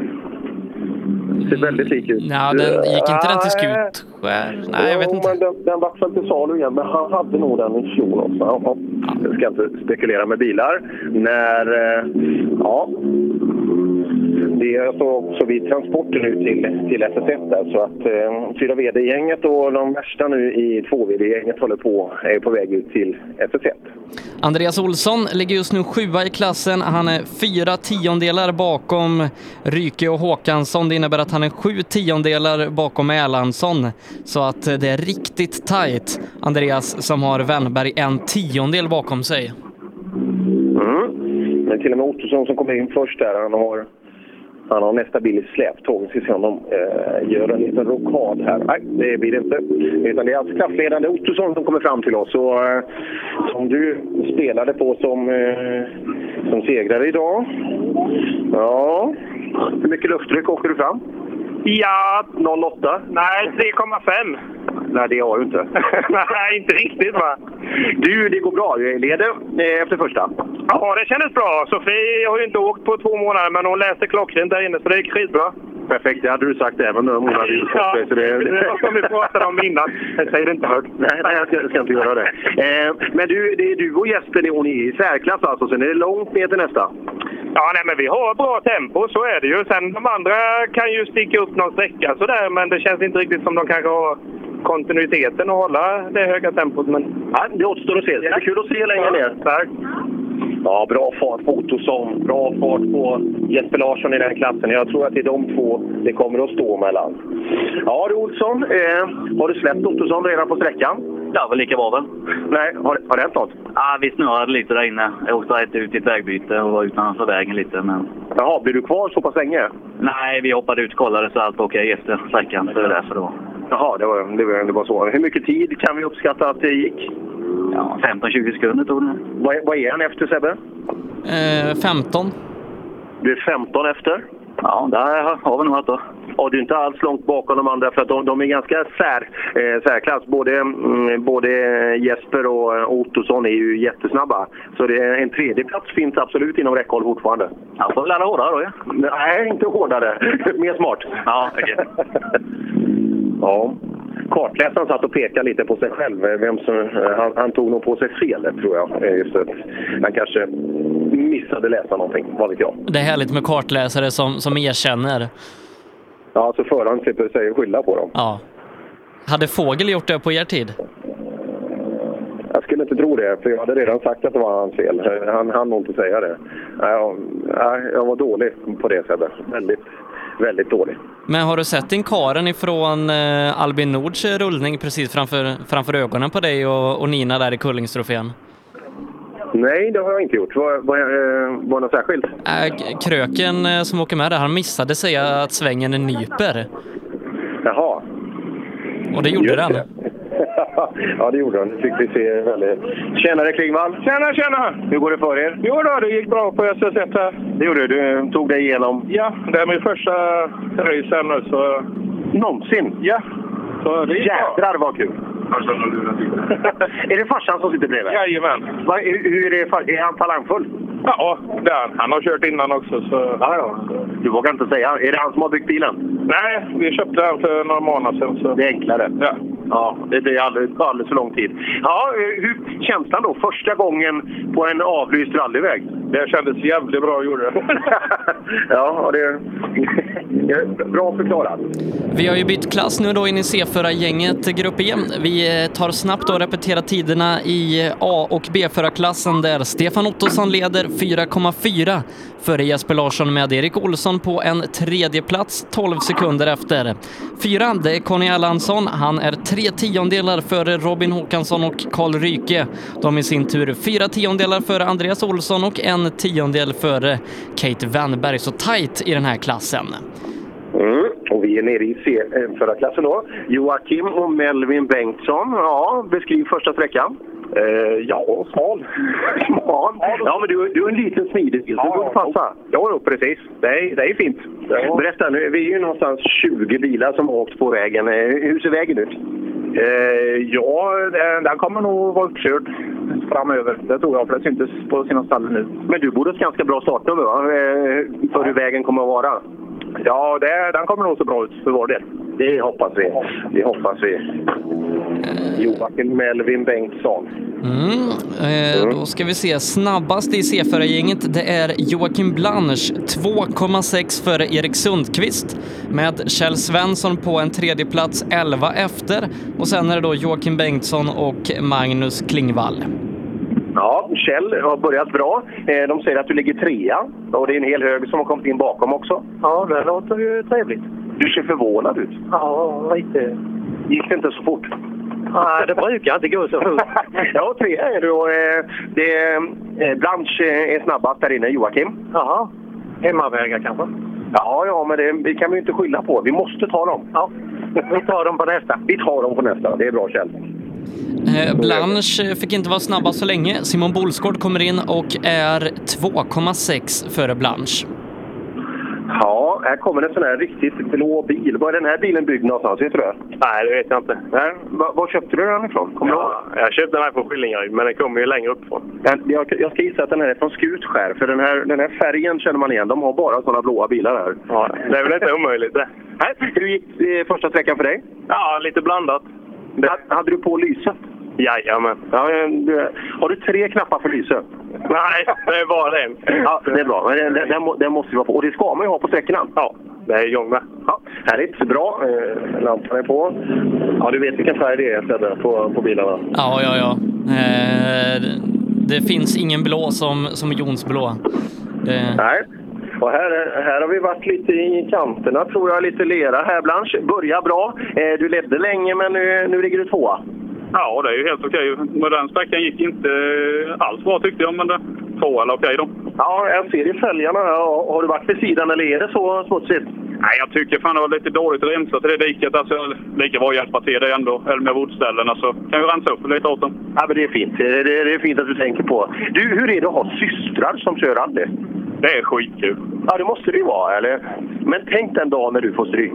Speaker 4: Ser väldigt lik ut.
Speaker 3: Ja, den gick inte den till Skutskär? Nej, jag vet inte.
Speaker 4: Men den, den vart väl till salu igen, men han hade nog den i fjol också. Ja, ja. Jag ska inte spekulera med bilar. När... eh, Ja. Det är alltså också vid transporten ut till, till SS1 där, så att eh, 4VD-gänget och de värsta nu i 2VD-gänget håller på, är på väg ut till SS1.
Speaker 3: Andreas Olsson ligger just nu sjua i klassen. Han är fyra tiondelar bakom Ryke och Håkansson. Det innebär att han är sju tiondelar bakom Erlandsson. Så att eh, det är riktigt tajt. Andreas som har Wennberg en tiondel bakom sig.
Speaker 4: Mm. Men till och med Ottosson som kommer in först där, han har, han har nästa bil i släptåg. Vi ska se om de eh, gör en liten rokad här. Nej, det blir det inte. Utan det är alltså kraftledande Ottosson som kommer fram till oss. Och, eh, som du spelade på som, eh, som segrare idag. Ja, hur mycket lufttryck åker du fram?
Speaker 36: Ja. 08? Nej, 3,5.
Speaker 4: Nej, det har du inte.
Speaker 36: Nej, inte riktigt va?
Speaker 4: Du, det går bra. Du är leder eh, efter första.
Speaker 36: Ja, det kändes bra. Sofie har ju inte åkt på två månader, men hon läste klockrent där inne, så det gick skitbra.
Speaker 4: Perfekt, det hade du sagt även om hon hade gjort bort sig, så
Speaker 36: det var som vi pratade om innan. Jag säger det inte högt.
Speaker 4: Nej, nej jag, ska, jag ska inte göra det. Eh, men du, det är du och Jesper, ni- hon är i särklass alltså. Sen är det långt ner till nästa.
Speaker 36: Ja, nej, men vi har bra tempo, så är det ju. Sen de andra kan ju sticka upp någon sträcka sådär, men det känns inte riktigt som de kanske har kontinuiteten att hålla det höga tempot. Men...
Speaker 4: Ja, det återstår att se. Det är kul att se längre ner. Ja, bra fart på Ottosson. Bra fart på Jesper Larsson i den klassen. Jag tror att det är de två det kommer att stå mellan. Ja du Olsson, eh, har du släppt Ottosson redan på sträckan?
Speaker 37: Det var lika bra väl?
Speaker 4: Nej, har, har det hänt något?
Speaker 37: Ja, vi snurrade lite där inne. Jag åkte rätt ut i ett vägbyte och var utanför vägen lite. Men...
Speaker 4: Jaha, blir du kvar så pass länge?
Speaker 37: Nej, vi hoppade ut och kollade så allt var okej efter sträckan. Så det var därför det var.
Speaker 4: Jaha, det var, det, var, det var så. Hur mycket tid kan vi uppskatta att det gick?
Speaker 37: Ja, 15-20 sekunder tog det.
Speaker 4: Vad, vad är han efter Sebbe?
Speaker 3: Eh, 15.
Speaker 4: Du är 15 efter? Ja, där har vi nog att då. Och du är inte alls långt bakom de andra för att de, de är ganska sär, eh, särklass. Både, mm, både Jesper och eh, Ottosson är ju jättesnabba. Så det, är- en tredjeplats finns absolut inom räckhåll fortfarande.
Speaker 37: Jag får väl ladda hårdare då ja.
Speaker 4: Nej, inte hårdare. Mer smart.
Speaker 37: Ja, okej.
Speaker 4: Ja. Kartläsaren satt och pekade lite på sig själv. Vem som, eh, han, han tog nog på sig felet, tror jag. Eh, Just det. Han kanske missade läsa någonting, vad vet jag.
Speaker 3: Det är härligt med kartläsare som, som erkänner.
Speaker 4: Ja, så föraren slipper sig skylla på dem.
Speaker 3: Ja. Hade Fågel gjort det på er tid?
Speaker 4: Jag skulle inte tro det, för jag hade redan sagt att det var hans fel. Han hann nog inte säga det. Nej, Jag, nej, jag var dålig på det, Sebbe. Väldigt, väldigt dålig.
Speaker 3: Men har du sett din karen ifrån eh, Albin Nords rullning precis framför, framför ögonen på dig och, och Nina där i Kullingstrofén?
Speaker 4: Nej, det har jag inte gjort. Var, var, eh, var det något särskilt?
Speaker 3: Äh, k- kröken eh, som åker med där, han missade säga att svängen är nyper.
Speaker 4: Jaha.
Speaker 3: Och det gjorde
Speaker 4: Just
Speaker 3: den.
Speaker 4: det. ja, det gjorde han. Det fick vi se väldigt... Tjenare Klingvall! Tjena, tjena! Hur går det för er?
Speaker 38: Jo då, det gick bra på SS1 här.
Speaker 4: Det gjorde du. Du tog dig igenom.
Speaker 38: Ja, det är min första race här nu så...
Speaker 4: Någonsin?
Speaker 38: Ja. Så det gick
Speaker 4: Jädrar vad kul! är det farsan som sitter
Speaker 38: bra.
Speaker 4: bredvid?
Speaker 38: Jajamän.
Speaker 4: Va, hur hur är, det, fa- är han talangfull?
Speaker 38: Ja, det är han. Han har kört innan också. Så...
Speaker 4: Ja, ja. Du vågar inte säga. Är det han som har byggt bilen?
Speaker 38: Nej, vi köpte den för några månader sedan. Så...
Speaker 4: Det är enklare?
Speaker 38: Ja.
Speaker 4: Ja, det det är alldeles, alldeles för lång tid. Ja, eh, hur känns den då? Första gången på en avlyst rallyväg?
Speaker 38: Det kändes jävligt bra, gjorde det.
Speaker 4: ja, det... Bra förklarat.
Speaker 3: Vi har ju bytt klass nu då in i C4-gänget Grupp E. Vi eh, tar snabbt och repeterar tiderna i eh, A och B-förarklassen där Stefan Ottosson leder 4,4 före Jesper Larsson med Erik Olsson på en tredje plats 12 sekunder efter. Fyra, det är Conny Erlandsson. Han är tre tiondelar före Robin Håkansson och Karl Ryke. De i sin tur fyra tiondelar före Andreas Olsson och en tiondel före Kate Wennberg. Så tajt i den här klassen.
Speaker 4: Mm. Och vi är nere i C-förarklassen då. Joakim och Melvin Bengtsson. Ja, beskriv första sträckan. Eh, ja, smal. smal. Ja, men du, du är en liten smidig bil, så det borde passa. Ja, jo, precis. Det är, det är fint. Berätta, nu, vi är ju någonstans 20 bilar som har åkt på vägen. Eh, Hur ser vägen ut? Eh,
Speaker 38: ja, den kommer nog vara uppkörd framöver. Det tror jag, för det syntes på sina ställen nu.
Speaker 4: Men du borde ha ett ganska bra startnummer, va? Eh, För hur vägen kommer att vara. Ja, det, den kommer nog se bra ut för vår del. Det hoppas vi. Det hoppas vi. Joakim Melvin Bengtsson.
Speaker 3: Mm, eh, då ska vi se. Snabbast i C4-gänget, det är Joakim Blanche. 2,6 före Erik Sundqvist med Kjell Svensson på en tredje plats 11 efter. Och sen är det då Joakim Bengtsson och Magnus Klingvall.
Speaker 4: Ja, Kjell har börjat bra. Eh, De säger att du ligger trea. Och det är en hel hög som har kommit in bakom också. Ja, det låter ju trevligt. Du ser förvånad ut.
Speaker 5: Ja, lite.
Speaker 4: Gick det inte så fort?
Speaker 5: Nej, det brukar inte gå så fort.
Speaker 4: ja, trea är du. Och, eh, det, eh, Blanche eh, är snabbast där inne, Joakim. Jaha. Hemmavägar kanske? Ja, ja, men det, det kan vi ju inte skylla på. Vi måste ta dem. Ja, vi tar dem på nästa. Vi tar dem på nästa. Det är bra, Kjell.
Speaker 3: Eh, Blanche fick inte vara snabbast så länge. Simon Bolsgård kommer in och är 2,6 före Blanche.
Speaker 4: Ja, här kommer en sån här riktigt blå bil. Var är den här bilen byggd någonstans? Vet du det?
Speaker 39: Nej, det vet jag inte.
Speaker 4: Nej. Var, var köpte du den ifrån? Kommer du ihåg?
Speaker 39: Jag köpte den här från Skillingaryd, men den kommer ju längre uppifrån.
Speaker 4: Den- Jag, jag ska gissa att den här är från Skutskär, för den här, den här färgen känner man igen. De har bara såna blåa bilar här. Ja,
Speaker 39: det är väl inte omöjligt det.
Speaker 4: Hur gick eh, första sträckan för dig?
Speaker 39: Ja, lite blandat.
Speaker 4: Ha- Hade du på lyset?
Speaker 39: Jajamän.
Speaker 4: Ja, eh, du- har du tre knappar för lyset?
Speaker 39: Nej, det är bara en.
Speaker 4: Ja, det är bra. Men Den, den, den, må- den måste vi vara på. Och det ska man ju ha på sträckorna. Ja, det är jag med. Ja, härligt. Bra. Eh, Lampan är på. Ja, du vet vilken färg det är Sebbe, på, på bilarna.
Speaker 3: Ja, ja, ja. Eh, det finns ingen blå som, som Jonsblå. Det-
Speaker 4: Nej. Och här, här har vi varit lite i kanterna, tror jag. Lite lera här, Blanche. Börjar bra. Eh, du ledde länge, men nu, nu ligger du tvåa.
Speaker 33: Ja, det är ju helt okej. Men den sträckan gick inte alls bra tyckte jag, men det två eller okej då.
Speaker 4: Ja, jag ser i fälgarna. Har har du varit vid sidan eller är det så smutsigt?
Speaker 33: Nej, jag tycker fan det var lite dåligt rensat i det diket. Alltså, lika bra att hjälpa till det ändå, eller med vårdställena, så kan vi rensa upp lite åt dem.
Speaker 4: Ja, men det är fint. Det, det, det är fint att du tänker på. Du, hur är det att ha systrar som kör rally?
Speaker 33: Det är skitkul.
Speaker 4: Ja, det måste det ju vara, eller? Men tänk den dagen när du får stryk.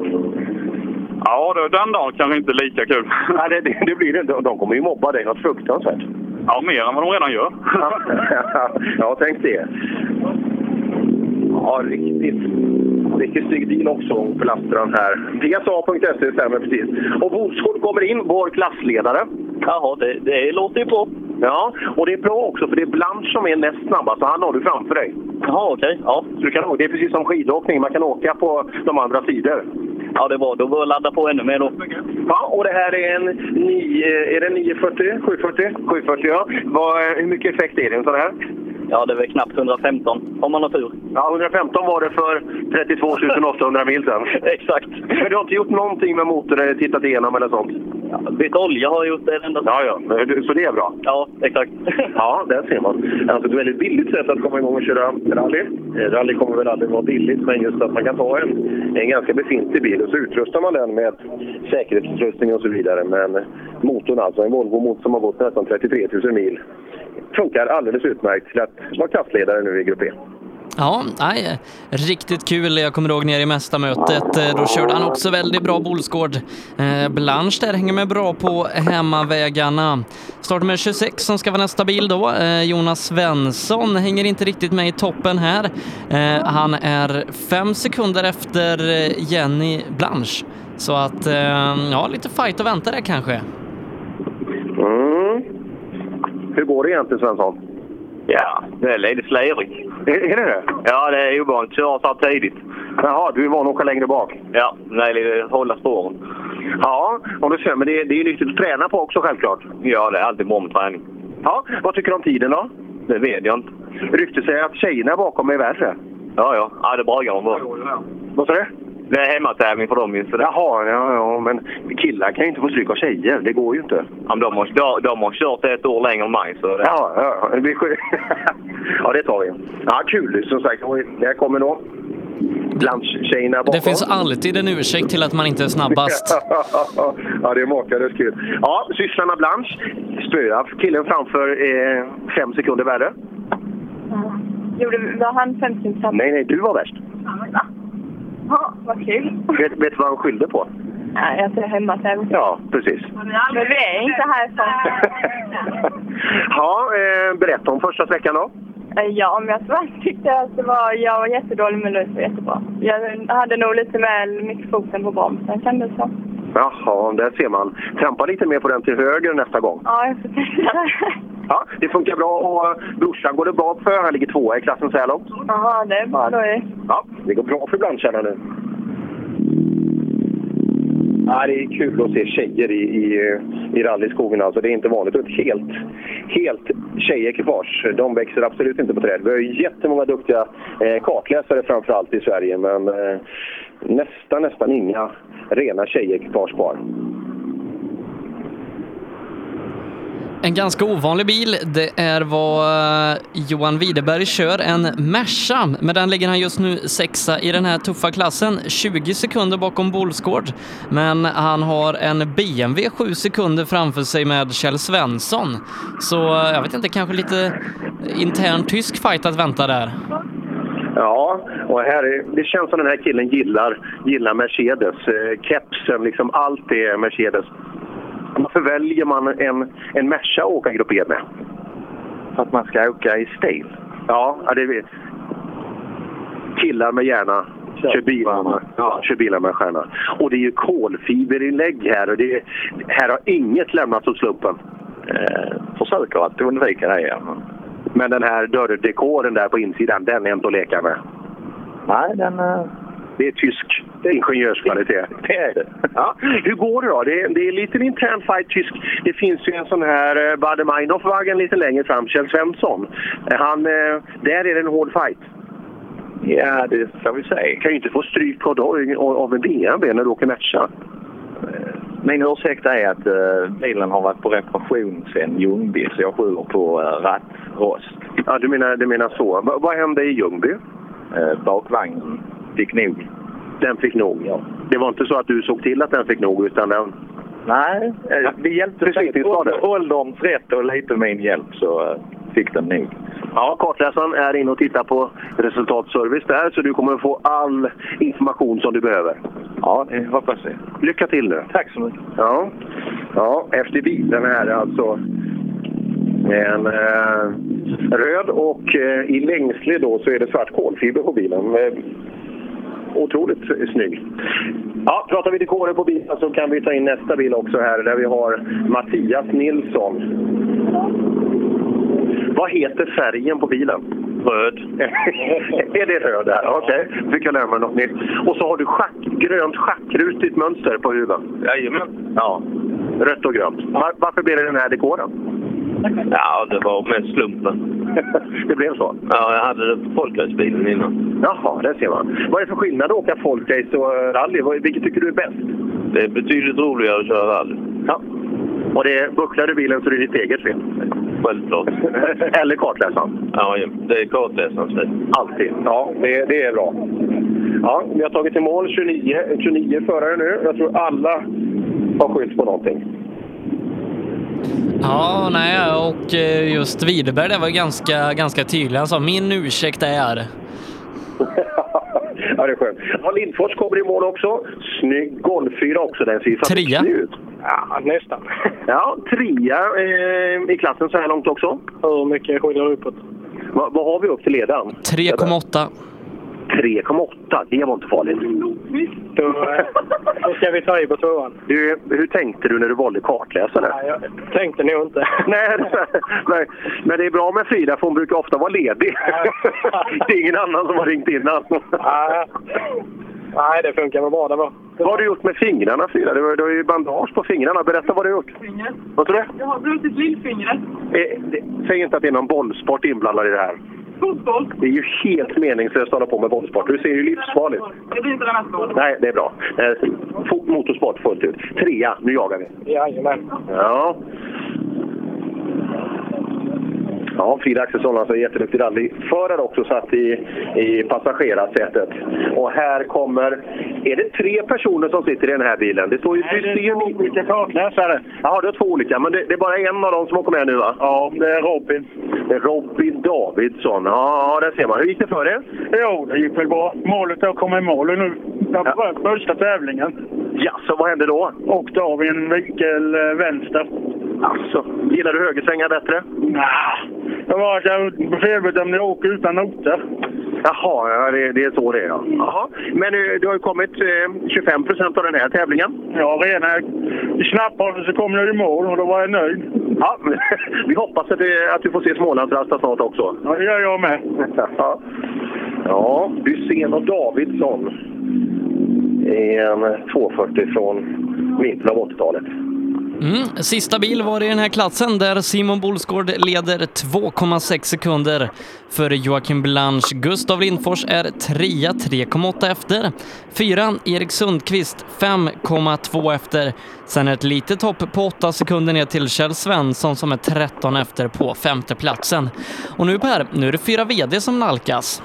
Speaker 33: Ja, då, den dagen kanske inte är lika kul.
Speaker 4: Ja, det, det, det blir det. De de kommer ju mobba dig något fruktansvärt.
Speaker 33: Ja, mer än vad de redan gör.
Speaker 4: ja, tänk det. Ja, riktigt. Riktigt snygg bil också, Opel-Astran här. PSA.se E stämmer precis. Och Bolsgård kommer in, vår klassledare. Jaha, det, det låter ju bra. Ja, och det är bra också för det är Blanche som är näst snabbast och han har du framför dig. Jaha, okej. Ja. Så du kan, åka- det är precis som skidåkning, man kan åka på de andra sidor. Ja, det var. Då bör ladda på ännu mer då. Ja, och det här är en eh, 9, är det 940? 740? 740, ja. Vad, hur mycket effekt är det i en sån här?
Speaker 8: Ja, det är väl knappt 115 om man har tur.
Speaker 4: Ja, 115 var det för 32 800 mil sedan.
Speaker 8: Exakt.
Speaker 4: Men du har inte gjort någonting med motorn eller tittat igenom eller sånt?
Speaker 8: Bytt olja har jag gjort det enda
Speaker 4: Ja, ja. Men du- Så det är bra?
Speaker 8: Ja, exakt.
Speaker 4: ja, där ser man. Alltså ett väldigt billigt sätt att komma igång och köra rally. Eh, Rally kommer väl aldrig vara billigt, men just att man kan ta en, en ganska befintlig bil och så utrustar man den med säkerhetsutrustning och så vidare. Men motorn alltså, en Volvo-motor som har gått nästan 33 000 mil, funkar alldeles utmärkt till att vara klassledare nu i Grupp E.
Speaker 3: Ja, nej, riktigt kul. Jag kommer ihåg nere i mästarmötet, eh, då körde han också väldigt bra bolsgård. Eh, Blanche där hänger med bra på hemmavägarna. Startnummer 26 som ska vara nästa bil då. Eh, Jonas Svensson hänger inte riktigt med i toppen här. Eh, han är fem sekunder efter eh, Jenny Blanche. Så att, eh, ja, lite fight att vänta där kanske.
Speaker 4: Mm. Hur går det egentligen, Svensson?
Speaker 40: Ja, det är lite slirigt.
Speaker 4: Är, är det det?
Speaker 40: Ja, det är ovanligt att köra så här tidigt.
Speaker 4: Jaha, du är van att åka längre bak?
Speaker 40: Ja, nej, det är hålla spåren.
Speaker 4: Ja, och du ser, men det, det är ju nyttigt att träna på också självklart.
Speaker 40: Ja, det är alltid bra med träning.
Speaker 4: Ja, vad tycker du om tiden då?
Speaker 40: Det vet jag inte.
Speaker 4: Ryktet säger att tjejerna bakom är värre.
Speaker 40: Ja, ja. ja det bragar de på.
Speaker 4: Vad sa du?
Speaker 40: Det är hemmatävling för dem ju. Så det...
Speaker 4: Jaha, ja, ja, men killar kan ju inte få stryk av tjejer. Det går ju inte.
Speaker 40: Ja, men de, har, de, de har kört ett år längre än mig. Så det...
Speaker 4: Ja, ja, ja, det, blir... ja det tar vi. Ja, kul som sagt. Och Där kommer då lunchtjejerna bakom.
Speaker 3: Det finns alltid en ursäkt till att man inte är snabbast.
Speaker 4: ja, det är makalöst kul. Ja, systrarna Blanche spöa killen framför eh, fem sekunder värre.
Speaker 27: Gjorde, var han 50 cent?
Speaker 4: Nej, nej, du var värst.
Speaker 27: Ja, vad kul.
Speaker 4: Vet, vet du vad han skyllde på?
Speaker 27: Nej, jag ser hemma sen.
Speaker 4: Ja, precis.
Speaker 27: Men vi är inte härifrån.
Speaker 4: Ja, eh, berätta om första sträckan då.
Speaker 27: Eh, Ja, men jag tror- tyckte att det var, jag var jättedålig men Louise var jättebra. Jag hade nog lite väl mycket foten på bromsen kändes det som.
Speaker 4: Jaha, där ser man. Trampa lite mer på den till höger nästa gång.
Speaker 27: Ja, jag får tänka.
Speaker 4: Ja, det funkar bra och brorsan går det bra för. Han ligger tvåa i klassen så här långt.
Speaker 27: Jaha, det är bra då ju.
Speaker 4: Ja, det går bra för branscherna nu. Ja, det är kul att se tjejer i, i, i rallyskogen. Alltså, det är inte vanligt. Och ett helt, helt tjejekipage. De växer absolut inte på träd. Vi har ju jättemånga duktiga eh, kartläsare framför allt i Sverige, men eh, nästan, nästan inga rena tjejekipage kvar.
Speaker 3: En ganska ovanlig bil, det är vad eh, Johan Widerberg kör, en Merca. Med den ligger han just nu sexa i den här tuffa klassen, 20 sekunder bakom Bolsgård. Men han har en BMW 7 sekunder framför sig med Kjell Svensson. Så eh, jag vet inte, kanske lite intern tysk fight att vänta där.
Speaker 4: Ja, och här är, det känns som den här killen gillar, gillar Mercedes. Eh, Kepsen, liksom allt är Mercedes. Varför väljer man en, en Merca att åka Grupp E med? För att man ska åka i stil. Ja, ja det vet Killar med hjärna. Kör bilar, med, ja, kör bilar med stjärna. Och det är ju kolfiberinlägg här och det är, här har inget lämnats åt slumpen. Eh, försöker att undvika det. Ja. Men den här dörrdekoren där på insidan, den är inte att leka med. Nej, den... Det är tysk ingenjörskvalitet. Det är det. Ja. Hur går det då? Det är, det är lite intern fight tysk. Det finns ju en sån här eh, Bader Meinhof-vagn lite längre fram, Kjell Svensson. Eh, Han, eh, där är det en hård fight. Ja, det får vi säga. kan ju inte få stryk av, av en BMW när du åker matcha.
Speaker 40: Min ursäkt är att eh, bilen har varit på reparation sedan Ljungby, så jag skyller på eh, rattrost.
Speaker 4: Ja, du menar, du menar så. Va, vad hände i Ljungby?
Speaker 40: Eh, bakvagnen fick nog.
Speaker 4: Den fick nog, ja. Det var inte så att du såg till att den fick nog, utan den...
Speaker 40: Nej, eh, vi hjälpte säkert ålder- ålderns rätt och lite min hjälp så eh, fick den nog.
Speaker 4: Ja, kartläsaren är inne och tittar på resultatservice där, så du kommer få all information som du behöver.
Speaker 40: Ja, det hoppas jag.
Speaker 4: Lycka till nu.
Speaker 40: Tack så mycket.
Speaker 4: Ja, ja efter bilen här alltså. En eh, röd och eh, i längsle då så är det svart kolfiber på bilen. Eh, otroligt snygg. Ja, pratar vi dekorer på bilen så kan vi ta in nästa bil också här där vi har Mattias Nilsson. Vad heter färgen på bilen? Röd. är det röd där? Okej, fick jag lära mig något nytt. Och så har du schack, grönt schackrutigt mönster på huven.
Speaker 40: Jajamän.
Speaker 4: Ja, rött och grönt. Var, varför blev det den här dekoren?
Speaker 40: Ja, det var med slumpen.
Speaker 4: det blev så?
Speaker 7: Ja, jag hade det på folkracebilen innan.
Speaker 4: Jaha, det ser man. Vad är det för skillnad att åka folkrace och eh, rally? Vad- Vilket tycker du är bäst?
Speaker 7: Det är betydligt roligare att köra rally.
Speaker 4: Ja. Och det bucklar du bilen så det är ditt eget fel?
Speaker 7: Självklart.
Speaker 4: Eller kartläsaren?
Speaker 7: Ja, det är kartläsarens fel.
Speaker 4: Alltid. Ja, det, det är bra. Ja, vi har tagit i mål 29, 29 förare nu. Jag tror alla har skylt på någonting.
Speaker 3: Ja, nej, och eh, just Widerberg där var ganska, ganska tydlig. Han sa min ursäkt är...
Speaker 4: Ja, det är skönt. Ja, Lindfors kommer i mål också. Snygg golffyra också. Den ser ju fantastisk
Speaker 3: Trea.
Speaker 4: ut. Ja, nästan. Ja, trea eh, i klassen så här långt också. Hur mycket skiljer det uppåt? Va, vad har vi upp till ledaren?
Speaker 3: 3,8.
Speaker 4: 3,8. Det var inte farligt. Då, eh, ska vi ta i på tvåan. Du, hur tänkte du när du valde kartläsare?
Speaker 41: Jag tänkte nog inte.
Speaker 4: Nej, nej, men det är bra med Frida för hon brukar ofta vara ledig. det är ingen annan som har ringt innan. Nej, det funkar väl bra det var. Vad har du gjort med fingrarna Frida? Du har du har ju bandage på fingrarna. Berätta vad du har gjort.
Speaker 27: Fingret.
Speaker 4: Vad tror du?
Speaker 27: Jag har brutit lillfingret.
Speaker 4: Eh, det- Säg inte att det är någon bollsport inblandad i det här.
Speaker 27: Fotboll.
Speaker 4: Det är ju helt meningslöst att hålla på med bollsport. Du ser ju livsfarligt.
Speaker 27: Det blir inte den här stora.
Speaker 4: Nej, det är bra. Eh, fot- Motorsport fullt ut. Trea, nu jagar vi.
Speaker 27: Jajamän.
Speaker 4: Ja. Ja, Frida Axelsson alltså är jätteduktig rallyförare också, satt i, i passagerarsätet. Och här kommer... Är det tre personer som sitter i den här bilen? Det står ju... Nej, det är två olika kartläsare. Jaha, det är två olika. Men det, det är bara en av dem som åker med nu, va? Ja, det är Robin. Det är Robin Davidsson. Ja, där ser man. Hur gick det för er?
Speaker 42: Jo, det gick väl bra. Målet är att komma i mål nu. Jag har börjat första tävlingen.
Speaker 4: Ja, så vad hände då?
Speaker 42: Åkte av i en vinkel eh, vänster.
Speaker 4: Alltså, gillar du högersvängar bättre?
Speaker 42: Nej, det var att jag felbedömde jag åker utan noter.
Speaker 4: Jaha, ja, det, det är så det är. Ja. Jaha. Men eh, du har ju kommit eh, 25 procent av den här tävlingen.
Speaker 42: Ja, redan i snabbhållet så kom jag i mål och då var jag nöjd.
Speaker 4: Ja, vi hoppas att, det, att du får se Smålandsrasta snart också.
Speaker 42: Ja, det gör jag med.
Speaker 4: Ja. Ja, Hysén och Davidsson. En 240 från mitten av 80-talet.
Speaker 3: Mm. Sista bil var i den här klassen där Simon Bolsgård leder 2,6 sekunder före Joakim Blanche. Gustav Lindfors är trea, 3,8 efter. Fyra, Erik Sundqvist 5,2 efter. Sen ett litet hopp på 8 sekunder ner till Kjell Svensson som är 13 efter på femteplatsen. Och nu Per, nu är det fyra VD som nalkas.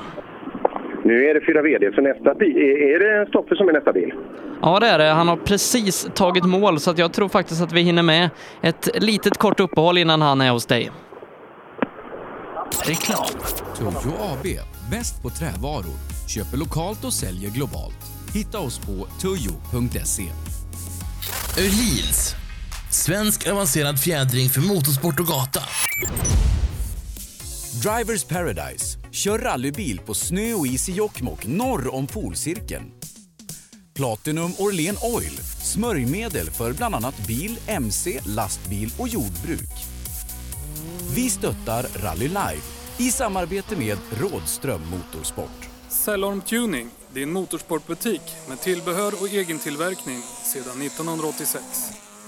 Speaker 4: Nu är det fyra VD, så nästa bil... Är, är det Stoffe som är nästa bil?
Speaker 3: Ja, det är det. Han har precis tagit mål, så att jag tror faktiskt att vi hinner med ett litet kort uppehåll innan han är hos dig.
Speaker 15: Reklam. Toyo AB, bäst på trävaror. Köper lokalt och säljer globalt. Hitta oss på toyo.se.
Speaker 43: Öhlins. Svensk avancerad fjädring för motorsport och gata.
Speaker 15: Drivers Paradise. Kör rallybil på snö och is i Jokkmokk norr om polcirkeln. Platinum Orlen Oil. Smörjmedel för bland annat bil, mc, lastbil och jordbruk. Vi stöttar Rally Live i samarbete med Rådström Motorsport.
Speaker 17: Cellorm Tuning, din motorsportbutik med tillbehör och egen tillverkning sedan 1986.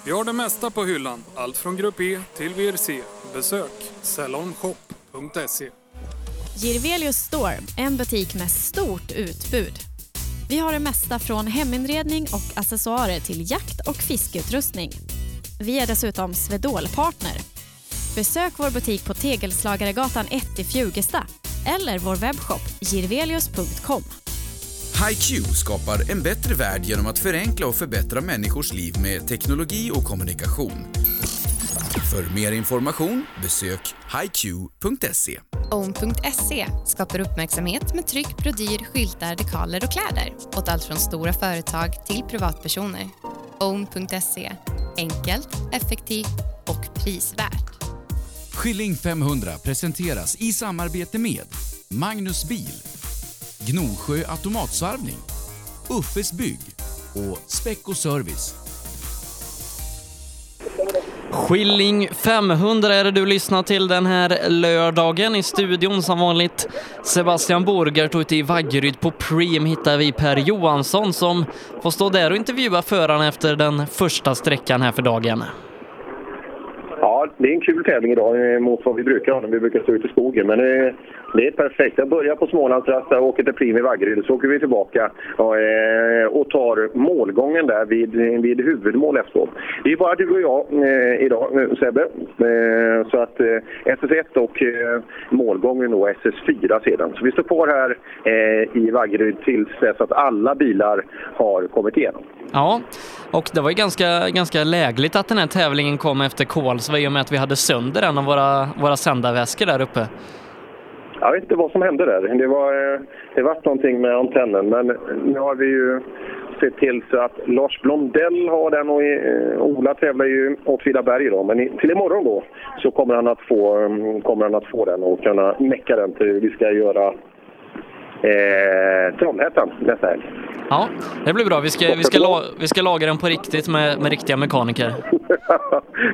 Speaker 17: Vi har det mesta på hyllan, allt från Grupp E till VRC. Besök cellormshop.se.
Speaker 18: Girvelius Store, en butik med stort utbud. Vi har det mesta från heminredning och accessoarer till jakt och fiskeutrustning. Vi är dessutom Swedol-partner. Besök vår butik på Tegelslagaregatan 1 i Fjugesta eller vår webbshop girvelius.com.
Speaker 19: HiQ skapar en bättre värld genom att förenkla och förbättra människors liv med teknologi och kommunikation. För mer information besök hiq.se.
Speaker 20: Own.se E skapar uppmärksamhet med tryck, brodyr, skyltar, dekaler och kläder åt allt från stora företag till privatpersoner. Own.se E, enkelt, effektivt och prisvärt.
Speaker 15: Skilling 500 presenteras i samarbete med Magnus Bil, Gnosjö Automatsvarvning, Uffes Bygg och Specco Service.
Speaker 3: Skilling 500 är det du lyssnar till den här lördagen i studion som vanligt. Sebastian Borgert och ute i Vaggeryd på Preem hittar vi Per Johansson som får stå där och intervjua föraren efter den första sträckan här för dagen.
Speaker 4: Ja, det är en kul tävling idag eh, mot vad vi brukar ha när vi brukar stå ute i skogen. Men eh, det är perfekt. Jag börjar på Smålandsrasta och åker till Prim i Vaggeryd. Så åker vi tillbaka och, eh, och tar målgången där vid, vid huvudmål efteråt. Det är bara du och jag eh, idag, eh, Sebbe. Eh, så att eh, SS1 och eh, målgången då SS4 sedan. Så vi står på här eh, i Vaggeryd tills dess att alla bilar har kommit igenom.
Speaker 3: Ja, och det var ju ganska, ganska lägligt att den här tävlingen kom efter Kolsva i och med att vi hade sönder en av våra, våra sändarväskor där uppe.
Speaker 4: Jag vet inte vad som hände där. Det var eh, det vart någonting med antennen. Men nu har vi ju sett till så att Lars Blondell har den och eh, Ola tävlar ju åt Åtvidaberg idag. Men i- till imorgon då så kommer han att få, eh, kommer han att få den och kunna mecka den till vi ska göra eh, Trollhättan nästa helg.
Speaker 3: Ja, det blir bra. Vi ska, vi ska, la, vi ska laga den på riktigt med, med riktiga mekaniker.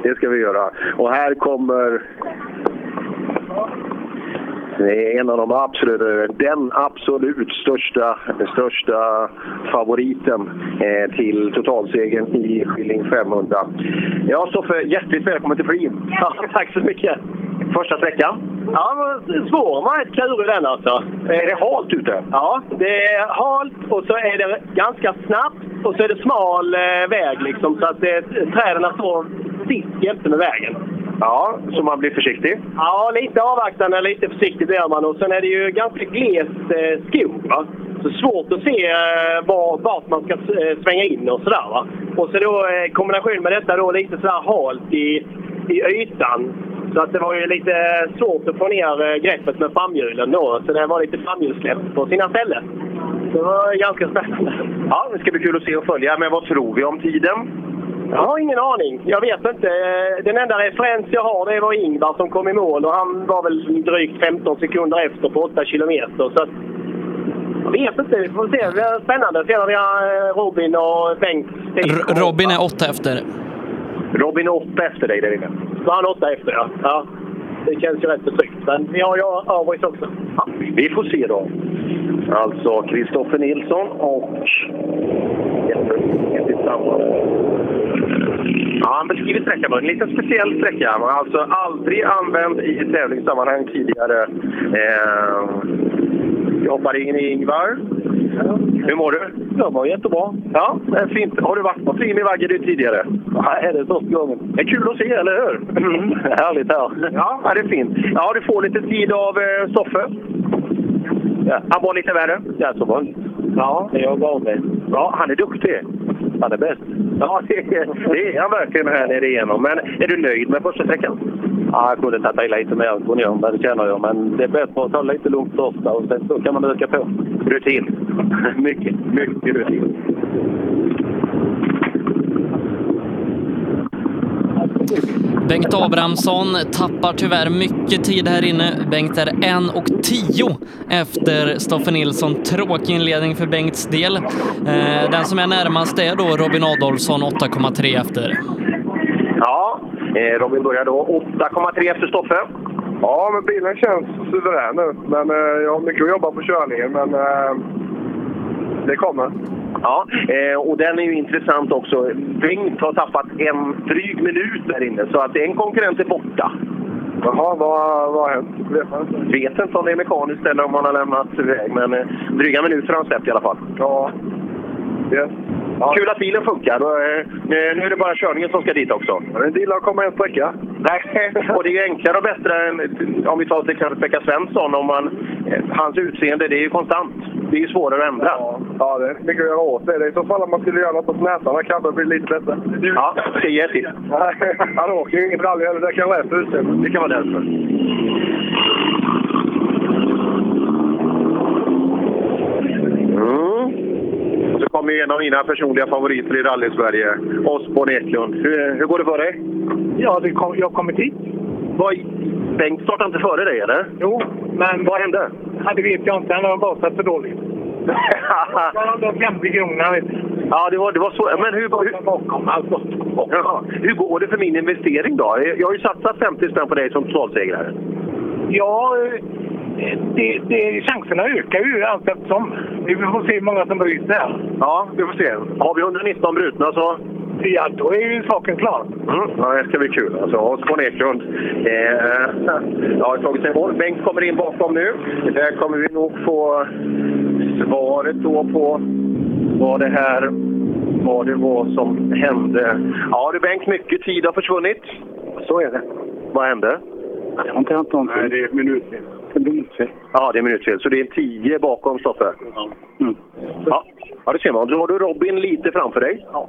Speaker 4: det ska vi göra. Och här kommer... Det är en av de absolut, den absolut största, största favoriten eh, till totalsegern i Skilling 500. Ja, Stoffe, hjärtligt välkommen till Prim.
Speaker 7: Tack så mycket. Första sträckan? Ja, men svår var ett klur i den alltså. Är det halt ute? Ja, det är halt och så är det ganska snabbt och så är det smal eh, väg liksom så att eh, träden står sist jämte med vägen. Ja, så man blir försiktig? Ja, lite avvaktande, lite försiktig blir man. Och sen är det ju ganska gles eh, skog. Va? Så svårt att se eh, var, vart man ska eh, svänga in och sådär. Va? Och så då eh, kombination med detta då lite sådär halt i, i ytan. Så att det var ju lite svårt att få ner eh, greppet med framhjulen då. Så det var lite framhjulssläpp på sina ställen. Det var ganska spännande.
Speaker 4: Ja, det ska bli kul att se och följa. Men vad tror vi om tiden?
Speaker 7: Jag har ingen aning. Jag vet inte. Eh, Den enda referens jag har det var Ingvar som kom i mål och han var väl drygt 15 sekunder efter på 8 kilometer. Så att, jag vet inte. Vi får se. Det är spännande att se när vi har eh, Robin och Bengt.
Speaker 3: R- Robin är åtta efter.
Speaker 4: Robin är åtta efter dig där inne.
Speaker 7: Så han är åtta efter, ja. ja. Det känns ju rätt så tryggt. Men vi har ju Aris också.
Speaker 4: Vi får se då. Alltså Kristoffer Nilsson och Jesper Nilsson tillsammans.
Speaker 44: Ja, han beskriver sträckan på en liten speciell sträcka. Alltså aldrig använd i tävlingssammanhang tidigare. Eh,
Speaker 4: Ehm,
Speaker 44: jag hoppar in i Ingvar. Hur mår du? Jag mår jättebra. Ja, det är fint. Har du varit på Prim i Vaggeryd tidigare? Nej, det är första gången. Det är kul att se, eller hur? härligt här. Ja, ja, det är fint. Ja, du får lite tid av eh, Stoffe. Ja. Han var lite värre? Ja, som vanligt. Ja, det är jag van vid. Ja, han är duktig. Han är bäst. Ja, det är, det är han verkligen här nere igenom. Men är du nöjd med första sträckan?
Speaker 7: Ja, jag kunde tagit i lite mer kunde jag, men det känner jag. Men det är bättre att ta lite lugnt första och sen så kan man öka på.
Speaker 4: Rutin. mycket, mycket rutin.
Speaker 3: Bengt Abrahamsson tappar tyvärr mycket tid här inne. Bengt är 1 och 10 efter Stoffe Nilsson. Tråkig inledning för Bengts del. Eh, Den som är närmast är då Robin Adolfsson 8,3 efter.
Speaker 4: Ja, eh, Robin börjar då 8,3 efter Stoffe.
Speaker 45: Ja, men bilen känns suverän nu. Men eh, jag har mycket att jobba på körningen, men eh, det kommer.
Speaker 4: Ja, eh, och den är ju intressant också. Bengt har tappat en dryg minut där inne, så att en konkurrent är borta. Jaha, vad, vad har hänt? Vet, man inte. vet inte om det är mekaniskt eller om han har lämnat iväg, men eh, dryga minuter har han släppt i alla fall. Ja. Kul att bilen funkar. Och, eh, nu nu är det bara körningen som ska dit också. Det gillar att komma en sträcka. Nej, och det är ju enklare och bättre än om vi tar till exempel Pekka Svensson. Om man, eh, hans utseende, det är ju konstant. Det är ju svårare att ändra.
Speaker 45: Ja, det är mycket att göra åt det. Det är I så fall om man skulle göra något åt näsan, kanske det blir lite lättare.
Speaker 4: Ja, det ger till.
Speaker 45: Han åker ju inget rally heller. Det kan vara därför.
Speaker 4: Det kan vara därför. Och så Mm. kommer ju en av mina personliga favoriter i rally-Sverige, Osborn Eklund. Hur, hur går det för dig?
Speaker 46: Ja, det kom, jag har kommit hit.
Speaker 4: Vad, Bengt startade inte före dig, eller?
Speaker 46: Jo, men...
Speaker 4: Vad hände?
Speaker 46: Ja, det vet jag inte. Han har gasat för dåligt. Han har gått 50 kronor, vet du.
Speaker 4: Ja, det var, det var så. Men hur, hur, bakom, alltså. Jaha. hur går det för min investering då? Jag har ju satsat 50 spänn på dig som totalsegrare.
Speaker 46: Ja, eh, det, det, chanserna ökar ju allt eftersom. Vi får se hur många som bryter.
Speaker 4: Ja, vi får se. Har vi 119 brutna så
Speaker 5: Ja, då är ju saken klar.
Speaker 4: Mm, ja, det ska bli kul alltså. Och Spån Eklund. Eh, ja, tagit sig bort. Bengt kommer in bakom nu. Där kommer vi nog få svaret då på vad det här vad det var som hände. Ja du Bengt, mycket tid har försvunnit. Så är det. Vad hände?
Speaker 38: Det har inte hänt någonting. Nej, det är minutfel. Minutfel.
Speaker 4: Ja, det är minutfel. Så det är en 10 bakom Stoffe? Ja. ja. Ja, det ser man. Då har du Robin lite framför dig. Ja.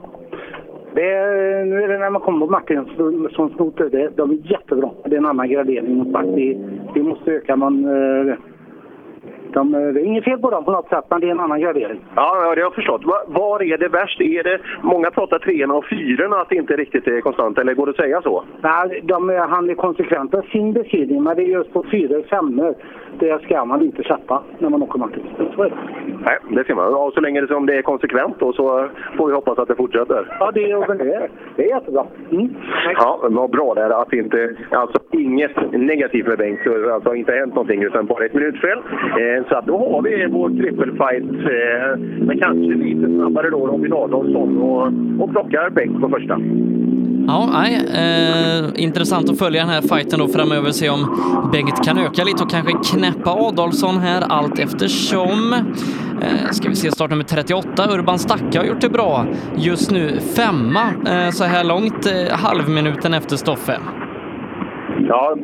Speaker 2: Det är, nu är det när man kommer på macken som- som snoter. Det, de är jättebra. Det är en annan gradering mot back. Vi, vi måste öka man... eh, De, eh, det är inget fel på dem på något sätt, men det är en annan gradering.
Speaker 4: Ja, ja, det har jag förstått. Va- Var är det värst? Är det, många pratar treorna och fyrorna att det inte riktigt är konstant, eller går det att säga så?
Speaker 2: Nej, de, är- han är konsekvent i sin beskrivning, men det är just på fyror och femmor. Det ska man inte släppa när man åker macken. Så är det.
Speaker 4: Nej, det ser man. Ja, och så länge det, som det är konsekvent då, så får vi hoppas att det fortsätter.
Speaker 2: Ja, det är väl det. Det är jättebra. Mm.
Speaker 4: Ja, men vad bra det är att inte... Alltså inget negativt med Bengt. Så Alltså inte hänt någonting utan bara ett minutfel. Eh, så att då har vi vår trippelfight. Eh, men kanske lite snabbare då Robin Adolfsson och, och plockar Bengt på första.
Speaker 3: Ja, nej, eh, intressant att följa den här fighten då framöver, se om Bengt kan öka lite och kanske knäppa Adolfsson här allt eftersom. Eh, ska vi se, startnummer 38, Urban Stacka har gjort det bra just nu. Femma eh, så här långt, eh, halvminuten efter Stoffe.
Speaker 4: Ja,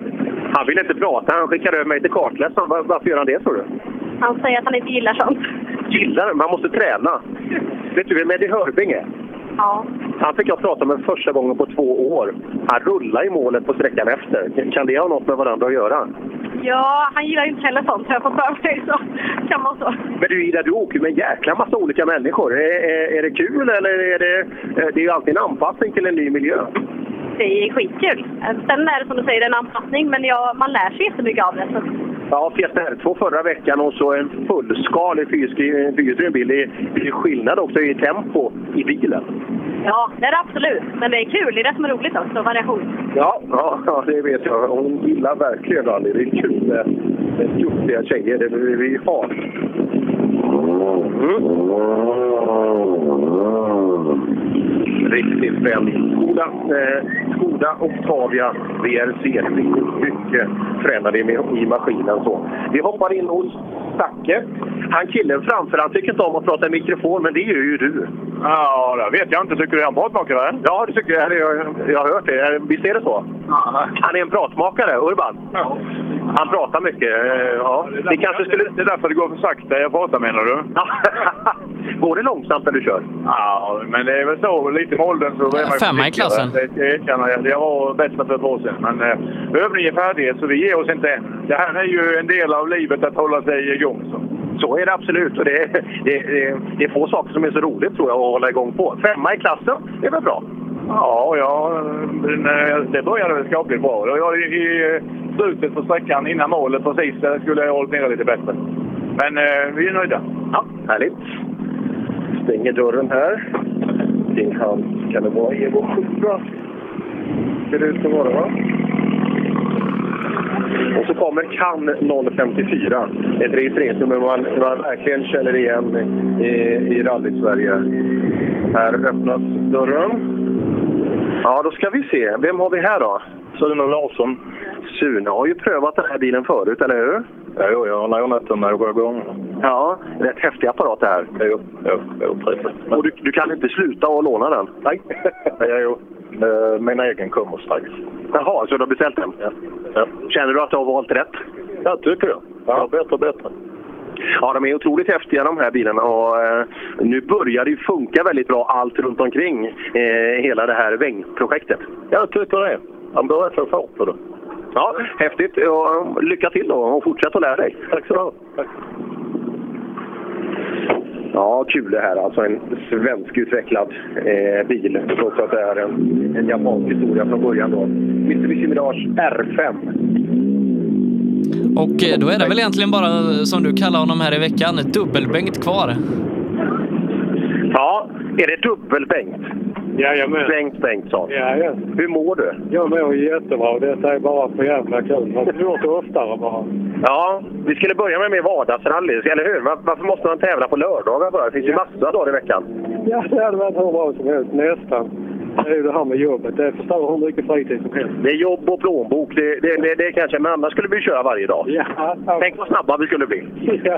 Speaker 4: han vill inte prata. Han skickar över mig till kartläsaren. Var- Varför gör han det tror du?
Speaker 27: Han säger att han inte gillar sånt.
Speaker 4: Gillar det, man måste träna. Vet du vem Eddie Hörbing är?
Speaker 27: Ja.
Speaker 4: Han fick jag prata med första gången på två år. Han rullade i målet på sträckan efter. Kan det ha något med varandra att göra?
Speaker 27: Ja, han gillar ju inte heller sånt har jag fått för mig. Så kan man så.
Speaker 4: Men du Ida, du åker ju med en jäkla massa olika människor. Är, är, är det kul eller är det... eh, Det är ju alltid en anpassning till en ny miljö.
Speaker 27: Det är skitkul. Sen är det som du säger en anpassning, men ja, man lär sig jättemycket av det. Så.
Speaker 4: Ja, Fiesta R2 förra veckan och så en fullskalig fyrskri- fyrhjulsdriven bil. Det är- det är skillnad också i tempo i bilen.
Speaker 27: Ja, det är det absolut. Men det är kul. Det är det som är roligt också, variation.
Speaker 4: Ja, ja, ja, det vet jag. Hon gillar verkligen rally. Det är kul med, med duktiga tjejer. Det vill vi ha. Mm. Riktigt väldigt. Skoda, eh, Skoda Octavia VRC. Riktigt mycket tränade i, i maskinen. så. Vi hoppar in hos Zacke. Han killen framför, han tycker inte om att prata i mikrofon, men det gör ju du. Ja, det vet jag inte. Tycker du är en pratmakare? Ja, det tycker jag. Jag, jag har hört det. Eh, Visst är det så? Han är en pratmakare, Urban. Han pratar mycket. eh, Ja. Det, kanske skulle... det är därför det går för sakta. Jag pratar menar du? går det långsamt när du kör?
Speaker 33: Ja, men det är väl så. Lite med åldern så är man ju
Speaker 3: Femma
Speaker 33: försiktigare.
Speaker 3: i klassen.
Speaker 33: Det det erkänner jag. Jag var bästa för ett år sedan. Men eh, övningen är färdig, så vi ger oss inte än. Det här är ju en del av livet att hålla sig igång. Så.
Speaker 4: Så är det absolut. Och det, det, det, det är få saker som är så roligt tror jag att hålla igång på. Femma i klassen, det är väl bra?
Speaker 33: Ja, ja men, eh, det började väl skapligt bra. Jag, jag, I eh, slutet på sträckan innan målet precis där skulle jag hållit nere lite bättre. Men eh, vi är nöjda.
Speaker 4: Ja, härligt. Stänger dörren här. Din hand kan det vara Evo 7. Ser det ut att vara va? Och så kommer CAN 054. Ett registreringsnummer man, man verkligen känner igen i, i rally-Sverige. Här öppnas dörren. Ja, då ska vi se. Vem har vi här då? Sune Larsson. Sune har ju prövat den här bilen förut, eller hur? Ja, jo, jag har lånat den några gånger. Ja, rätt häftig apparat det här. Jo, jo, jo precis. Och du, du kan inte sluta att låna den? Nej. ja, jo. Eh, Min egen kommer strax. Jaha, så du har beställt den? Ja. Känner du att du har valt rätt? Ja, tycker jag. Ja, bättre och bättre. Ja, de är otroligt häftiga de här bilarna och eh, nu börjar det ju funka väldigt bra allt runt omkring eh, hela det här vängprojektet. Jag tycker det. Man börjar få fart på det. Ja, häftigt. Och eh, lycka till då och fortsätt att lära dig. Tack så du ha. Ja, kul det här. Alltså en svenskutvecklad eh, bil, trots att det är en, en japansk historia från början. Då. Mitsubishi Mirage R5.
Speaker 3: Och eh, då är det väl egentligen bara, eh, som du kallar honom här i veckan, dubbelbänkt kvar.
Speaker 4: Ja, är det dubbelbänkt?
Speaker 6: Jajamän.
Speaker 4: Bengt Bengtsson.
Speaker 6: Jajamän.
Speaker 4: Hur mår du?
Speaker 6: Jag mår jättebra. Detta är bara för jävla kul. Man borde gjort det oftare bara.
Speaker 4: Ja, vi skulle börja med mer vardagsrally, eller hur? Var- Varför måste man tävla på lördagar bara? Det finns ju massa dagar i veckan.
Speaker 6: Ja, det hade varit hur bra som helst. Nästan. det är ju det här med jobbet. Det förstör hur mycket fritid som helst.
Speaker 4: Det är jobb och plånbok, det, det, det, det kanske, men annars skulle vi köra varje dag. Tänk vad snabba vi skulle bli.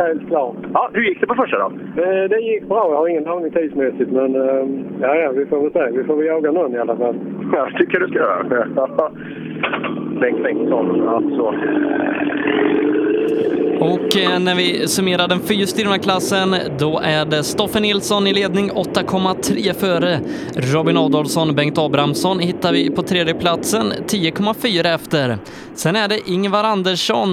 Speaker 6: Ja, helt klart.
Speaker 4: Ja, hur gick det på första då?
Speaker 6: Eh, Det gick bra. Jag har ingen aning tidsmässigt, men eh, ja, ja, vi får väl se. Vi får väl jaga någon i alla fall.
Speaker 4: Jag tycker du ska göra. Bengt Bengtsson, alltså.
Speaker 3: Och eh, när vi summerar den fyrstyrna klassen, då är det Stoffe Nilsson i ledning 8,3 före. Robin Adolfsson, Bengt Abrahamsson hittar vi på tredje platsen 10,4 efter. Sen är det Ingvar Andersson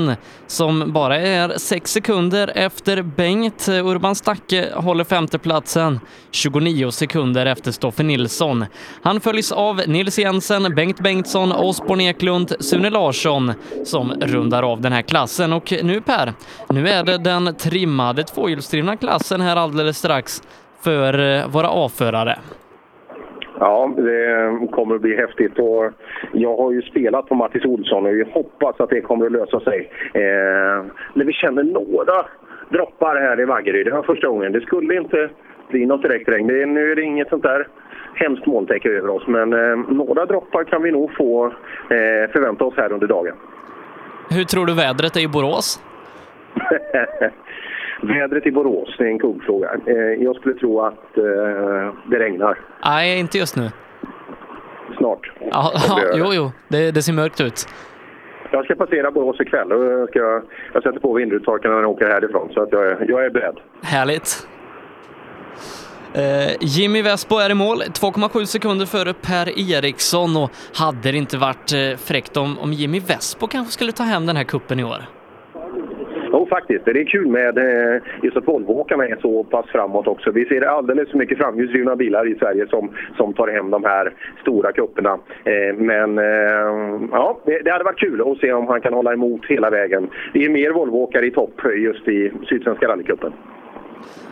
Speaker 3: som bara är 6 sekunder efter Bengt. Urban Stacke eh, håller femteplatsen 29 sekunder efter Stoffe Nilsson. Han följs av Nils Jensen, Bengt Bengtsson, Osborne Eklund, Sune Larsson som rundar av den här klassen. Och nu Per, nu är det den trimmade tvåhjulsdrivna klassen här alldeles strax för eh, våra avförare.
Speaker 4: Ja, det kommer att bli häftigt. Och jag har ju spelat på Mattis Olsson och vi hoppas att det kommer att lösa sig. Eh, men vi känner några droppar här i Vaggeryd. Det var första gången. Det skulle inte bli något direkt regn. Det, är- nu är det inget sånt där hemskt molntäcke över oss. Men eh, några droppar kan vi nog få eh, förvänta oss här under dagen.
Speaker 3: Hur tror du vädret är i Borås?
Speaker 4: Vädret i Borås är en kuggfråga. Eh, jag skulle tro att eh, det regnar
Speaker 3: Nej, inte just nu.
Speaker 4: snart.
Speaker 3: Ja, ja, jo, jo, det, det ser mörkt ut.
Speaker 4: Jag ska passera Borås ikväll och jag, ska, jag sätter på vindrutetorkarna när jag åker härifrån så att jag, är- jag är beredd.
Speaker 3: Härligt. Eh, Jimmy Vespo är i mål, 2,7 sekunder före Per Eriksson och hade det inte varit eh, fräckt om, om Jimmy Vespo kanske skulle ta hem den här kuppen i år?
Speaker 4: Jo, faktiskt. Det är kul med eh, just att Volvoåkarna är så pass framåt också. Vi ser alldeles för mycket framhjulsdrivna bilar i Sverige som, som tar hem de här stora cuperna. Eh, men eh, ja, det, det hade varit kul att se om han kan hålla emot hela vägen. Det är mer Volvoåkare i topp just i Sydsvenska rallycupen.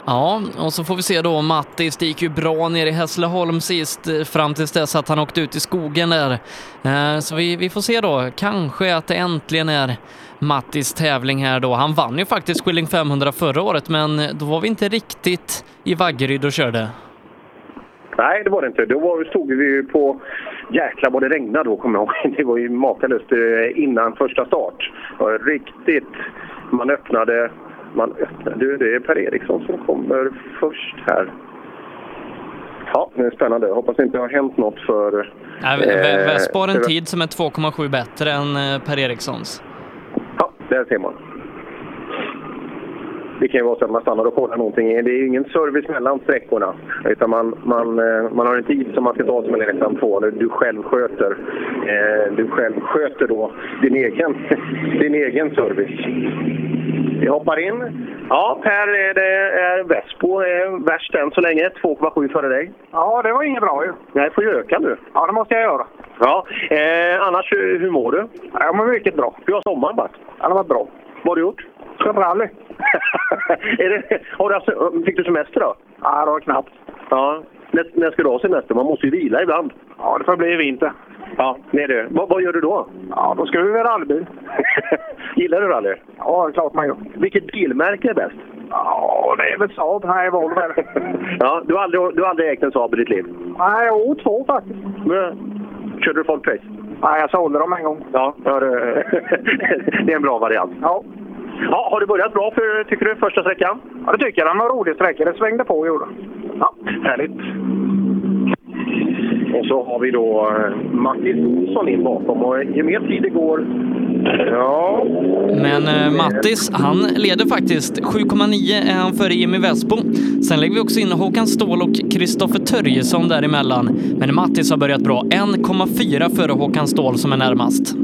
Speaker 3: Ja, och så får vi se då Mattis, det gick ju bra nere i Hässleholm sist eh, fram tills dess att han åkte ut i skogen där. Eh, Så vi, vi får se då, kanske att det äntligen är Mattis tävling här då. Han vann ju faktiskt Skilling 500 förra året men då var vi inte riktigt i Vaggeryd och körde.
Speaker 4: Nej, det var det inte. Då var, stod vi ju på... Jäklar vad det regnade då, kommer jag ihåg. Det var ju makalöst eh, innan första start. Det var riktigt... Man öppnade... Man öppnade... Du, det är Per Eriksson som kommer först här. Ja, det är spännande. Jag hoppas inte det har hänt något för...
Speaker 3: Nej, Vä- Vä-
Speaker 4: eh,
Speaker 3: Vespo har en
Speaker 4: för-
Speaker 3: tid som är 2,7 bättre än eh, Per Erikssons.
Speaker 4: Ja, där ser man. Det kan ju vara så att man stannar och kollar någonting. Det är ju ingen service mellan sträckorna. Utan man, man, eh, man har en tid som man ska ta som en ensam två. eller Du själv sköter, eh, du själv sköter då din egen, din egen service. Vi hoppar in. Ja, Per, eh, det är Vespo eh, värst än så länge. 2,7 före dig.
Speaker 5: Ja, det var inget bra ju.
Speaker 4: Nej, får ju öka nu.
Speaker 5: Ja, det måste jag göra.
Speaker 4: Ja, eh, annars hur, hur mår du?
Speaker 5: Jag mår mycket bra.
Speaker 4: Hur har sommaren varit?
Speaker 5: Ja, det var bra.
Speaker 4: Vad har du gjort?
Speaker 5: Rally.
Speaker 4: är det, har du haft, fick du semester då?
Speaker 5: Ja, det var knappt.
Speaker 4: Ja. När, när ska du ha semester? Man måste ju vila ibland.
Speaker 5: Ja, det får bli vinter.
Speaker 4: Ja, det är det. Vad, vad gör du då?
Speaker 5: Ja, då ska vi väl rallybil.
Speaker 4: Gillar du rally?
Speaker 5: Ja, det är klart man gör.
Speaker 4: Vilket bilmärke är bäst?
Speaker 5: Ja, det är väl Saab. Nej, Volvo är det.
Speaker 4: Ja, du har aldrig, du har aldrig ägt en Saab i ditt liv?
Speaker 5: Nej, jo, två faktiskt.
Speaker 4: Men, körde du folkrace?
Speaker 5: Nej, jag sålde dem en gång.
Speaker 4: Ja, ja, det, det är en bra variant.
Speaker 5: Ja.
Speaker 4: ja. Har det börjat bra, för, tycker du, första sträckan?
Speaker 5: Ja, det tycker jag. Den var rolig sträcka. Det svängde på gjorde den.
Speaker 4: Ja, härligt. Och så har vi då eh, Mattis Olsson in bakom och ju mer tid det går... Ja,
Speaker 3: Men eh, Mattis, han leder faktiskt. 7,9 är han före Jimmy Vespo. Sen lägger vi också in Håkan Ståhl och Kristoffer Törjesson däremellan. Men Mattis har börjat bra. 1,4 före Håkan Ståhl som är närmast.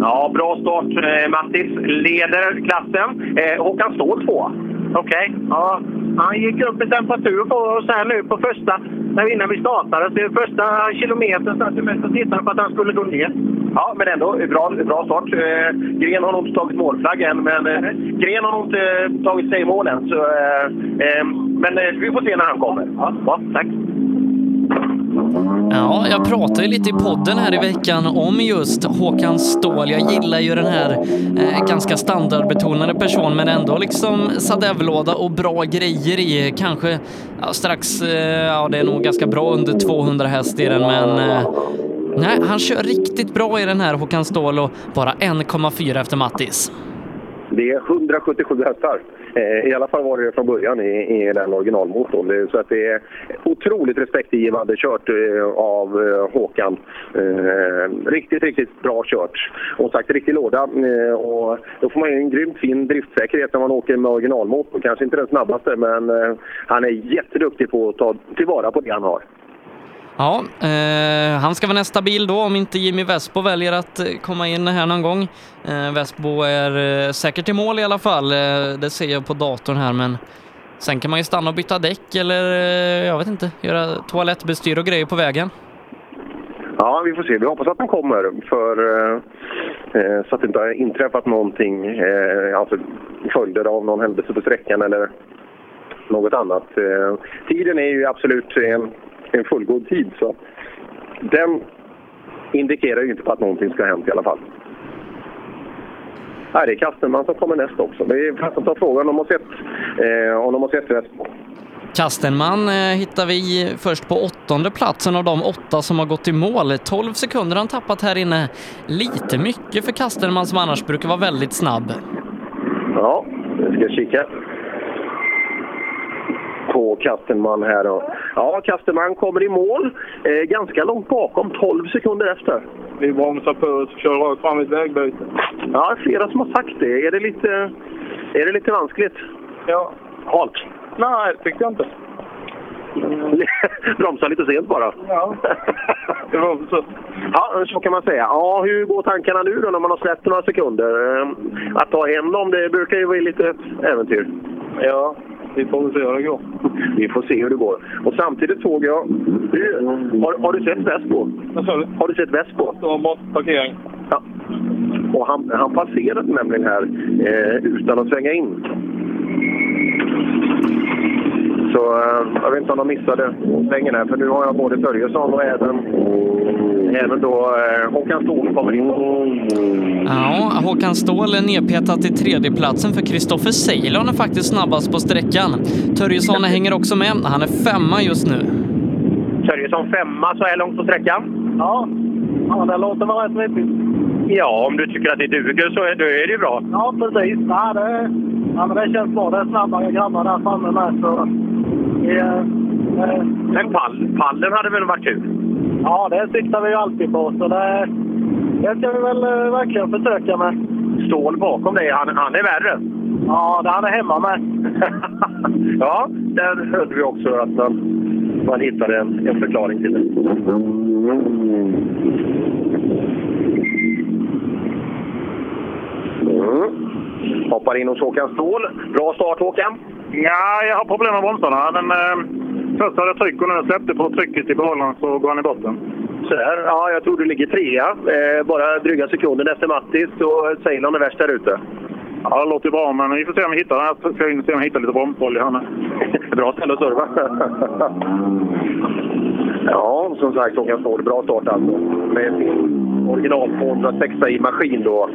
Speaker 39: Ja, bra start. Eh, Mattis leder klassen. Eh, Håkan Ståhl tvåa. Okej. Ja, han gick upp i temperatur på oss här nu på första, när innan vi startade. Så första kilometern satt vi mest och tittade på att han skulle gå ner.
Speaker 4: Ja, men ändå bra, bra start. Eh, Gren har nog inte tagit målflagg än, men eh, Gren har nog inte eh, tagit sig i mål än. Så, eh, eh, men eh, vi får se när han kommer. Ja, tack.
Speaker 3: Ja, jag pratade ju lite i podden här i veckan om just Håkan Ståhl. Jag gillar ju den här eh, ganska standardbetonade personen men ändå liksom sadev-låda och bra grejer i. Kanske ja, strax, eh, ja det är nog ganska bra under 200 häst i den men eh, nej, han kör riktigt bra i den här Håkan Ståhl och bara 1,4 efter Mattis.
Speaker 4: Det är 177 hästar. Eh, I alla fall var det det från början i, i den originalmotorn. Det- Så att det är otroligt respektingivande kört eh, av eh, Håkan. Eh, Riktigt, riktigt biktigt bra kört. Och sagt, riktig låda. Eh, Och då får man ju en grymt fin driftsäkerhet när man åker med originalmotor. Kanske inte den snabbaste, men eh, han är jätteduktig på att ta tillvara på det han har.
Speaker 3: Ja, eh, han ska vara nästa bil då om inte Jimmy Vespo väljer att eh, komma in här någon gång. Eh, Vespo är eh, säkert i mål i alla fall, eh, det ser jag på datorn här men sen kan man ju stanna och byta däck eller eh, jag vet inte, göra toalettbestyr och grejer på vägen.
Speaker 4: Ja, vi får se. Vi hoppas att han kommer. För, eh, eh, så att det inte har inträffat någonting, eh, alltså följder av någon händelse på sträckan eller något annat. Eh, tiden är ju absolut en, en fullgod tid, så den indikerar ju inte på att någonting ska ha hänt i alla fall. Nej, det är Kastenman som kommer näst också. Vi får ta frågan om de har sett, eh, om de har sett Västbo.
Speaker 3: Kastenman eh, hittar vi först på åttonde platsen av de åtta som har gått i mål. 12 sekunder har han tappat här inne. Lite mycket för Kastenman som annars brukar vara väldigt snabb.
Speaker 4: Ja, vi ska kika på Kastenman här. Då. Ja, Kastenman kommer i mål. Eh, ganska långt bakom, 12 sekunder efter.
Speaker 38: Vi bromsar på och kör rakt fram i ett vägbyte.
Speaker 4: Ja, det är flera som har sagt det. Är det lite, är det lite vanskligt?
Speaker 38: Ja.
Speaker 4: Halt?
Speaker 38: Nej, det tyckte jag inte.
Speaker 4: Bromsa Mm. lite sent bara.
Speaker 38: Ja. Det var så.
Speaker 4: Ja, så kan man säga. Ja, hur går tankarna nu då när man har släppt några sekunder? Eh, Att ta hem dem, det brukar ju vara lite ett äventyr.
Speaker 38: Ja, vi får väl se hur det går.
Speaker 4: Vi får se hur det går. Och samtidigt såg jag... Du, har, har du sett Vespo?
Speaker 38: Mm. Vad sa du?
Speaker 4: Har du sett Vespo?
Speaker 38: Det var bort parkering.
Speaker 4: Ja. Och han, han passerade nämligen här eh, utan att svänga in. Så eh, jag vet inte om de missade svängen här, för nu har jag både Börjesson och även, även då eh, Håkan Ståhl kommer in.
Speaker 3: Ja, Håkan Ståhl är nedpetad till tredjeplatsen för Kristoffer Ceylon är faktiskt snabbast på sträckan. Törjesson hänger också med. Han är femma just nu.
Speaker 39: Sörjesson femma så här långt på sträckan. Ja, ja det låter väl rätt vettigt.
Speaker 38: Ja, om du tycker att det duger så är, då är det ju bra.
Speaker 39: Ja, precis. Ja, det, ja, men det känns bra. Det är snabbare grabbar där framme med. Så, eh, ja,
Speaker 38: Men pall, pallen hade väl varit kul?
Speaker 39: ja, det siktar vi ju alltid på. Så det, det ska vi väl eh, verkligen försöka med.
Speaker 4: Stål bakom dig, han, han är värre.
Speaker 39: Ja, det han är hemma med.
Speaker 4: Ja, där hörde vi också att man, man hittade en, en förklaring till det. Mm. Hoppar in hos Håkan Ståhl. Bra start Håkan.
Speaker 8: Ja, jag har problem med bromsarna. Den, eh, först hade jag tryck och när jag släppte på trycket i behållaren så går han i botten.
Speaker 4: Så här, ja, jag tror du ligger trea. Eh, bara dryga sekunden efter Mattis och Ceylon är värst där ute.
Speaker 8: Ja, det låter bra, men vi får se om vi hittar den. Jag ska in och se om jag hittar lite bromsolja här nu.
Speaker 4: Bra ställe att serva. Ja, som sagt, Håkan Ståhl, bra start alltså. Med sin original 206 i maskin då,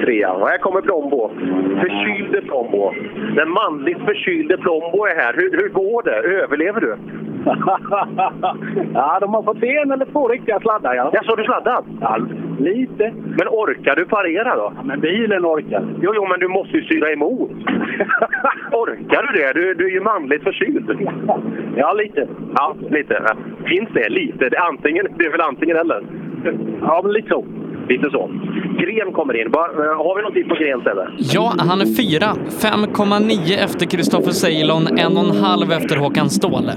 Speaker 4: trea. Och här kommer Plombo. Förkylde Plombo. Den manligt förkylde Plombo är här. Hur, hur går det? Överlever du?
Speaker 2: ja, de har fått en eller två riktiga sladdar. Ja.
Speaker 4: Jag såg du sladdat?
Speaker 2: Ja, lite.
Speaker 4: Men orkar du parera då?
Speaker 2: men bilen orkar.
Speaker 4: Jo, jo, men du måste ju styra emot. orkar du det? Du, du är ju manligt förkyld.
Speaker 2: ja, lite.
Speaker 4: Ja, lite. Ja. Finns det lite? Det är, antingen, det är väl antingen eller? Ja, men lite så. Lite så. Gren kommer in. Bara, eh, har vi någon tid på Grens eller?
Speaker 3: Ja, han är fyra. 5,9 efter Kristoffer Ceylon, 1,5 efter Håkan Ståhl.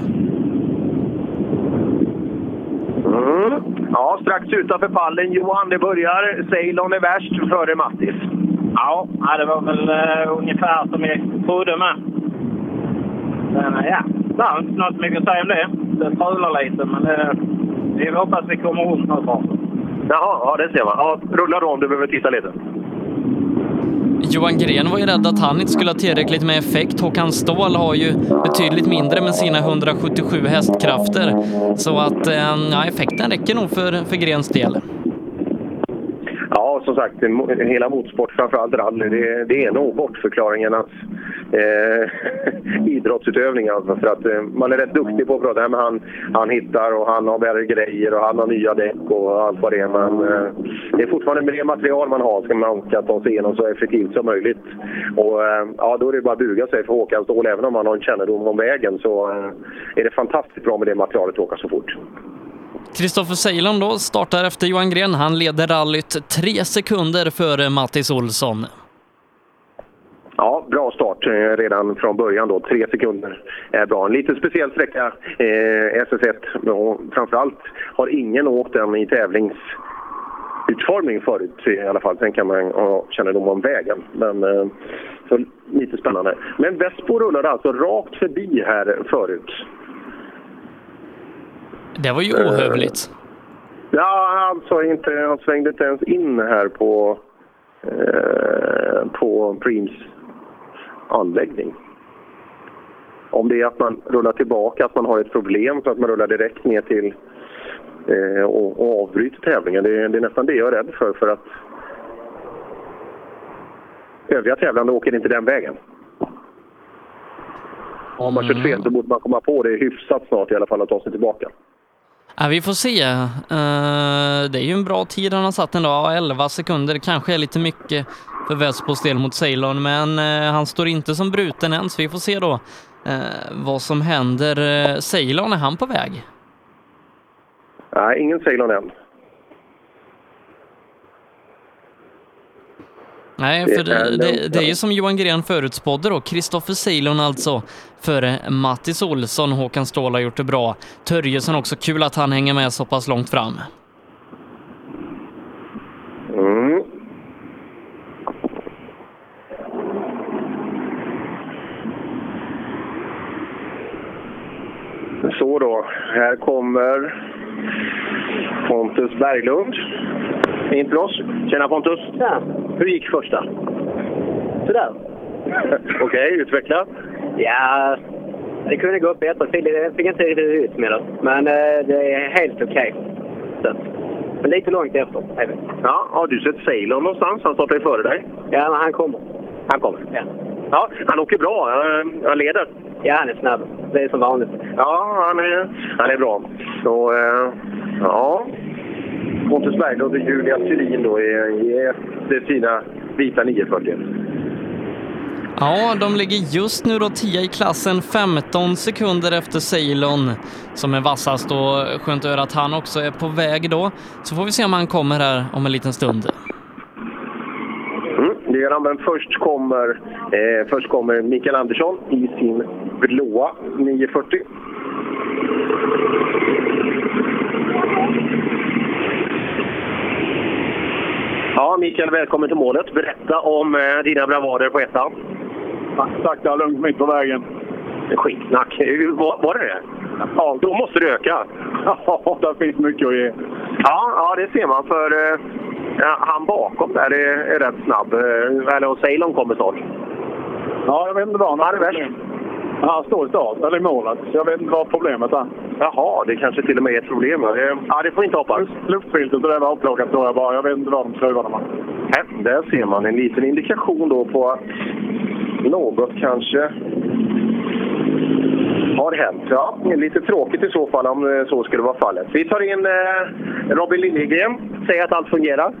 Speaker 4: Mm. Ja, strax utanför pallen. Johan, det börjar. Ceylon är värst före Mattis.
Speaker 39: Ja, ja, det var väl eh, ungefär som jag trodde med. Men eh, ja, det är inte något mycket att säga om det. Det strular lite, men eh, vi hoppas vi kommer runt något bra.
Speaker 4: Jaha, ja, det ser man. Ja, rulla då om du behöver titta lite.
Speaker 3: Johan Gren var ju rädd att han inte skulle ha tillräckligt med effekt. Håkan Ståhl har ju betydligt mindre med sina 177 hästkrafter. Så att eh, ja, effekten räcker nog för, för Grens del.
Speaker 4: Ja, som sagt, mo- hela motorsport, framförallt rally, det, det är nog bortförklaringarnas eh, idrottsutövning. Alltså, för att eh, man är rätt duktig på att prata. Nej, men han, han hittar och han har bättre grejer och han har nya däck och allt vad det är. Men eh, det är fortfarande med det material man har ska man ska ta sig igenom så effektivt som möjligt. Och eh, ja, då är det bara att buga sig för Håkan Ståhl. Även om han har en kännedom om vägen så eh, är det fantastiskt bra med det materialet att åka så fort.
Speaker 3: Kristoffer Seilan då startar efter Johan Gren. Han leder rallyt tre sekunder före Mattis Olsson.
Speaker 4: Ja, bra start eh, redan från början då. Tre sekunder är bra. En lite speciell sträcka, eh, SS1. Och framförallt har ingen åkt den i tävlingsutformning förut i alla fall. Sen kan man ha kännedom om vägen. Men, eh, så lite spännande. Men Vespo rullade alltså rakt förbi här förut.
Speaker 3: Det var ju ohövligt.
Speaker 4: Ja, han, sa inte, han svängde inte ens in här på, eh, på Preems anläggning. Om det är att man rullar tillbaka, att man har ett problem så att man rullar direkt ner till eh, och, och avbryter tävlingen. Det, är- det är nästan det jag är rädd för. för att Övriga tävlande åker inte den vägen. Om man kört fel så borde man komma på det hyfsat snart i alla fall att ta sig tillbaka.
Speaker 3: Ja, vi får se. Eh, det är ju en bra tid han har satt ändå. Ja, 11 sekunder kanske är lite mycket för Vespos del mot Ceylon, men eh, han står inte som bruten än, så vi får se då eh, vad som händer. Uh, Ceylon, är han på väg?
Speaker 4: Nej, ingen Ceylon än.
Speaker 3: Nej,
Speaker 4: Det
Speaker 3: för
Speaker 4: är
Speaker 3: det, det,
Speaker 4: lugnt,
Speaker 3: det är ju som Johan Gren förutspådde då. Kristoffer Ceylon alltså före Mattis Olsson. Håkan Ståhl har gjort det bra. Törjesson också. Kul att han hänger med så pass långt fram.
Speaker 4: Mm. Så då, här kommer Pontus Berglund. In till oss. Tjena Pontus! Ja. Hur gick första?
Speaker 20: Sådär.
Speaker 4: Okej, utveckla.
Speaker 20: Ja, det kunde gå bättre till. Det fick inte riktigt ut med det. Men eh, det är helt okej. Så att- Men lite långt efter. är vi.
Speaker 4: Ja, har du sett Ceylon någonstans? Han startar ju före dig.
Speaker 20: Ja, men han kommer. Han kommer. Ja.
Speaker 4: Ja, han åker bra. Han leder.
Speaker 20: Ja, han är snabb. Det är som vanligt.
Speaker 4: Ja, han är, han är bra. Så, eh, ja. Pontus Berglund och Julia Thulin då är efter sina vita 940.
Speaker 3: Ja, de ligger just nu då 10 i klassen, 15 sekunder efter Ceylon som är vassast och skönt att höra att han också är på väg då. Så får vi se om han kommer här om en liten stund.
Speaker 4: Mm, det gör han, men först kommer, eh, först kommer Mikael Andersson i sin blåa 940. Ja, Mikael, välkommen till målet. Berätta om eh, dina bravader på ettan. Sakta lugnt mitt på vägen. Skitsnack. Var, var det det? Ja, då måste du öka. Ja, det finns mycket att ge. Ja, ja det ser man. För eh, ja, han bakom där är, är rätt snabb. Eh, Eller och Ceylon kommer snart.
Speaker 38: Ja, jag vet inte vad han är värst. Han står i start, eller i målet. Jag vet inte vad problemet är.
Speaker 4: Jaha, det kanske till och med är ett problem. Ja, det får inte hoppas.
Speaker 38: Luftfiltret och det var upplockat tror jag bara. Jag vet inte vad de skruvarna var.
Speaker 4: Nej, Där ser man en liten indikation då på att något kanske har hänt. Ja, det är lite tråkigt i så fall om eh, så skulle vara fallet. Vi tar in eh, Robin Liljegren. Säg att allt fungerar.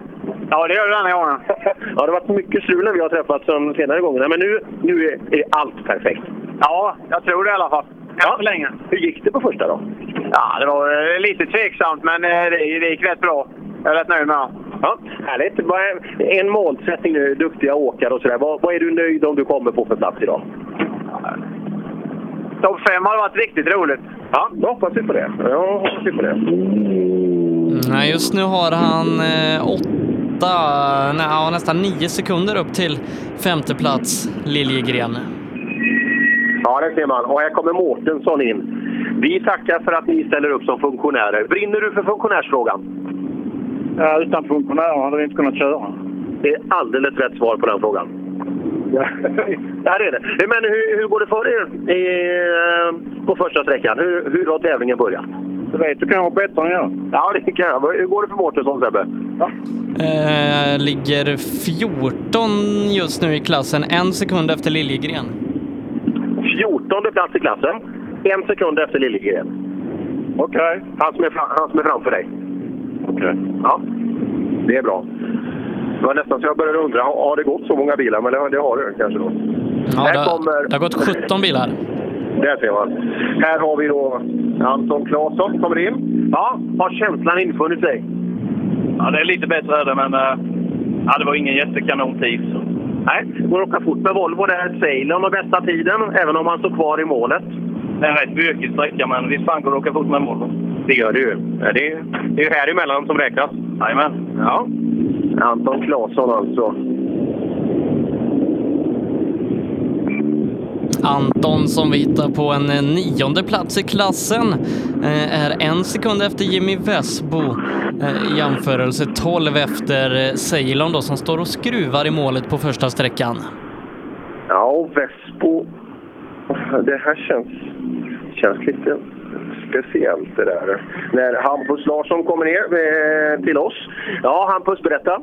Speaker 4: Ja, det gör det den här gången. ja, det har varit mycket strul när vi har träffats de senare gångerna, men nu, nu är- är allt perfekt.
Speaker 5: Ja, jag tror det i alla fall. Än så länge.
Speaker 4: Hur gick det på första då?
Speaker 5: Ja, det var eh, lite tveksamt, men eh, det, det gick rätt bra. Jag är rätt nöjd med det.
Speaker 4: Ja, härligt. Vad är- En målsättning nu, duktiga åkare och sådär. Vad, vad är du nöjd om du kommer på för plats idag?
Speaker 5: Topp fem hade varit riktigt roligt.
Speaker 4: Ja, då hoppas vi på det. Ja, hoppas vi på det.
Speaker 3: Mm, Nej, just nu har han eh, åtta, nej, ja, nästan nio sekunder upp till femte plats Liljegren.
Speaker 4: Ja, det ser man. Och här kommer Mårtensson in. Vi tackar för att ni ställer upp som funktionärer. Brinner du för funktionärsfrågan?
Speaker 8: Ja, utan funktionärer hade vi inte kunnat köra.
Speaker 4: Det är alldeles rätt svar på den frågan. Ja, det är det. Men hur, hur går det för er i, eh, på första sträckan? Hur, hur har tävlingen börjat? Du vet, du kan vara bättre än jag. Ja, det kan jag. Hur går det för Mårtensson, Sebbe?
Speaker 3: Eh, ligger 14 just nu i klassen, en sekund efter Liljegren.
Speaker 4: 14 plats i klassen, en sekund efter Liljegren. Okej. Han, som är fra- han som är framför dig. Okej. Ja, det är bra. Det var nästan så jag började undra, har har det gått så många bilar? Men det har- det har det kanske då.
Speaker 3: Ja, det, har- det har gått 17 bilar.
Speaker 4: Där ser man. Här har vi då Anton Claesson kommer in. Ja, har känslan infunnit sig?
Speaker 47: Ja, det är lite bättre är det, men eh, ja, det var ingen jättekanontid. Så.
Speaker 4: Nej, går att åka fort med Volvo där. Ceylon och bästa tiden, även om han står kvar i målet.
Speaker 47: Det är en rätt bökig sträcka, men visst fan går det att åka fort med en Volvo.
Speaker 4: Det gör det ju. Ja, Det är, det är ju här emellan som räknas. Jajamän. Ja. Anton Claesson alltså.
Speaker 3: Anton som vi hittar på en eh, nionde plats i klassen eh, är en sekund efter Jimmy Vesbo eh, i jämförelse 12 efter eh, Ceylon då som står och skruvar i målet på första sträckan.
Speaker 4: Ja, och Vespo. Det här känns, känns lite speciellt det där. När Hampus Larsson kommer ner eh, till oss. Ja, Hampus, berätta.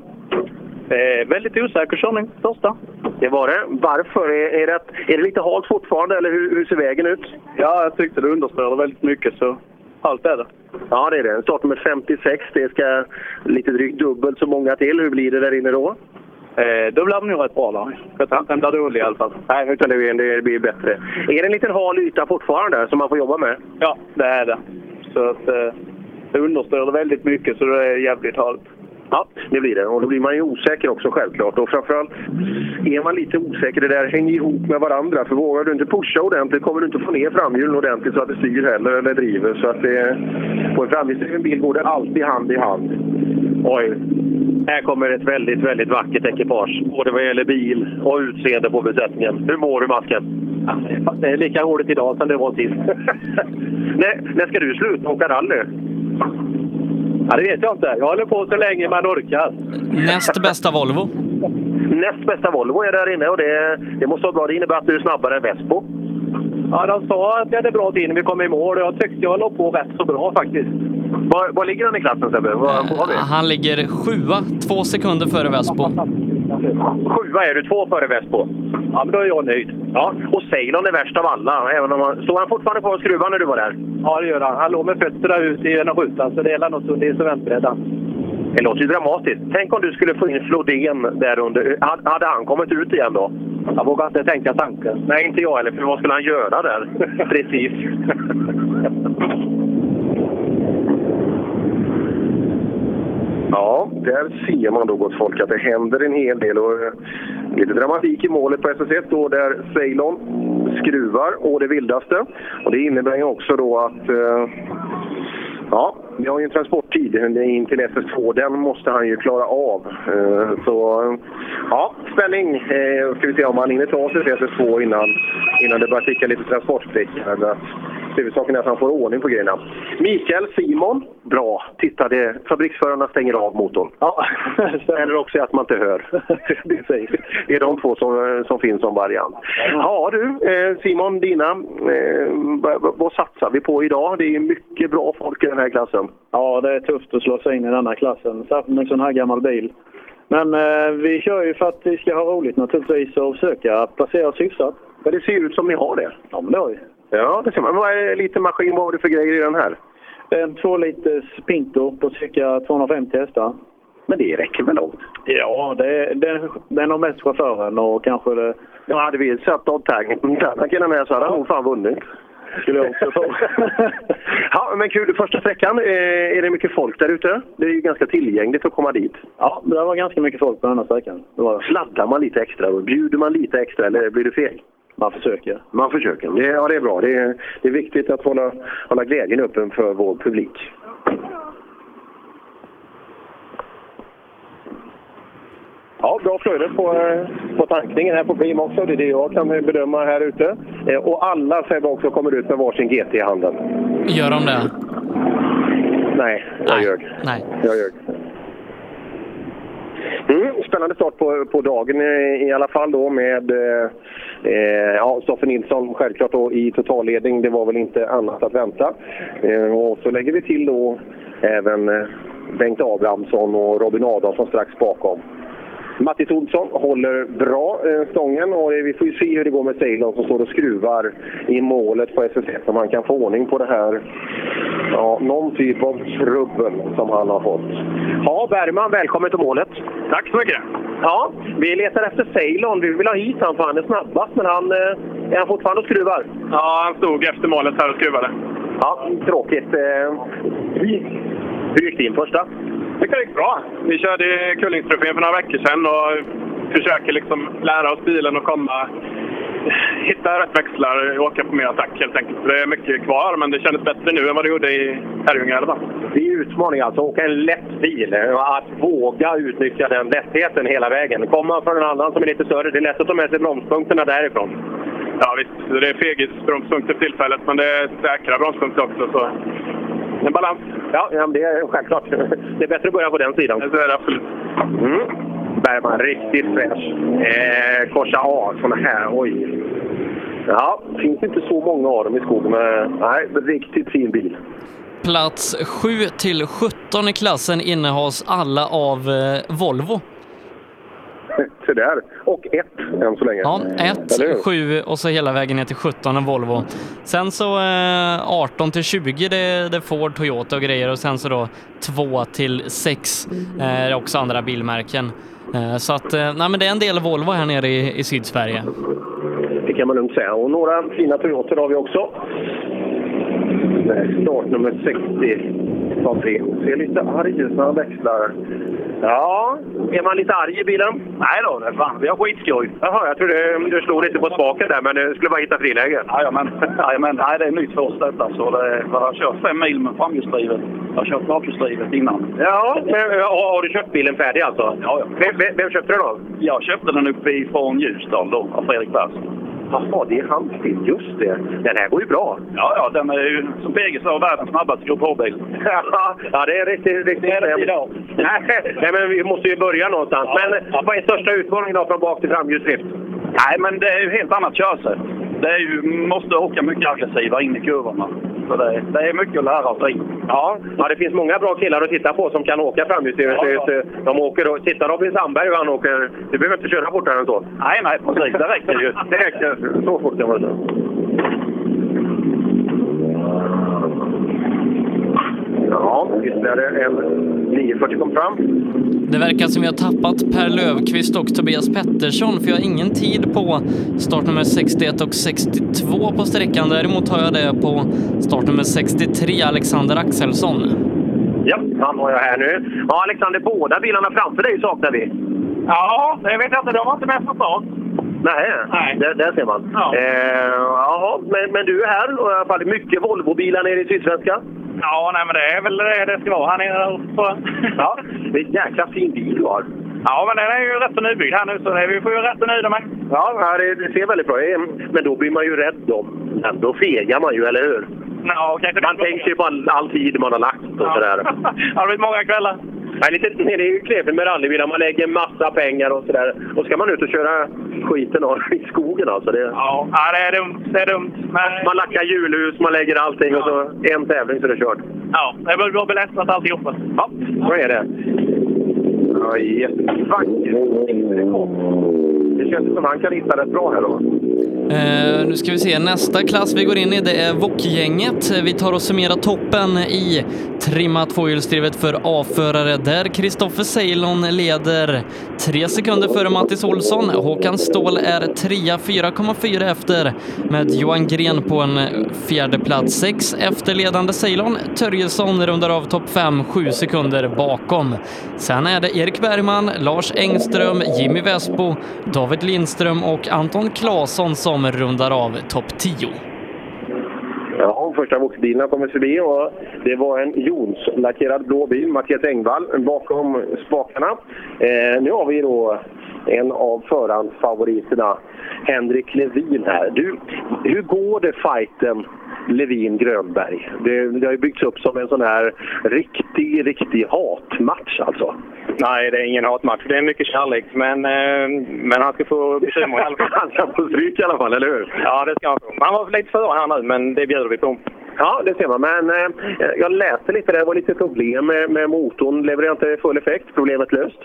Speaker 4: Eh, väldigt osäker körning, första. Det var det. Varför? Är, är, det, är det lite halt fortfarande, eller hur, hur ser vägen ut? Ja, jag tyckte det understörde väldigt mycket, så allt är det. Ja, det är det. Startnummer 56. Det ska lite drygt dubbelt så många till. Hur blir det där inne då? Eh, då blir det nog rätt bra, Lars. Den blir dålig i alla fall. Nej, utan det, det blir bättre. Är det en liten hal yta fortfarande som man får jobba med?
Speaker 47: Ja, det är det. Så att, eh, det understörde väldigt mycket, så det är jävligt halt.
Speaker 4: Ja, det blir det. Och då blir man ju osäker också självklart. Och framförallt är man lite osäker. Det där hänger ihop med varandra. För vågar du inte pusha ordentligt kommer du inte få ner framhjulen ordentligt så att det styr heller eller driver. Så att det, på en framhjulsdriven bil går det alltid hand i hand. Oj. Här kommer ett väldigt, väldigt vackert ekipage. Både vad gäller bil och utseende på besättningen. Hur mår du, Masken? Det är lika roligt idag som det var sist. när, när ska du sluta åka rally? Ja, det vet jag inte. Jag håller på så länge man orkar.
Speaker 3: Näst bästa Volvo.
Speaker 4: Näst bästa Volvo är där inne och det, det måste vara bra. Det innebär att du är snabbare än Vespo.
Speaker 48: Ja, de sa att vi hade bra tid när vi kom i mål och jag tyckte jag låg på rätt så bra faktiskt.
Speaker 4: Var, var ligger han i klassen Sebbe? Var, var vi?
Speaker 3: Han ligger sjua, två sekunder före Vesbo.
Speaker 4: Sjua är du, två före Vespo. Ja, men då är jag nöjd. Ja, och Ceylon är värst av alla. Även om han, stod han fortfarande kvar och skruvade när du var där?
Speaker 48: Ja, det gör han. Han låg med fötterna ut i ena rutan, så det är något under instrumentbrädan.
Speaker 4: Det låter ju dramatiskt. Tänk om du skulle få in Flodén där under. Hade hade han kommit ut igen då? Jag vågar inte tänka tanken. Nej, inte jag heller. För vad skulle han göra där? Precis. Ja, där ser man då gott folk att det händer en hel del. Och eh, lite dramatik i målet på SS1 då där Ceylon skruvar och det vildaste. Och det innebär ju också då att eh, Ja, vi har ju en transporttid eh, in till SS2. Den måste han ju klara av. Eh, Så eh, ja, spänning. Eh, Ska vi se om han hinner ta sig till SS2 innan, innan det börjar ticka lite transportplick. Men, eh, Huvudsaken är att han får ordning på grejerna. Mikael Simon. Bra. Titta, det, fabriksförarna stänger av motorn. Ja. Eller också att man inte hör. Det, sägs. det är de två som, som finns som variant. Ja du, eh, Simon, dina, eh, vad- vad- vad satsar vi på idag? Det är mycket bra folk i den här klassen.
Speaker 7: Ja, det är tufft att slå sig in i denna klassen, särskilt med en sån här gammal bil. Men eh, vi kör ju för att vi ska ha roligt naturligtvis och försöka placera oss hyfsat.
Speaker 4: Men det ser ju ut som ni har det.
Speaker 7: Ja, men det har vi.
Speaker 4: Ja, det ser man. Vad är det, lite maskin, vad har du för grejer i den här?
Speaker 7: Det är en 2 liters Pinto på cirka 250 hästar.
Speaker 4: Men det räcker väl långt?
Speaker 7: Ja, det är, det, är, det är nog mest chauffören och kanske det...
Speaker 4: Ja, hade vi satt av Tannaken med så hade han nog fan vunnit. Skulle jag också tro. ja, men kul. Första sträckan, eh, är det mycket folk där ute? Det är ju ganska tillgängligt att komma dit.
Speaker 7: Ja, det var ganska mycket folk på den här sträckan. Det var det.
Speaker 4: Sladdar man lite extra då? Bjuder man lite extra eller blir det fel?
Speaker 7: Man försöker.
Speaker 4: Man försöker. Det, ja, det är bra. Det är, det är viktigt att hålla, hålla glädjen öppen för vår publik. Ja, bra flöde på, eh, på tankningen här på Prim också. Det är det jag kan bedöma här ute. Eh, Och alla Sebbe också kommer ut med varsin GT i handen.
Speaker 3: Gör de det?
Speaker 4: Nej, jag ljög.
Speaker 3: Nej.
Speaker 4: Jag ljög. Mm, spännande start på, på dagen eh, i alla fall då med eh, eh, ja, Stoffe Nilsson självklart då i totalledning. Det var väl inte annat att vänta. Eh, och så lägger vi till då även eh, Bengt Abrahamsson och Robin Adolfsson strax bakom. Mattis Olsson håller bra eh, stången och det- vi får ju se hur det går med Ceylon som står och skruvar i målet på SS1 om han kan få ordning på det här. Ja, någon typ av trubbel som han har fått.
Speaker 39: Ja, Bergman, välkommen till målet. Tack så mycket. Ja, vi letar efter Ceylon. Vi vill ha hit han för han är snabbast, men han eh, är han fortfarande och skruvar.
Speaker 33: Ja, han stod efter målet här och skruvade.
Speaker 4: Ja, tråkigt. Eh, Hur gick din första?
Speaker 33: Det gick bra. Vi körde Kullingstrofén för några veckor sedan och försöker liksom lära oss bilen och komma... Hitta rätt växlar och åka på mer attack helt enkelt. Det är mycket kvar, men det kändes bättre nu än vad det gjorde i Herrljunga i alla fall.
Speaker 39: Det är utmaning alltså, att åka en lätt bil. Att våga utnyttja den lättheten hela vägen. Kommer man från en annan som är lite större, det är lätt att ta med sig bromspunkterna därifrån.
Speaker 33: Ja visst, det är fegisbromspunkter för tillfället, men det är säkra bromspunkter också. Så en balans.
Speaker 39: Ja, ja men det är självklart. Det är bättre att börja på den sidan.
Speaker 33: Det är det absolut.
Speaker 4: Mm. Bergman, riktigt fräsch. Eh, korsa A, såna här. Oj. Ja, finns inte så många av dem i skogen. men- Nej, riktigt fin bil.
Speaker 3: Plats 7 till 17 i klassen innehas alla av eh, Volvo.
Speaker 4: Så där. Och ett än så länge.
Speaker 3: Ja, 1,
Speaker 4: Eller hur?
Speaker 3: 7 och så hela vägen ner till 17 en Volvo. Sen så eh, 18 till 20 det, det är Ford, Toyota och grejer och sen så då 2 till 6 eh, är också andra bilmärken. Eh, så att, eh, nej men det är en del Volvo här nere i, i Sydsverige.
Speaker 4: Det kan man lugnt säga. Och några fina Toyotor har vi också. Nej, Startnummer 60, tar tre. Ser lite arg ut när han växlar.
Speaker 39: Ja, är man lite arg i bilen? Nej då, nej, fan. vi har skitskoj. Jaha, jag trodde du slog lite på spaken där, men du skulle bara hitta friläge.
Speaker 38: Jajamän, Jajamän. Nej, det är nytt för oss detta. Så det, jag har kört fem mil med framhjulsdrivet. Jag har kört bakhjulsdrivet innan.
Speaker 39: Ja, men eh, har, har du köpt bilen färdig alltså? Ja, ja. Vem, vem, vem köpte den av?
Speaker 38: Jag köpte den uppifrån Ljusdal då, av Fredrik Persson.
Speaker 4: Jaha, det är hans bil. Just det. Den här går ju bra.
Speaker 38: Ja, ja, den är ju som PG sa världens snabbaste grupp H-bil.
Speaker 39: ja, det är riktigt... riktigt det är idag. Nej, men vi måste ju börja någonstans. Men eh, vad är största utmaningen då från bak till framhjulsdrift?
Speaker 38: Nej, men det är ju helt annat körsätt. Det är ju, måste åka mycket aggressivare in i kurvorna. Så det, det är mycket att lära sig.
Speaker 39: Ja, ja, det finns många bra killar att titta på som kan åka framhjulsdrivet.
Speaker 38: Ja, ja.
Speaker 39: De åker och... Titta Robin Sandberg hur han åker. Du behöver inte köra fortare än så.
Speaker 38: Nej, nej, precis. Det räcker ju.
Speaker 39: Det räcker.
Speaker 4: Så fort kan man köra. Ja, ytterligare en 940 kom fram.
Speaker 3: Det verkar som vi har tappat Per Löfqvist och Tobias Pettersson för jag har ingen tid på startnummer 61 och 62 på sträckan. Däremot har jag det på startnummer 63, Alexander Axelsson.
Speaker 39: Ja, han har jag här nu. Ja, Alexander, båda bilarna framför dig saknar vi. Ja, det vet jag inte. De var inte med från start. Nej, Nej. Där, där ser man. Ja. Eh, jaha, men, men du är här och i alla fall. Mycket Volvobilar nere i Sydsvenska.
Speaker 5: Ja, nej, men det är väl det det ska vara här nere. Så.
Speaker 39: Ja, det är en jäkla fin bil du har.
Speaker 5: Ja, men den är ju rätt så nybyggd här nu, så det, vi får ju rätt så nöjda med.
Speaker 39: Ja, ja, det, det ser väldigt bra ut. Men då blir man ju rädd om den. Då fegar man ju, eller hur?
Speaker 5: Ja, kanske
Speaker 39: Man tänker ju på all, all tid man har lagt och sådär.
Speaker 5: det har blivit många kvällar.
Speaker 39: Nej, lite, nej, det är ju knepigt med rallybilar. Man lägger massa pengar och sådär. Och ska man ut och köra skiten av i skogen alltså. Det...
Speaker 5: Ja, ja, det är dumt. Det är dumt. Men...
Speaker 39: Man lackar hjulhus, man lägger allting och så en tävling så är det kört.
Speaker 5: Ja, det blir belastat alltihopa.
Speaker 39: Ja, så är det.
Speaker 4: Ja, jättevacker. Det känns som han kan hitta rätt bra här då.
Speaker 3: Eh, nu ska vi se, nästa klass vi går in i det är Wok-gänget. Vi tar och summerar toppen i trimma tvåhjulsdrivet för A-förare där Kristoffer Ceylon leder tre sekunder före Mattis Olsson. Håkan Ståhl är trea, 4,4 efter med Johan Gren på en fjärde plats. Sex efterledande Ceylon. Törjesson rundar av topp fem, sju sekunder bakom. Sen är det Erik Bergman, Lars Engström, Jimmy Vespo, David Lindström och Anton Claesson som rundar av topp 10.
Speaker 4: Ja, första Voxbilen har kommit förbi och det var en Jons-lackerad blå bil, Mattias Engvall, bakom spakarna. Eh, nu har vi då en av förhandsfavoriterna, Henrik Levin här. Du, hur går det fighten Levin-Grönberg? Det, det har ju byggts upp som en sån här riktig, riktig hatmatch alltså.
Speaker 7: Nej, det är ingen hatmatch. Det är mycket kärlek. Men, eh, men han ska få bekymmer i alla fall. Han ska få stryk i alla fall, eller hur? Ja, det ska han få. Han var lite före här nu, men det bjuder vi på.
Speaker 4: Ja, det ser man. Men eh, jag läste lite. Det var lite problem med, med motorn. Levererar inte full effekt. Problemet löst.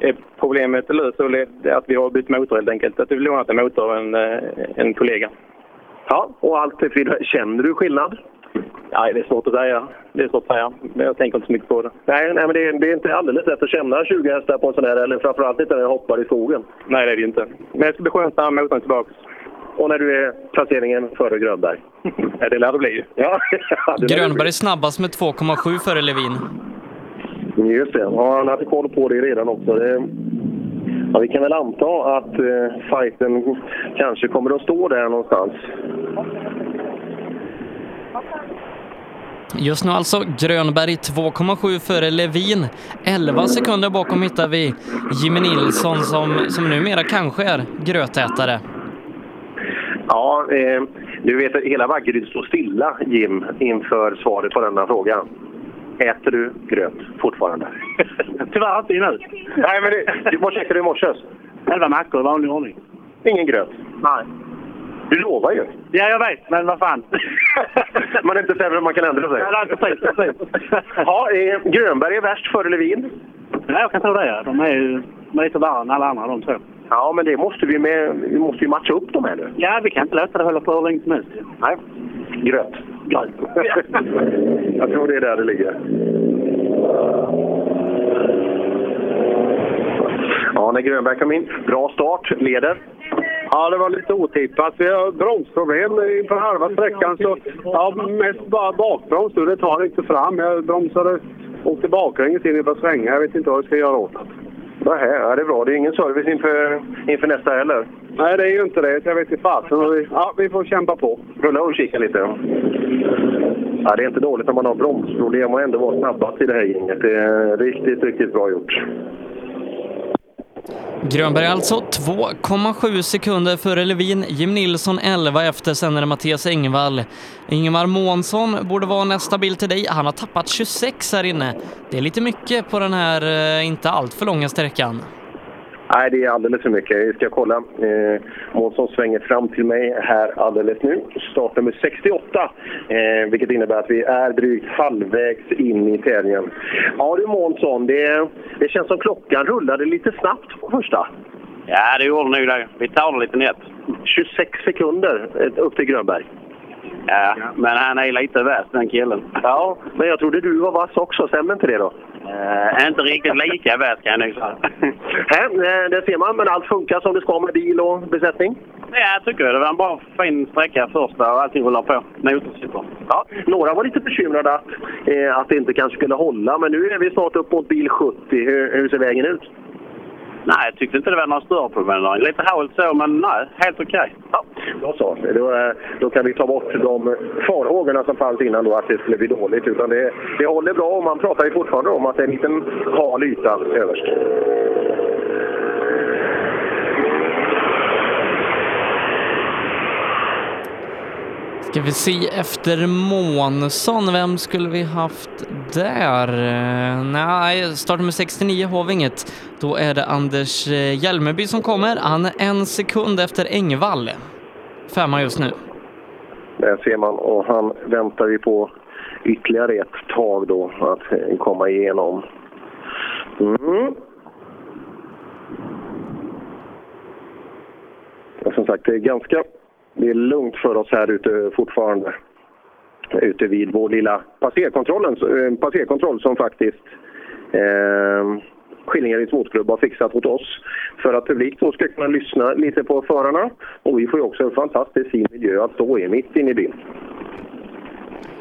Speaker 7: Eh, Problemet är löst och det är att vi har bytt motor helt enkelt. Att vi har lånat en motor av en, eh, en kollega.
Speaker 4: Ja, och allt är frid. Känner du skillnad?
Speaker 7: Nej, det är svårt att säga. Det är svårt att säga. Men jag tänker inte så mycket på det.
Speaker 4: Nej, nej men det, är- det är inte alldeles lätt att känna 20 hästar på en sån här. Eller framförallt inte när jag hoppar i skogen.
Speaker 7: Nej, det är det inte. Men det ska bli skönt när motorn är tillbaka.
Speaker 4: Och när du är placeringen före Grönberg.
Speaker 7: Ja, det lär det bli.
Speaker 4: Ja,
Speaker 3: Grönberg är snabbast med 2,7 före Levin.
Speaker 4: Mm, Just det. Ja, han hade koll på det redan också. Det... Ja, vi kan väl anta att eh, fighten kanske kommer att stå där någonstans.
Speaker 3: Just nu alltså Grönberg 2,7 före Levin. 11 sekunder bakom hittar vi Jimmy Nilsson som, som numera kanske är grötätare.
Speaker 4: Ja, eh, du vet att hela Vaggeryd står stilla, Jim, inför svaret på denna fråga. Äter du gröt fortfarande?
Speaker 5: Tyvärr inte nu.
Speaker 4: Nej, men det, vad käkade du i morse? alltså.
Speaker 5: Elva mackor i vanlig ordning.
Speaker 4: Ingen gröt?
Speaker 5: Nej.
Speaker 4: Du lovar ju.
Speaker 5: Ja, jag vet, men vad fan.
Speaker 4: Man är inte sämre än man kan ändra sig.
Speaker 5: Ja, precis, precis.
Speaker 4: ja, eh, Grönberg är värst före Levin.
Speaker 5: Ja, jag kan tro det. ja. De är ju de är lite värre än alla andra de två.
Speaker 4: Ja, men det måste vi, med, vi måste ju matcha upp dem här nu.
Speaker 5: Ja, vi kan inte låta det hålla på hur länge som helst.
Speaker 4: Nej. Gröt.
Speaker 5: Gröt.
Speaker 4: Jag tror det är där det ligger. Ja, när Grönberg kom in. Bra start, leder.
Speaker 10: Ja, det var lite otippat. Vi har bromsproblem inför halva sträckan. Så, ja, mest bara bakbroms. nu. Det tar inte fram. Jag bromsade åkte baklänges in i ett svängar. Jag vet inte vad jag ska göra åt det.
Speaker 4: Nähä, ja, det är bra. Det är ingen service inför, inför nästa heller.
Speaker 10: Nej, det är ju inte det. så Jag vet inte fasen. Och vi- Ja, vi får kämpa på.
Speaker 4: Rulla och kika lite. Ja, det är inte dåligt när man har bromsproblem och ändå vara snabbast i det här gänget. Det är riktigt, riktigt bra gjort.
Speaker 3: Grönberg alltså 2,7 sekunder före Levin, Jim Nilsson 11 efter, sen är det Mattias Engvall. Ingemar Månsson borde vara nästa bil till dig. Han har tappat 26 här inne. Det är lite mycket på den här eh, inte alltför långa sträckan.
Speaker 4: Nej, det är alldeles för mycket. Vi ska kolla. Eh, Månsson svänger fram till mig här alldeles nu. Startnummer 68, eh, vilket innebär att vi är drygt halvvägs in i tävlingen. Ja du Månsson, det, det känns som klockan rullade lite snabbt på första.
Speaker 49: Ja, det gjorde nog det. Vi tar det lite nätt.
Speaker 4: 26 sekunder eh, upp till Grönberg.
Speaker 49: Ja, men han är lite vass den killen.
Speaker 4: Ja, men jag trodde du var vass också. Stämmer inte det då?
Speaker 49: Eh, inte riktigt lika vass kan jag nog säga.
Speaker 4: Här, eh, det ser man, men allt funkar som det ska med bil och besättning.
Speaker 49: Ja, jag tycker det var en bra fin sträcka första och allting rullar på. Noter sitter.
Speaker 4: Ja, några var lite bekymrade att, eh, att det inte kanske skulle hålla, men nu är vi snart upp mot bil 70. Hur, hur ser vägen ut?
Speaker 49: Nej, jag tyckte inte det var några större problem. Lite halt så, men nej, helt okej.
Speaker 4: Då så, då, eh, då kan vi ta bort de farhågorna som fanns innan då att det skulle bli dåligt. Utan det, det håller bra och man pratar ju fortfarande om att det är en liten hal yta överst.
Speaker 3: Ska vi se efter Månsson, vem skulle vi haft där? Eh, Nej, startnummer 69 har vi inget. Då är det Anders eh, Hjälmeby som kommer. Han är en sekund efter Engvall. Femma just nu.
Speaker 4: Där ser man och han väntar ju på ytterligare ett tag då att eh, komma igenom. Mm. Och som sagt, det är ganska det är lugnt för oss här ute fortfarande. Ute vid vår lilla passerkontrollen, eh, passerkontroll som faktiskt eh, Skillingaryds motorklubb har fixat åt oss för att publik då ska kunna lyssna lite på förarna. Och vi får ju också en fantastiskt fin miljö att stå i mitt inne i byn.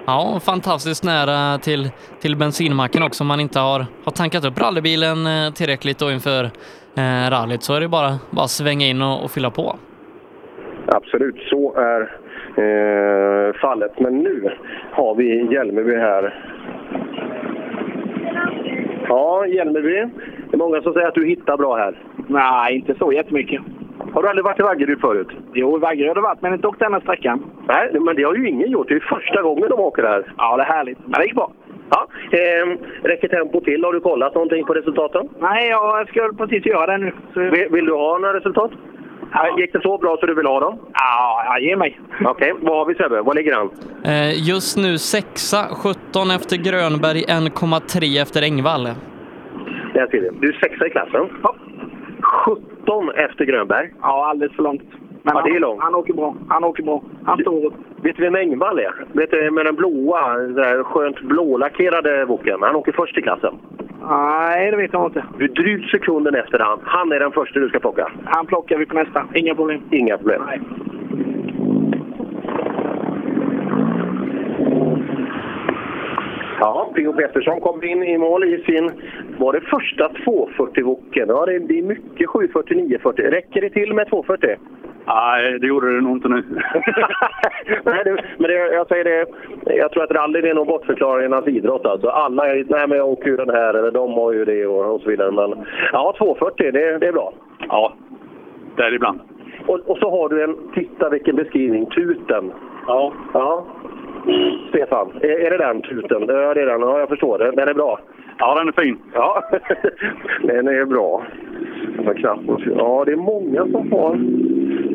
Speaker 3: Ja, fantastiskt nära till, till bensinmacken också om man inte har, har tankat upp rallybilen eh, tillräckligt då inför eh, rallyt så är det bara, bara att svänga in och, och fylla på.
Speaker 4: Absolut, så är eh, fallet. Men nu har vi Hjälmeby här. Ja, Hjälmeby. Det är många som säger att du hittar bra här.
Speaker 5: Nej, inte så jättemycket.
Speaker 4: Har du aldrig varit i Vaggeryd förut?
Speaker 5: Jo, i Vaggeryd har det varit, men inte åkt denna sträckan.
Speaker 4: Nej, men det har ju ingen gjort. Det är första gången de åker här.
Speaker 5: Ja, det är härligt. Men det gick bra.
Speaker 4: Ja, ehm, räcker tempo till? Har du kollat någonting på resultaten?
Speaker 50: Nej, jag skulle precis göra det nu.
Speaker 4: Vill, vill du ha några resultat? Gick det så bra så du vill ha dem?
Speaker 50: Ja, jag ger mig.
Speaker 4: Okej, vad har vi Sebbe? Var ligger han?
Speaker 3: Eh, Just nu sexa, 17 efter Grönberg, 1,3 efter Engvall.
Speaker 4: Där ser vi. Du är sexa i klassen. 17 efter Grönberg.
Speaker 50: Ja, alldeles för långt. Men
Speaker 4: ja, det är
Speaker 50: han-
Speaker 4: långt.
Speaker 50: Han åker bra. Han åker bra. Han står upp.
Speaker 4: Vet du vem Engvall är? Vet du, med den blåa, den där skönt blålackerade boken. Han åker först i klassen.
Speaker 50: Nej, det vet jag inte.
Speaker 4: Du är drygt sekunden efter han. Han är den första du ska plocka.
Speaker 50: Han plockar vi på nästa. Inga problem.
Speaker 4: Inga problem. Ja, P.O. Pettersson kom in i mål i sin, var det första 240-woken? Ja, det det är mycket 740-940. Räcker det till med 240?
Speaker 7: Nej, det gjorde det nog inte nu.
Speaker 4: nej, det, men det, jag säger det, jag tror att rally är nog bortförklaringarnas idrott. Alltså. Alla är, nej men jag åker ju den här, eller de har ju det och, och så vidare. Men ja, 240, det, det är bra.
Speaker 7: Ja, det är det ibland.
Speaker 4: Och, och så har du en, titta vilken beskrivning, tuten. Ja. ja. Stefan, är, är det den tuten? Ja, det är den. Ja, jag förstår det. Den är bra. Ja, den är fin. Ja, den är bra. Den var knappt. Ja, det är många som har...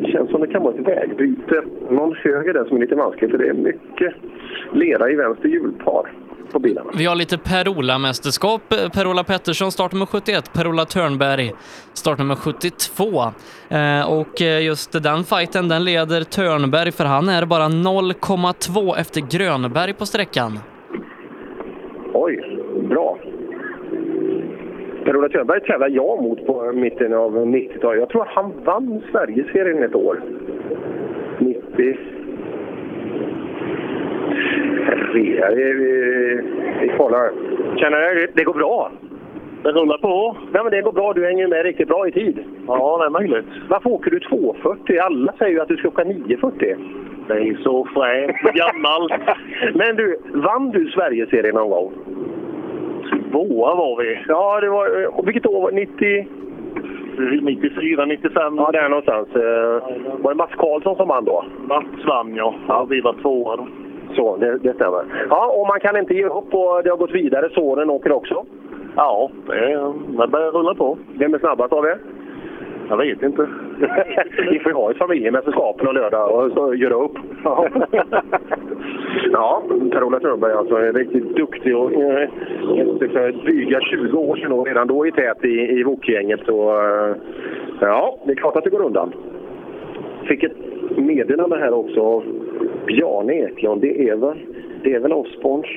Speaker 4: Det känns som det kan vara ett vägbyte. Någon höger där som är lite vansklig, för det är mycket lera i vänster hjulpar på bilarna.
Speaker 3: Vi har lite Perola-mästerskap. Perola Pettersson startnummer 71, Perola Törnberg startnummer 72. Eh, och eh, just den fighten, den leder Törnberg för han är bara 0,2 efter Grönberg på sträckan.
Speaker 4: Oj, bra. Per-Ola Törnberg tävlade jag mot på mitten av 90-talet. Jag tror att han vann Sverigeserien ett år. 90... Tre. Vi, vi, vi kollar. Känner du? Det går bra. Det rullar på. Nej, men det går bra. Du hänger med riktigt bra i tid. Ja, det är möjligt. Varför åker du 2.40? Alla säger ju att du ska åka 9.40. Det är så fränt och gammalt. men du, vann du Sverigeserien någon gång? Tvåa var vi. Ja, det var, och vilket år var 90? 94, 95. Ja, där någonstans. Eh, Var det Mats Karlsson som vann då? Mats vann, ja. ja. Vi var tvåa då. Så, det, det stämmer. Ja, och man kan inte ge upp och det har gått vidare. Sonen åker också. Ja, det, det börjar rulla på. Vem är snabbast av er? Jag vet inte. Vi får ju ha ett familjemästerskap på lördag och så göra upp. ja, Per-Ola Törnberg alltså är riktigt duktig och eh, för dryga 20 år sedan och redan då i tät i, i Wok-gänget. Och, eh, ja, det är klart att det går undan. Fick ett meddelande här också av Bjarne Eklund. Det är väl, det är väl Osborns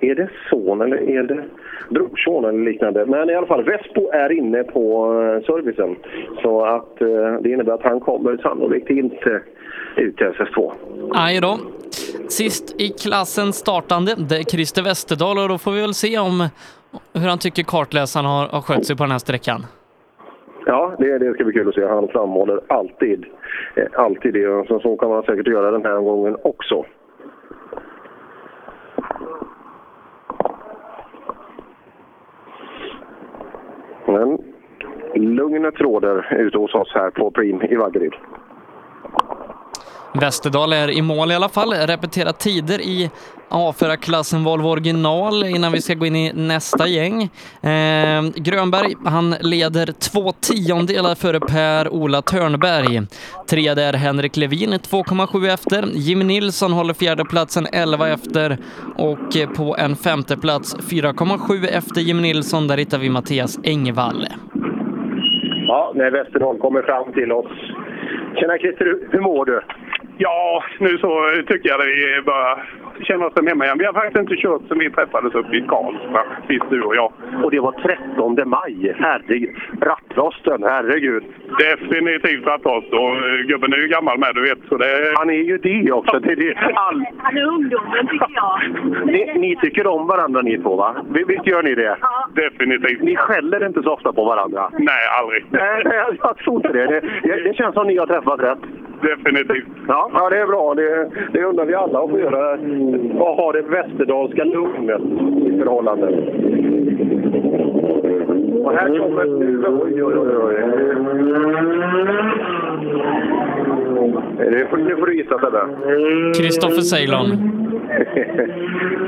Speaker 4: är det son eller är det brorson eller liknande? Men i alla fall, Vespo är inne på eh, servicen. Så att eh, det innebär att han kommer sannolikt inte ut till SS2.
Speaker 3: Aj då. Sist i klassen startande, det är Christer Westerdahl och då får vi väl se om hur han tycker kartläsaren har, har skött sig på den här sträckan.
Speaker 4: Ja, det, det ska bli kul att se. Han framhåller alltid, eh, alltid det. Och Så, så kan man säkert göra den här gången också. Men lugnet råder ute hos oss här på Prim i Vaggeryd.
Speaker 3: Västerdal är i mål i alla fall, repeterar tider i A4-klassen Volvo original innan vi ska gå in i nästa gäng. Eh, Grönberg, han leder två tiondelar före Per-Ola Törnberg. Trea där Henrik Levin, 2,7 efter. Jim Nilsson håller fjärdeplatsen 11 efter och eh, på en femteplats 4,7 efter Jim Nilsson, där hittar vi Mattias Engvall.
Speaker 4: Ja, när Västerholm kommer fram till oss. Tjena Christer, hur- hur mår du?
Speaker 51: Ja, nu så tycker jag att vi börjar känna oss som hemma igen. Vi har faktiskt inte kört som vi träffades uppe i Karlstad sist du och jag.
Speaker 4: Och det var 13 maj. Herregud. Rattrosten, herregud.
Speaker 51: Definitivt rattrost. Och eh, gubben är ju gammal med, du vet. Så det...
Speaker 4: Han är ju det också. Det är det. All...
Speaker 27: Han är ungdomen tycker jag.
Speaker 4: Ni, ni tycker om varandra ni två, va? Vi- Visst gör ni det?
Speaker 51: Definitivt.
Speaker 4: Ni skäller inte så ofta på varandra?
Speaker 51: Nej, aldrig.
Speaker 4: Nej, nej, jag- jag tror inte det. Det, det. det känns som ni har träffat rätt.
Speaker 51: Definitivt.
Speaker 4: Ja, ja det är bra. Det, det undrar vi alla att få göra. Vad har det västerdalska lugnet i förhållande? Och här kommer... Oj, oj, oj, oj. Nu får, nu får du gissa, Sebbe.
Speaker 3: Kristoffer Ceylon.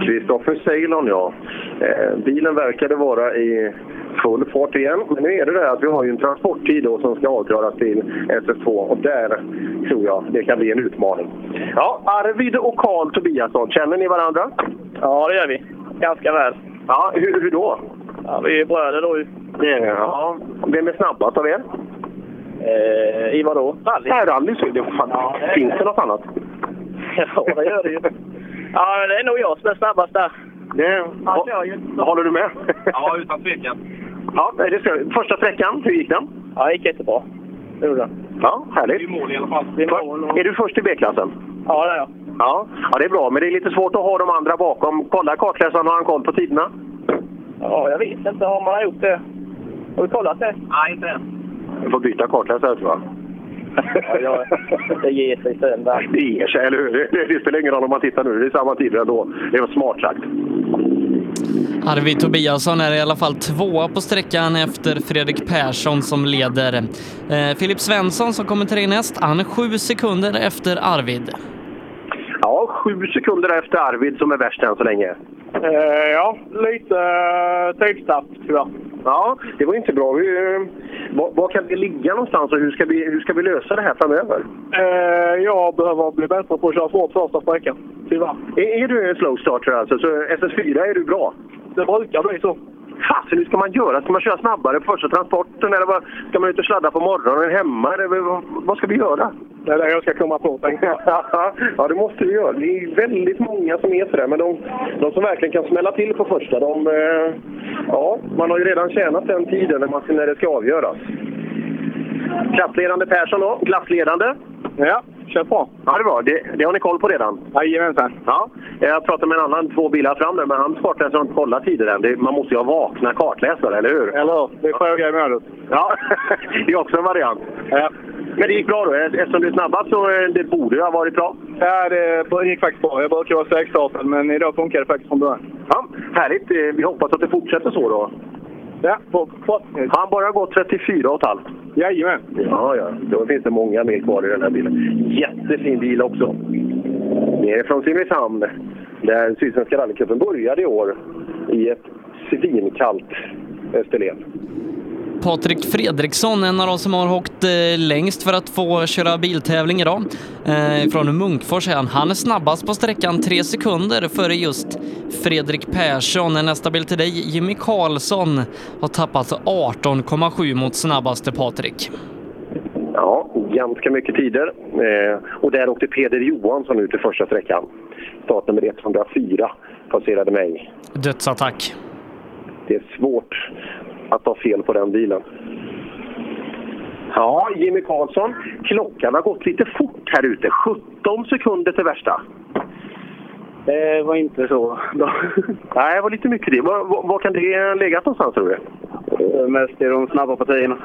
Speaker 4: Kristoffer Ceylon, ja. Eh, bilen verkade vara i full fart igen. Men nu är det det här att vi har ju en transporttid då som ska avklaras till SF2 och där tror jag det kan bli en utmaning. Ja, Arvid och Karl Tobiasson, känner ni varandra?
Speaker 7: Ja, det gör vi. Ganska väl.
Speaker 4: Ja, hur, hur då?
Speaker 7: Ja, vi är bröder då ju.
Speaker 4: Ja. Vem är snabbast av er?
Speaker 7: Eh, I vadå? Rally?
Speaker 4: Nej, rally så är det. Fan, Finns det något annat?
Speaker 7: Ja, det gör det ju. Ja, men det är nog jag som är snabbast där.
Speaker 4: Det,
Speaker 7: Han kör ju inte så.
Speaker 4: Håller du med?
Speaker 7: Ja, utan tvekan.
Speaker 4: Ja, det ska, första sträckan, hur gick den?
Speaker 7: Ja, det gick jättebra. Det gjorde det.
Speaker 4: Ja, härligt.
Speaker 7: Vi är mål i alla fall.
Speaker 4: Är du först i B-klassen?
Speaker 7: Ja, det är jag.
Speaker 4: Ja. ja, det är bra, men det är lite svårt att ha de andra bakom. Kolla kartläsaren, har han koll på tiderna?
Speaker 7: Ja, jag vet inte. Har man gjort det? Har vi kollat det? Nej, inte än.
Speaker 4: Du får byta kartläsare tror jag.
Speaker 7: Ja, jag, det ger sig sen. va?
Speaker 4: Det ger sig, eller hur? Det, det spelar ingen roll om man tittar nu, det är samma tider ändå. Det var smart sagt.
Speaker 3: Arvid Tobiasson är i alla fall tvåa på sträckan efter Fredrik Persson som leder. Eh, Filip Svensson som kommer tre näst, han är sju sekunder efter Arvid.
Speaker 4: Ja, sju sekunder efter Arvid som är värst än så länge.
Speaker 52: Eh, ja, lite eh, tidstapp tyvärr.
Speaker 4: Ja, det var inte bra. Vi, eh, var, var kan vi ligga någonstans och hur ska vi, hur ska vi lösa det här framöver?
Speaker 52: Eh, jag behöver bli bättre på att köra fort första sträckan, tyvärr.
Speaker 4: Är, är du en slow starter alltså, så SS4 är du bra?
Speaker 52: Det brukar bli så.
Speaker 4: Fasen, hur ska man göra? Ska man köra snabbare på första transporten? Eller vad, ska man ut och sladda på morgonen hemma? Eller, vad, vad ska vi göra?
Speaker 52: Det är det jag ska komma på, tänkte jag.
Speaker 4: ja, det måste vi göra. Det är väldigt många som är sådär, men de, de som verkligen kan smälla till på första, de... eh, Ja, man har ju redan tjänat den tiden när, man, när det ska avgöras. Klappledande Persson då, glassledande. Ja, kör på. Ja, det är bra. Det, det har ni koll på redan? Jajamensan. Ja, jag pratade med en annan två bilar fram där, men hans kartläsare har inte kollat tider än. Det, man måste ju ha vakna kartläsare, eller hur? Eller hur? Det är sjöga i mödet. Ja, det är också en variant. Ja. Men det gick bra då? Eftersom du är snabbast så eh, det borde ju ha varit bra.
Speaker 52: Ja, det gick faktiskt bra. Jag brukar vara segstartad, men idag funkar det faktiskt från början.
Speaker 4: Ja, härligt. Eh, Vi hoppas att det fortsätter så då.
Speaker 52: Ja, på, på.
Speaker 4: Han bara gått 34 och ett halvt.
Speaker 52: Jajamän.
Speaker 4: Ja, ja. Då finns det många mer kvar i den här bilen. Jättefin bil också. Det är från Simrishamn, där Sydsvenska rallycupen började i år i ett svinkallt Österlen.
Speaker 3: Patrik Fredriksson, en av de som har åkt eh, längst för att få köra biltävling idag. Eh, från Munkfors är han. Han är snabbast på sträckan, tre sekunder före just Fredrik Persson. Eh, Nästa bil till dig, Jimmy Karlsson, har tappat alltså 18,7 mot snabbaste Patrik.
Speaker 4: Ja, ganska mycket tider. Eh, och där åkte Peder Johansson ut i första sträckan. Startnummer 104 passerade mig.
Speaker 3: Dödsattack.
Speaker 4: Det är svårt att ta fel på den bilen. Ja, Jimmy Karlsson. Klockan har gått lite fort här ute. 17 sekunder till värsta.
Speaker 53: Det var inte så.
Speaker 4: Nej, det var lite mycket det. Var, var, var kan det legat någonstans tror du?
Speaker 53: Eh, Mest i de snabba partierna.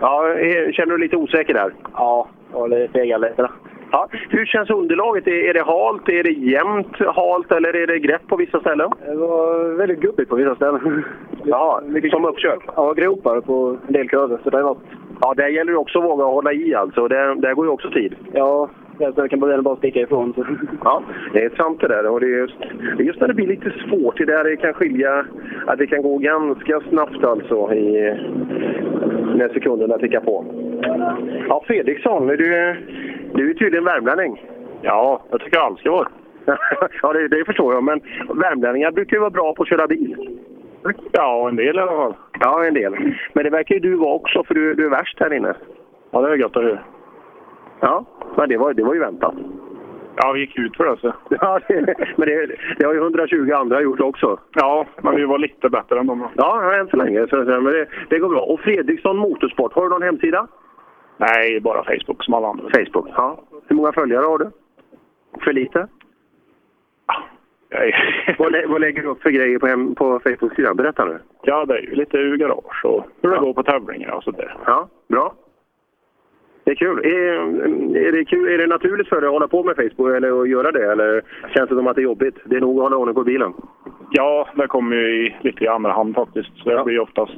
Speaker 4: Ja, eh, känner du dig lite osäker där?
Speaker 53: Ja, och det fegar lite där.
Speaker 4: Ja, hur känns underlaget? Är, är det halt? Är det jämnt halt? Eller är det grepp på vissa ställen?
Speaker 53: Det var väldigt gubbigt på vissa ställen.
Speaker 4: Ja, som uppkörd?
Speaker 53: Ja, gropar på en del kurvor. Så det var...
Speaker 4: Ja, där gäller det också att våga hålla i alltså. Där, där går ju också tid.
Speaker 53: Ja, jag kan bara bara sticka ifrån. Så.
Speaker 4: Ja, det är sant det där. Och det är just, det är just när det blir lite svårt, det där det kan skilja, att det kan gå ganska snabbt alltså i, när sekunderna tickar på. Ja, Fredriksson, är du, du är tydligen värmlänning. Ja, jag tycker allt ska vara Ja, det, det förstår jag. Men värmlänningar brukar ju vara bra på att köra bil. Ja, en del i alla fall. Ja, en del. Men det verkar ju du vara också, för du, du är värst här inne. Ja, det är gott att höra. Ja, men det var, det var ju väntat. Ja, vi gick ut för det. Så. Ja, det, men det, det har ju 120 andra gjort också. Ja, men vi var lite bättre än dem. Ja, än så länge. Så, så- men det, det går bra. Och Fredriksson Motorsport, har du någon hemsida? Nej, bara Facebook som alla andra. Facebook, ja. Hur många följare har du? För lite?
Speaker 54: Ah,
Speaker 4: vad, lä- vad lägger du upp för grejer på, hem, på Facebook-sidan? Berätta nu.
Speaker 54: Ja, det är ju lite ur garage och hur det går på tävlingar och sådär.
Speaker 4: Ja, bra. Det är kul. Är, är, det kul. är det naturligt för dig att hålla på med Facebook eller att göra det? Eller känns det som att det är jobbigt? Det är nog att hålla ordning på bilen.
Speaker 54: Ja, det kommer ju i lite i andra hand faktiskt. Så det blir ju oftast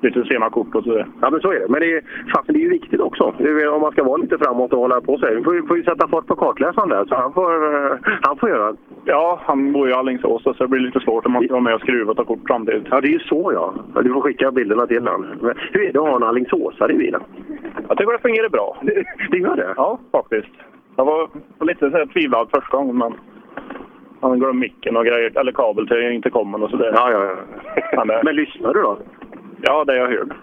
Speaker 55: nytt och ser man kort och sådär.
Speaker 4: Ja, men så är det. Men det är, fast det är ju viktigt också. Det är- Om man ska vara lite framåt och hålla på sig. Vi får, ju- får ju sätta fart på kartläsaren där, så han får, eh, han får göra.
Speaker 56: Ja, han bor ju i Alingsås så det blir lite svårt om man ska vara med och skruva och ta kort samtidigt.
Speaker 4: Ja, det är ju så ja. Ja, Du får skicka bilderna till honom. Men Hur är det att ha en Alingsåsare i bilen?
Speaker 56: Jag tycker det fungerar bra. Det,
Speaker 4: gör det?
Speaker 56: Ja, faktiskt. Jag var lite så här tvivlad första gången, men han glömde micken och grejer, eller kabel till intercomen och sådär.
Speaker 4: Ja, ja,
Speaker 56: Men, det...
Speaker 4: men lyssnar du då?
Speaker 56: Ja, det jag hörde.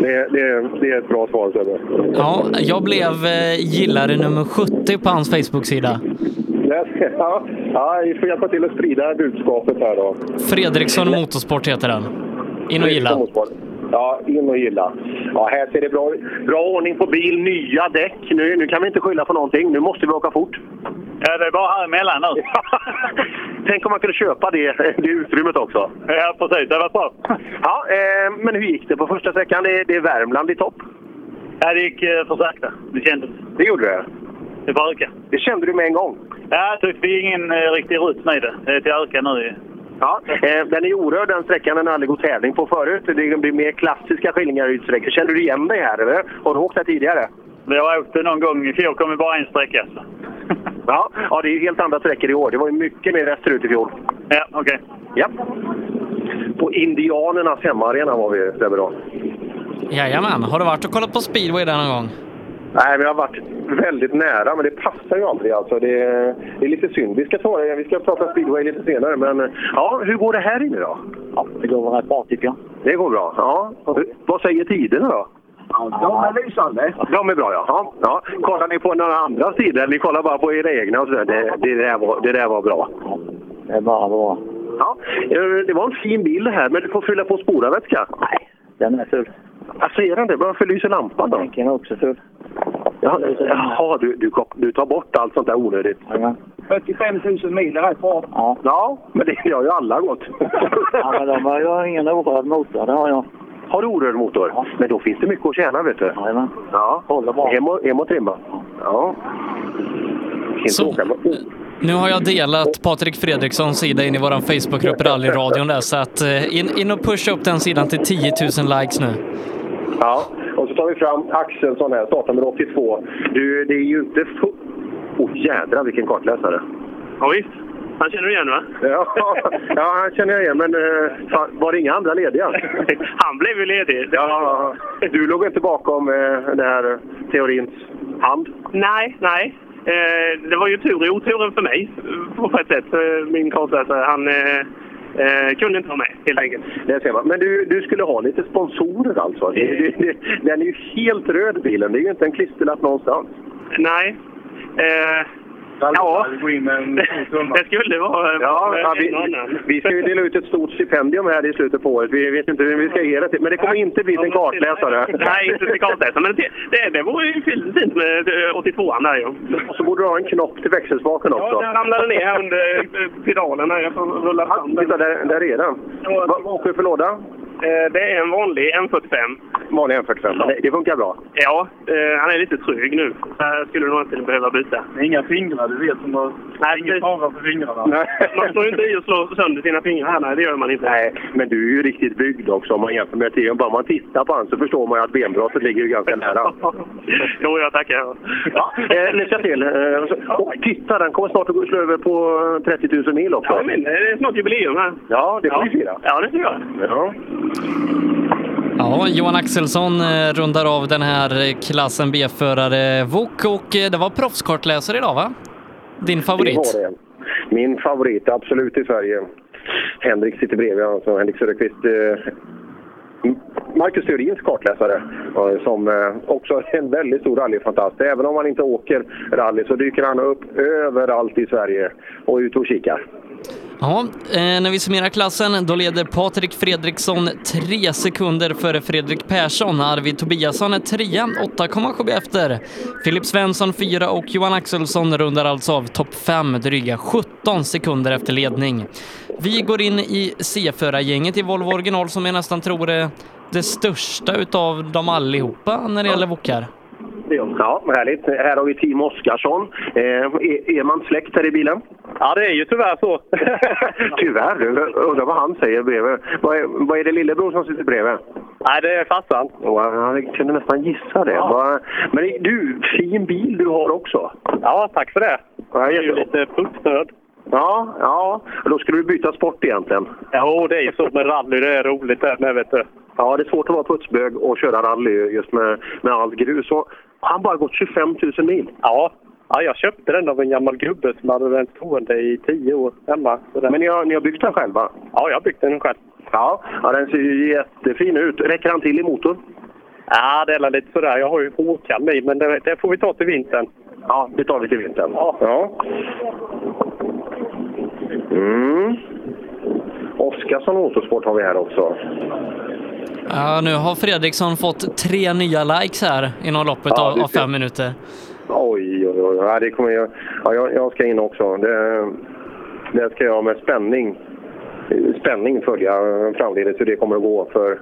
Speaker 4: Det, det, det är ett bra svar, Sebbe.
Speaker 3: Ja, jag blev eh, gillare nummer 70 på hans Facebook-sida.
Speaker 4: Ja, ja, vi får hjälpa till att sprida budskapet här då.
Speaker 3: Fredriksson Motorsport heter den. In och gilla.
Speaker 4: Ja, in och gilla. Ja, här ser det bra ut. Bra ordning på bil, nya däck. Nu, nu kan vi inte skylla på någonting. Nu måste vi åka fort.
Speaker 55: Ja, det är bara här emellan nu.
Speaker 4: Tänk om man kunde köpa det, det utrymmet också.
Speaker 55: Ja, precis. Det var bra.
Speaker 4: Ja, eh, men hur gick det på första sträckan? Det, det är Värmland i topp.
Speaker 55: Ja, det gick eh, för sakta. Det kändes.
Speaker 4: Det gjorde det?
Speaker 55: Det brukar.
Speaker 4: Det kände du med en gång?
Speaker 55: Ja, jag tyckte vi är ingen eh, riktig rutt med det. Det är till öka nu.
Speaker 4: Ja, eh, den är orörd den sträckan. Den har aldrig gått tävling på förut. Det blir mer klassiska Skillingaryd-sträckor. Känner du igen dig här eller? Har du åkt här tidigare?
Speaker 55: Vi har åkt det någon gång. I fjol kom vi bara en sträcka. Så.
Speaker 4: Ja, ja det är ju helt andra sträckor i år. Det var ju mycket mer västerut i fjol.
Speaker 55: Ja, okej.
Speaker 4: Ja. På Indianernas hemmaarena var vi Sebbe då.
Speaker 3: Jajamän, har du varit och kollat på speedway där någon gång?
Speaker 4: Nej, vi har varit väldigt nära, men det passar ju aldrig. Alltså, det, är, det är lite synd. Vi ska, ta, vi ska prata speedway lite senare, men ja, hur går det här inne då? Ja, det går rätt bra tycker jag. Det går bra, ja. Hur- Vad säger tiderna då?
Speaker 27: De är lysande.
Speaker 4: De är bra, ja. ja. ja. Kollar ni på några andra sidor? eller Ni kollar bara på era egna och så där. Det, det, där var, det där var bra.
Speaker 27: Det är bara bra.
Speaker 4: Ja, eh, det var en fin bil det här, men du får fylla på spolarvätska. Nej,
Speaker 27: Den är full.
Speaker 4: jag ser den det. Varför lyser lampan då?
Speaker 27: Den är också full.
Speaker 4: Ja, Jaha, du, du, kop- du tar bort allt sånt där onödigt?
Speaker 27: 45 000 mil är rätt bra. Ja.
Speaker 4: ja, men det gör ju alla gott.
Speaker 27: ja, men de har, jag har ingen orörd motor, det har jag.
Speaker 4: Har du orörd motor? Men då finns det mycket att tjäna, vet du.
Speaker 27: Jajamän.
Speaker 4: Ja, håller bra. Hem och, hem och trimma. Ja.
Speaker 3: Så, nu har jag delat Patrik Fredrikssons sida in i vår Facebookgrupp Rallyradion där, så att eh, in, in och pusha upp den sidan till 10 000 likes nu.
Speaker 4: ja, och så tar vi fram Axelsson här, startnummer 82. Du, det är ju inte... Åh, oh, jädrar vilken kartläsare!
Speaker 7: Ja, visst. Han känner du igen, va?
Speaker 4: Ja, ja han känner jag igen, men eh, fan, var det inga andra lediga?
Speaker 7: Han blev ju ledig.
Speaker 4: Ja, du låg inte bakom eh, den här eh, teorins hand?
Speaker 7: Nej, nej. Eh, det var ju tur i oturen för mig, eh, på ett sätt. Eh, Min kartläsare, han eh, eh, kunde inte vara med, helt enkelt.
Speaker 4: Det ser man. Men du, du skulle ha lite sponsorer alltså? Det, det, det, den är ju helt röd bilen. Det är ju inte en klisterlapp någonstans.
Speaker 7: Nej. Eh, ja. Det skulle vara... eh,
Speaker 4: Ja, ja, vi,
Speaker 7: en och annan.
Speaker 4: vi ska ju dela ut ett stort stipendium här i slutet på året. Vi vet inte vem vi ska ge det till, men det kommer inte bli till en kartläsare.
Speaker 7: Nej, inte till kartläsaren. Men det, det, det vore ju fint fint med eh, 82an där ju.
Speaker 4: Och så borde du ha en knopp till växelspaken också.
Speaker 7: Ja, den ramlade ner här under eh, pedalen. här. Jag får rulla fram den.
Speaker 4: Titta, där, där är den. Vad vad åker du för låda?
Speaker 7: Eh, Det är en vanlig M45.
Speaker 4: Vanlig M45. Det- Det funkar bra.
Speaker 7: Ja, eh, han är lite trög nu. Jag skulle nog inte behöva byta.
Speaker 55: Inga fingrar, du vet. Som har... Ingen fara för fingrarna.
Speaker 7: Man slår ju inte i och slår sönder sina fingrar. här, Nej, det gör man inte.
Speaker 4: Nej, men du är ju riktigt byggd också om man jämför med Theon. Bara man tittar på honom så förstår man ju att benbrottet ligger ju ganska nära.
Speaker 7: Jo, jag tackar.
Speaker 4: Ja, eh, lycka till! Eh, så- åh, titta, den kommer snart att gå- slå över på eh, 30 000 mil också.
Speaker 7: Ja, men eh, det är snart jubileum här.
Speaker 4: Ja, det får vi fira.
Speaker 7: Ja, det får jag.
Speaker 4: Ja.
Speaker 3: Ja, Johan Axelsson eh, rundar av den här eh, klassen B-förare VOK och eh, det var proffskartläsare idag va? Din favorit?
Speaker 4: Det var det. Min favorit, absolut, i Sverige. Henrik sitter bredvid, alltså Henrik Söderqvist. Eh, Marcus Theorins kartläsare, eh, som eh, också är en väldigt stor rallyfantast. Även om han inte åker rally så dyker han upp överallt i Sverige och ut och kikar.
Speaker 3: Ja, eh, när vi summerar klassen då leder Patrik Fredriksson tre sekunder före Fredrik Persson. Arvid Tobiasson är trea, 8,7 efter. Filip Svensson fyra och Johan Axelsson rundar alltså av topp fem dryga 17 sekunder efter ledning. Vi går in i C-förargänget i Volvo original som jag nästan tror är det största utav dem allihopa när det gäller vokar.
Speaker 4: Ja, härligt. Här har vi Team Oskarsson. Eh, är, är man släkt här i bilen?
Speaker 7: Ja, det är ju tyvärr så.
Speaker 4: Tyvärr. Undrar vad han säger bredvid. Vad är, vad är det lillebror som sitter bredvid?
Speaker 7: Nej, det är farsan.
Speaker 4: Jag kunde nästan gissa det. Vad- Men du, fin bil du har också.
Speaker 7: Ja, tack för det.
Speaker 4: Ja,
Speaker 7: Det är ju lite pucksnöd.
Speaker 4: Ja, ja. Då skulle du byta sport egentligen.
Speaker 7: Jo, det är ju så med rally. Det är roligt det med, vet du.
Speaker 4: Ja, det är svårt att vara putsbög och köra rally just med, med allt grus. Och har han bara gått 25 000 mil?
Speaker 7: Ja. ja, jag köpte den av en gammal gubbe som hade den stående i tio år hemma. Så den...
Speaker 4: Men ni har, ni har byggt den själva?
Speaker 7: Ja, jag har byggt den själv.
Speaker 4: Ja, ja den ser ju jättefin ut. Räcker han till i motorn?
Speaker 7: Ja, det är lite sådär. Jag har ju Håkan i, men det, det får vi ta till vintern.
Speaker 4: Ja, det tar vi till vintern. Ja. Mm. Oskarsson Motorsport har vi här också.
Speaker 3: Ja, nu har Fredriksson fått tre nya likes här inom loppet
Speaker 4: Ja,
Speaker 3: av,
Speaker 4: det
Speaker 3: av
Speaker 4: ser-
Speaker 3: fem minuter.
Speaker 4: Oj, oj, oj. Ja, det kommer jag, ja, jag, jag ska in också. Det, det ska jag med spänning, spänning följa framledes hur det kommer att gå för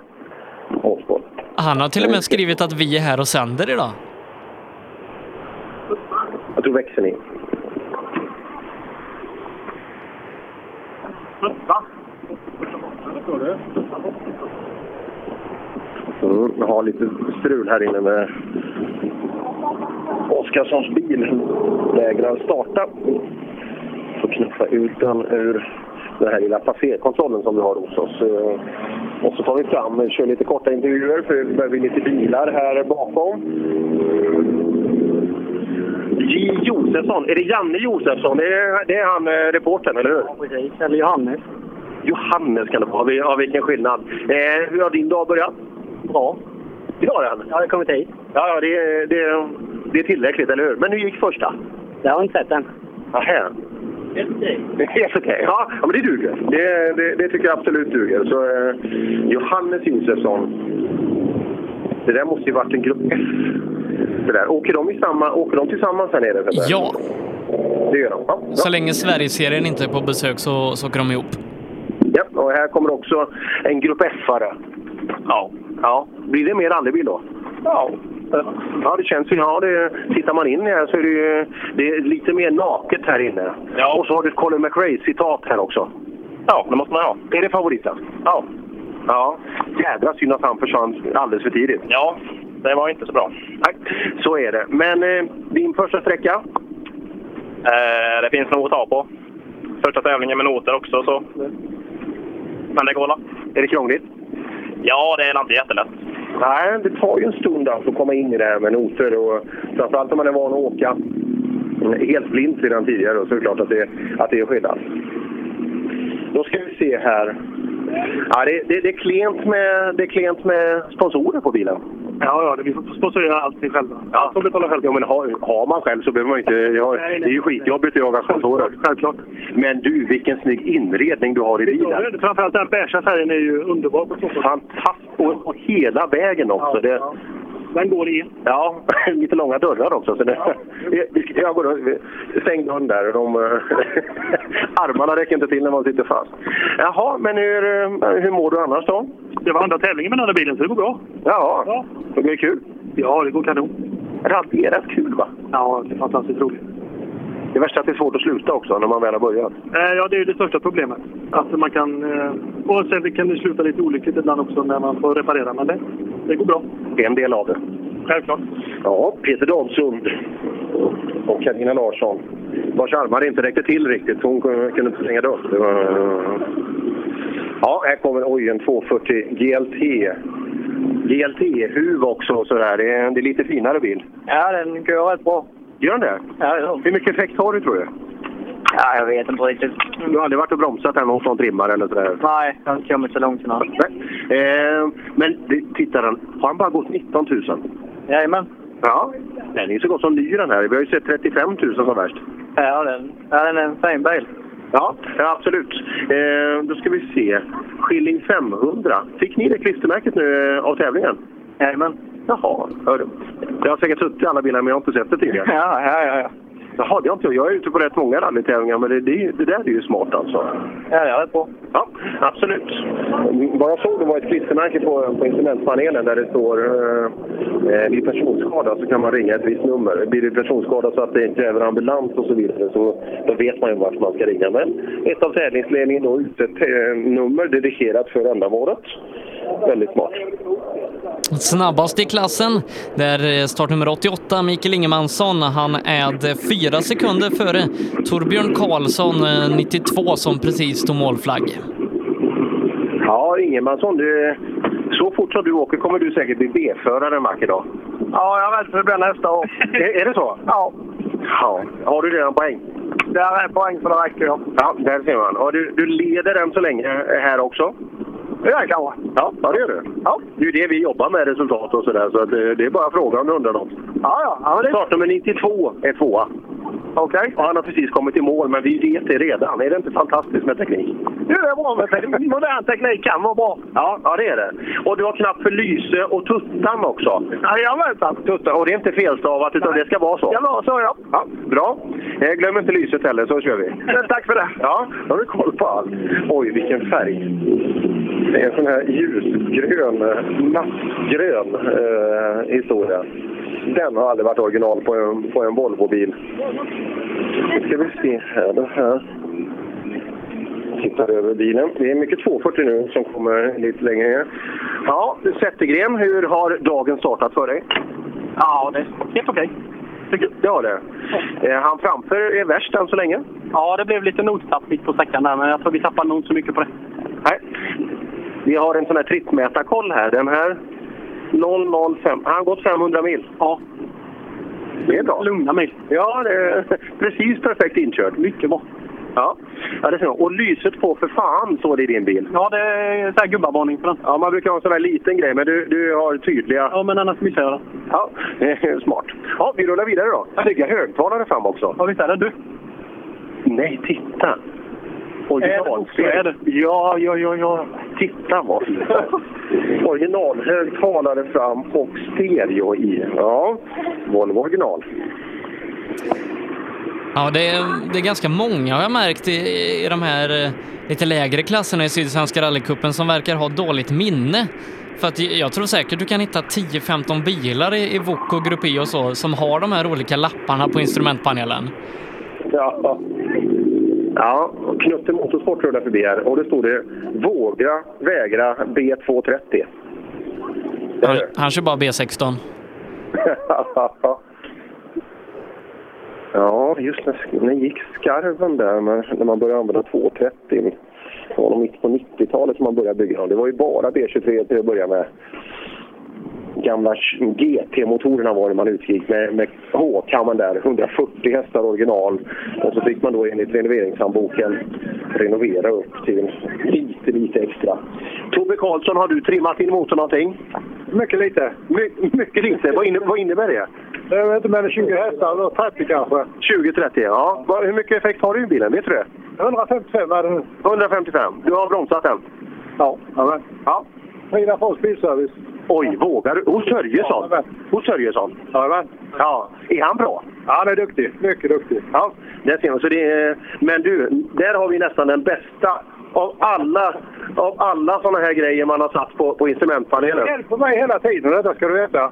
Speaker 4: Motorsport.
Speaker 3: Han har till och med skrivit att vi är här och sänder idag.
Speaker 4: Jag tror växeln in. Mm, jag har lite strul här inne med Oskarssons bil. Vägrar starta. Får knuffa ut den ur den här lilla passerkontrollen som vi har hos oss. Eh, Och så tar vi fram, kör lite korta intervjuer för vi behöver lite bilar här bakom. J. Josefsson, är det Janne Josefsson? Det är, det är han eh, reportern, eller hur?
Speaker 57: Precis, eller Johannes.
Speaker 4: Johannes kan det vara. Vi- Ja, vilken skillnad. Eh, hur har din dag börjat? Bra. Idag den? Ja, jag har kommit hit. Ja, ja det, det, det är tillräckligt, eller hur? Men hur gick första? Jag
Speaker 27: Então,
Speaker 4: har inte sett den. Nähä. Det är Helt okej. Ja, ja, men det duger. Det, det, det tycker jag absolut duger. Så, eh, Johannes Josefsson. Det där måste ju varit en grupp F. Det där. Åker, de i samma, åker de tillsammans här nere? Petter?
Speaker 3: Ja.
Speaker 4: Det gör de. Ja, bra.
Speaker 3: Så länge Sverigeserien inte är på besök så, så åker de ihop.
Speaker 4: Ja, och här kommer också en grupp F-are. Ja. ja. Blir det mer rallybil då? Ja. Ja, det känns ju. Ja, det, tittar man in här så är det ju det är lite mer naket här inne. Ja. Och så har du ett Colin McRae-citat här också. Ja, det måste man ha. Är det favoriten? Ja. Ja. Jädra synd att han försvann alldeles för tidigt. Ja, det var inte så bra. Nej, så är det. Men eh, din första sträcka?
Speaker 7: Eh, det finns nog att ta på. Första tävlingen med noter också, så... Men det går väl.
Speaker 4: Är det krångligt?
Speaker 7: Ja, det är inte jättelätt.
Speaker 4: Nej, det tar ju en stund alltså att komma in i det här med noter. Och framförallt om man är van att åka helt blint sedan tidigare så är det klart att det, att det är skillnad. Då ska vi se här. Ja, det, det, det, är klent med, det är klent med sponsorer på bilen.
Speaker 58: Ja, ja, det- vi får sponsorera allting själva.
Speaker 4: Ja, som betalar själv. Ja, men har, har man själv så behöver man inte... Jag,
Speaker 58: Nej, nej.
Speaker 4: det är ju skitjobbigt att jaga sponsorer. Självklart. Men du, vilken snygg inredning du har i bilen.
Speaker 58: Ja, Framförallt den beiga färgen är ju underbar på Stockholm.
Speaker 4: Fantastisk! Och, och hela vägen också. det, Den går in. Ja, lite långa dörrar också. Så det, Vi- Jag går och, stäng dörren där. De, armarna räcker inte till när man sitter fast. Jaha, men hur, eh, hur mår du annars då?
Speaker 58: Det var andra tävlingen med den här bilen, så det går bra.
Speaker 4: Jaha, det blir kul.
Speaker 58: Ja, det går kanon.
Speaker 4: Rally är rätt kul va?
Speaker 58: Ja, det är fantastiskt roligt.
Speaker 4: Det värsta är att det är svårt att sluta också när man väl har börjat.
Speaker 58: Eh, Ja, det är ju det största problemet. Att man kan... eh, Och sen kan det sluta lite olyckligt ibland också när man får reparera, men det, det går bra.
Speaker 4: Det är en del av det. Självklart. Ja, Peter Dahlsund och Carina Larsson. Vars armar inte räckte till riktigt. Hon kunde kunde inte stänga dörren. Det var... Ja, här kommer oj, en 240 GLT. GLT, huv också och sådär. Det är, det är lite finare bil.
Speaker 57: Ja, den går rätt bra.
Speaker 4: Gör den det?
Speaker 57: Ja, ja.
Speaker 4: Hur mycket effekt har du tror du?
Speaker 57: Ja, jag vet inte riktigt.
Speaker 4: Du har aldrig varit och bromsat hemma hos någon trimmare eller sådär?
Speaker 57: Nej, jag har inte kommit så långt än. här.
Speaker 4: Nej. Eh, men det- titta, den, har han bara gått 19 000?
Speaker 57: Jajamän.
Speaker 4: Ja, den är ju så gott som ny den här. Vi har ju sett 35 000 som värst.
Speaker 57: Ja, den, ja, den är en fin bil.
Speaker 4: Ja, ja absolut. Eh, då ska vi se. Skilling 500. Fick ni det klistermärket nu eh, av tävlingen? Jajamän. Jaha, hör du. Det har säkert suttit i alla bilar men jag har inte sett det tidigare.
Speaker 57: Ja, ja, ja. ja.
Speaker 4: Jaha, det har inte jag. Jag är ute på rätt många rallytävlingar, men det, det, det där är ju smart alltså.
Speaker 59: Ja, jag är på.
Speaker 4: Ja, absolut.
Speaker 59: Vad jag såg det var ett klistermärke på, på instrumentpanelen där det står eh, vid personskada så kan man ringa ett visst nummer. Blir det personskada så att det kräver ambulans och så vidare så då vet man ju vart man ska ringa. Men ett av tävlingsledningen då utsett eh, nummer dedikerat för ändamålet. Väldigt smart.
Speaker 3: Snabbast i klassen, där eh, startnummer 88, Mikael Ingemansson, han är fyra sekunder före Torbjörn Karlsson, eh, 92, som precis tog målflagg.
Speaker 4: Ja, Ingemansson, du, så fort som du åker kommer du säkert bli B-förare en vacker dag.
Speaker 60: Ja, jag är rädd för det blir nästa år.
Speaker 4: Är, är det så?
Speaker 60: Ja.
Speaker 4: Ja. Har du redan poäng?
Speaker 60: Där är poäng för det räcker. ja.
Speaker 4: Ja, där ser man. Och du, du leder än så länge här också?
Speaker 60: Ja, kanske.
Speaker 4: Ja, ja det gör du. Ja. Det är ju det vi jobbar med, resultat och sådär. Så att, eh, det är bara frågan om du undrar något.
Speaker 60: Ja, ja. ja men det...
Speaker 4: Startnummer 92 är tvåa.
Speaker 60: Okej.
Speaker 4: Och han har precis kommit i mål, men vi vet det redan. Är det inte fantastiskt med teknik?
Speaker 60: Jo, det är bra med teknik. Modern teknik kan vara bra.
Speaker 4: Ja, ja det är det. Och du har knapp för lyse och tuttan också.
Speaker 60: Jajamensan!
Speaker 4: Tuttan. Och det är inte felstavat, utan det ska vara så.
Speaker 60: Det var så, ja.
Speaker 4: Ja, bra. Eh, glöm inte lyset heller, så kör vi.
Speaker 60: Tack för det.
Speaker 4: Ja, då har du koll på allt. Oj, vilken färg. Det är en sån här ljusgrön, mattgrön eh, historia. Den har aldrig varit original på en, på en Volvo-bil. Nu ska vi se här. Det här. Tittar över bilen. Det är mycket 240 nu som kommer lite längre ner. Ja, Zettergren, hur har dagen startat för dig?
Speaker 60: Ja, det är helt okej.
Speaker 4: Det har det. Eh, Han framför är värst än så länge.
Speaker 60: Ja, det blev lite nostapp mitt på sträckan där, men jag tror vi tappade nog inte så mycket på det.
Speaker 4: Nej. Vi har en sån här trippmätarkoll här. Den här 005. Han har gått 500 mil.
Speaker 60: Ja.
Speaker 4: Det är bra.
Speaker 60: Lugna mil.
Speaker 4: Ja, det är precis perfekt inkört. Mycket bra. Ja, ja det ser man. Och lyset på för fan, står det i din bil.
Speaker 60: Ja, det är så här gubbarvarning för den.
Speaker 4: Ja, man brukar ha en sån där liten grej, men du, du har tydliga...
Speaker 60: Ja, men annars missar jag det.
Speaker 4: Ja, smart. Ja, vi rullar vidare då. Snygga högtalare fram också.
Speaker 60: Ja, visst är det du?
Speaker 4: Nej, titta!
Speaker 60: Är det
Speaker 4: Originalfel. Ja, ja, ja, ja. Titta vad fint. Originalhögtalare fram och stereo i. Ja, Volvo original.
Speaker 3: Ja, det är, det är ganska många har jag märkt i, i de här eh, lite lägre klasserna i Sydsvenska rallycupen som verkar ha dåligt minne. För att jag tror säkert du kan hitta 10-15 bilar i, i Vok och Grupp E och så som har de här olika lapparna på instrumentpanelen.
Speaker 4: Ja. Ja, och Knutte Motorsport rullar förbi här och det stod det Våga vägra B230.
Speaker 3: Han, han kör bara B16.
Speaker 4: ja, just det. Den gick skarven där men när man började använda 230. Det var nog mitt på 90-talet som man började bygga dem. Det var ju bara B23 till att börja med. Gamla GT-motorerna var det man utgick med, med H-kammen där. 140 hästar original. Och så fick man då enligt renoveringshandboken renovera upp till lite, lite extra. Tobbe Karlsson, har du trimmat din motor någonting?
Speaker 61: Mycket lite.
Speaker 4: My- mycket lite? Vad, inne- vad innebär det?
Speaker 61: Jag vet inte, men 20 hästar, då 30 kanske.
Speaker 4: 20-30, ja. Vad- Hur mycket effekt har du i bilen? Vet du det?
Speaker 61: 155 är det nu.
Speaker 4: 155. Du har bromsat den?
Speaker 61: Ja. Amen.
Speaker 4: Ja.
Speaker 61: Frida Fors bilservice.
Speaker 4: Oj, vågar du? Hos Sörjesson? Hos Sörjesson?
Speaker 61: Jajamän.
Speaker 4: Ja. Är han bra?
Speaker 61: Ja, han är duktig. Mycket duktig.
Speaker 4: Ja, där ser man. Så det är, men du, där har vi nästan den bästa av alla, av alla såna här grejer man har satt på, på instrumentpanelen.
Speaker 61: Det hjälper mig hela tiden, detta ska du veta.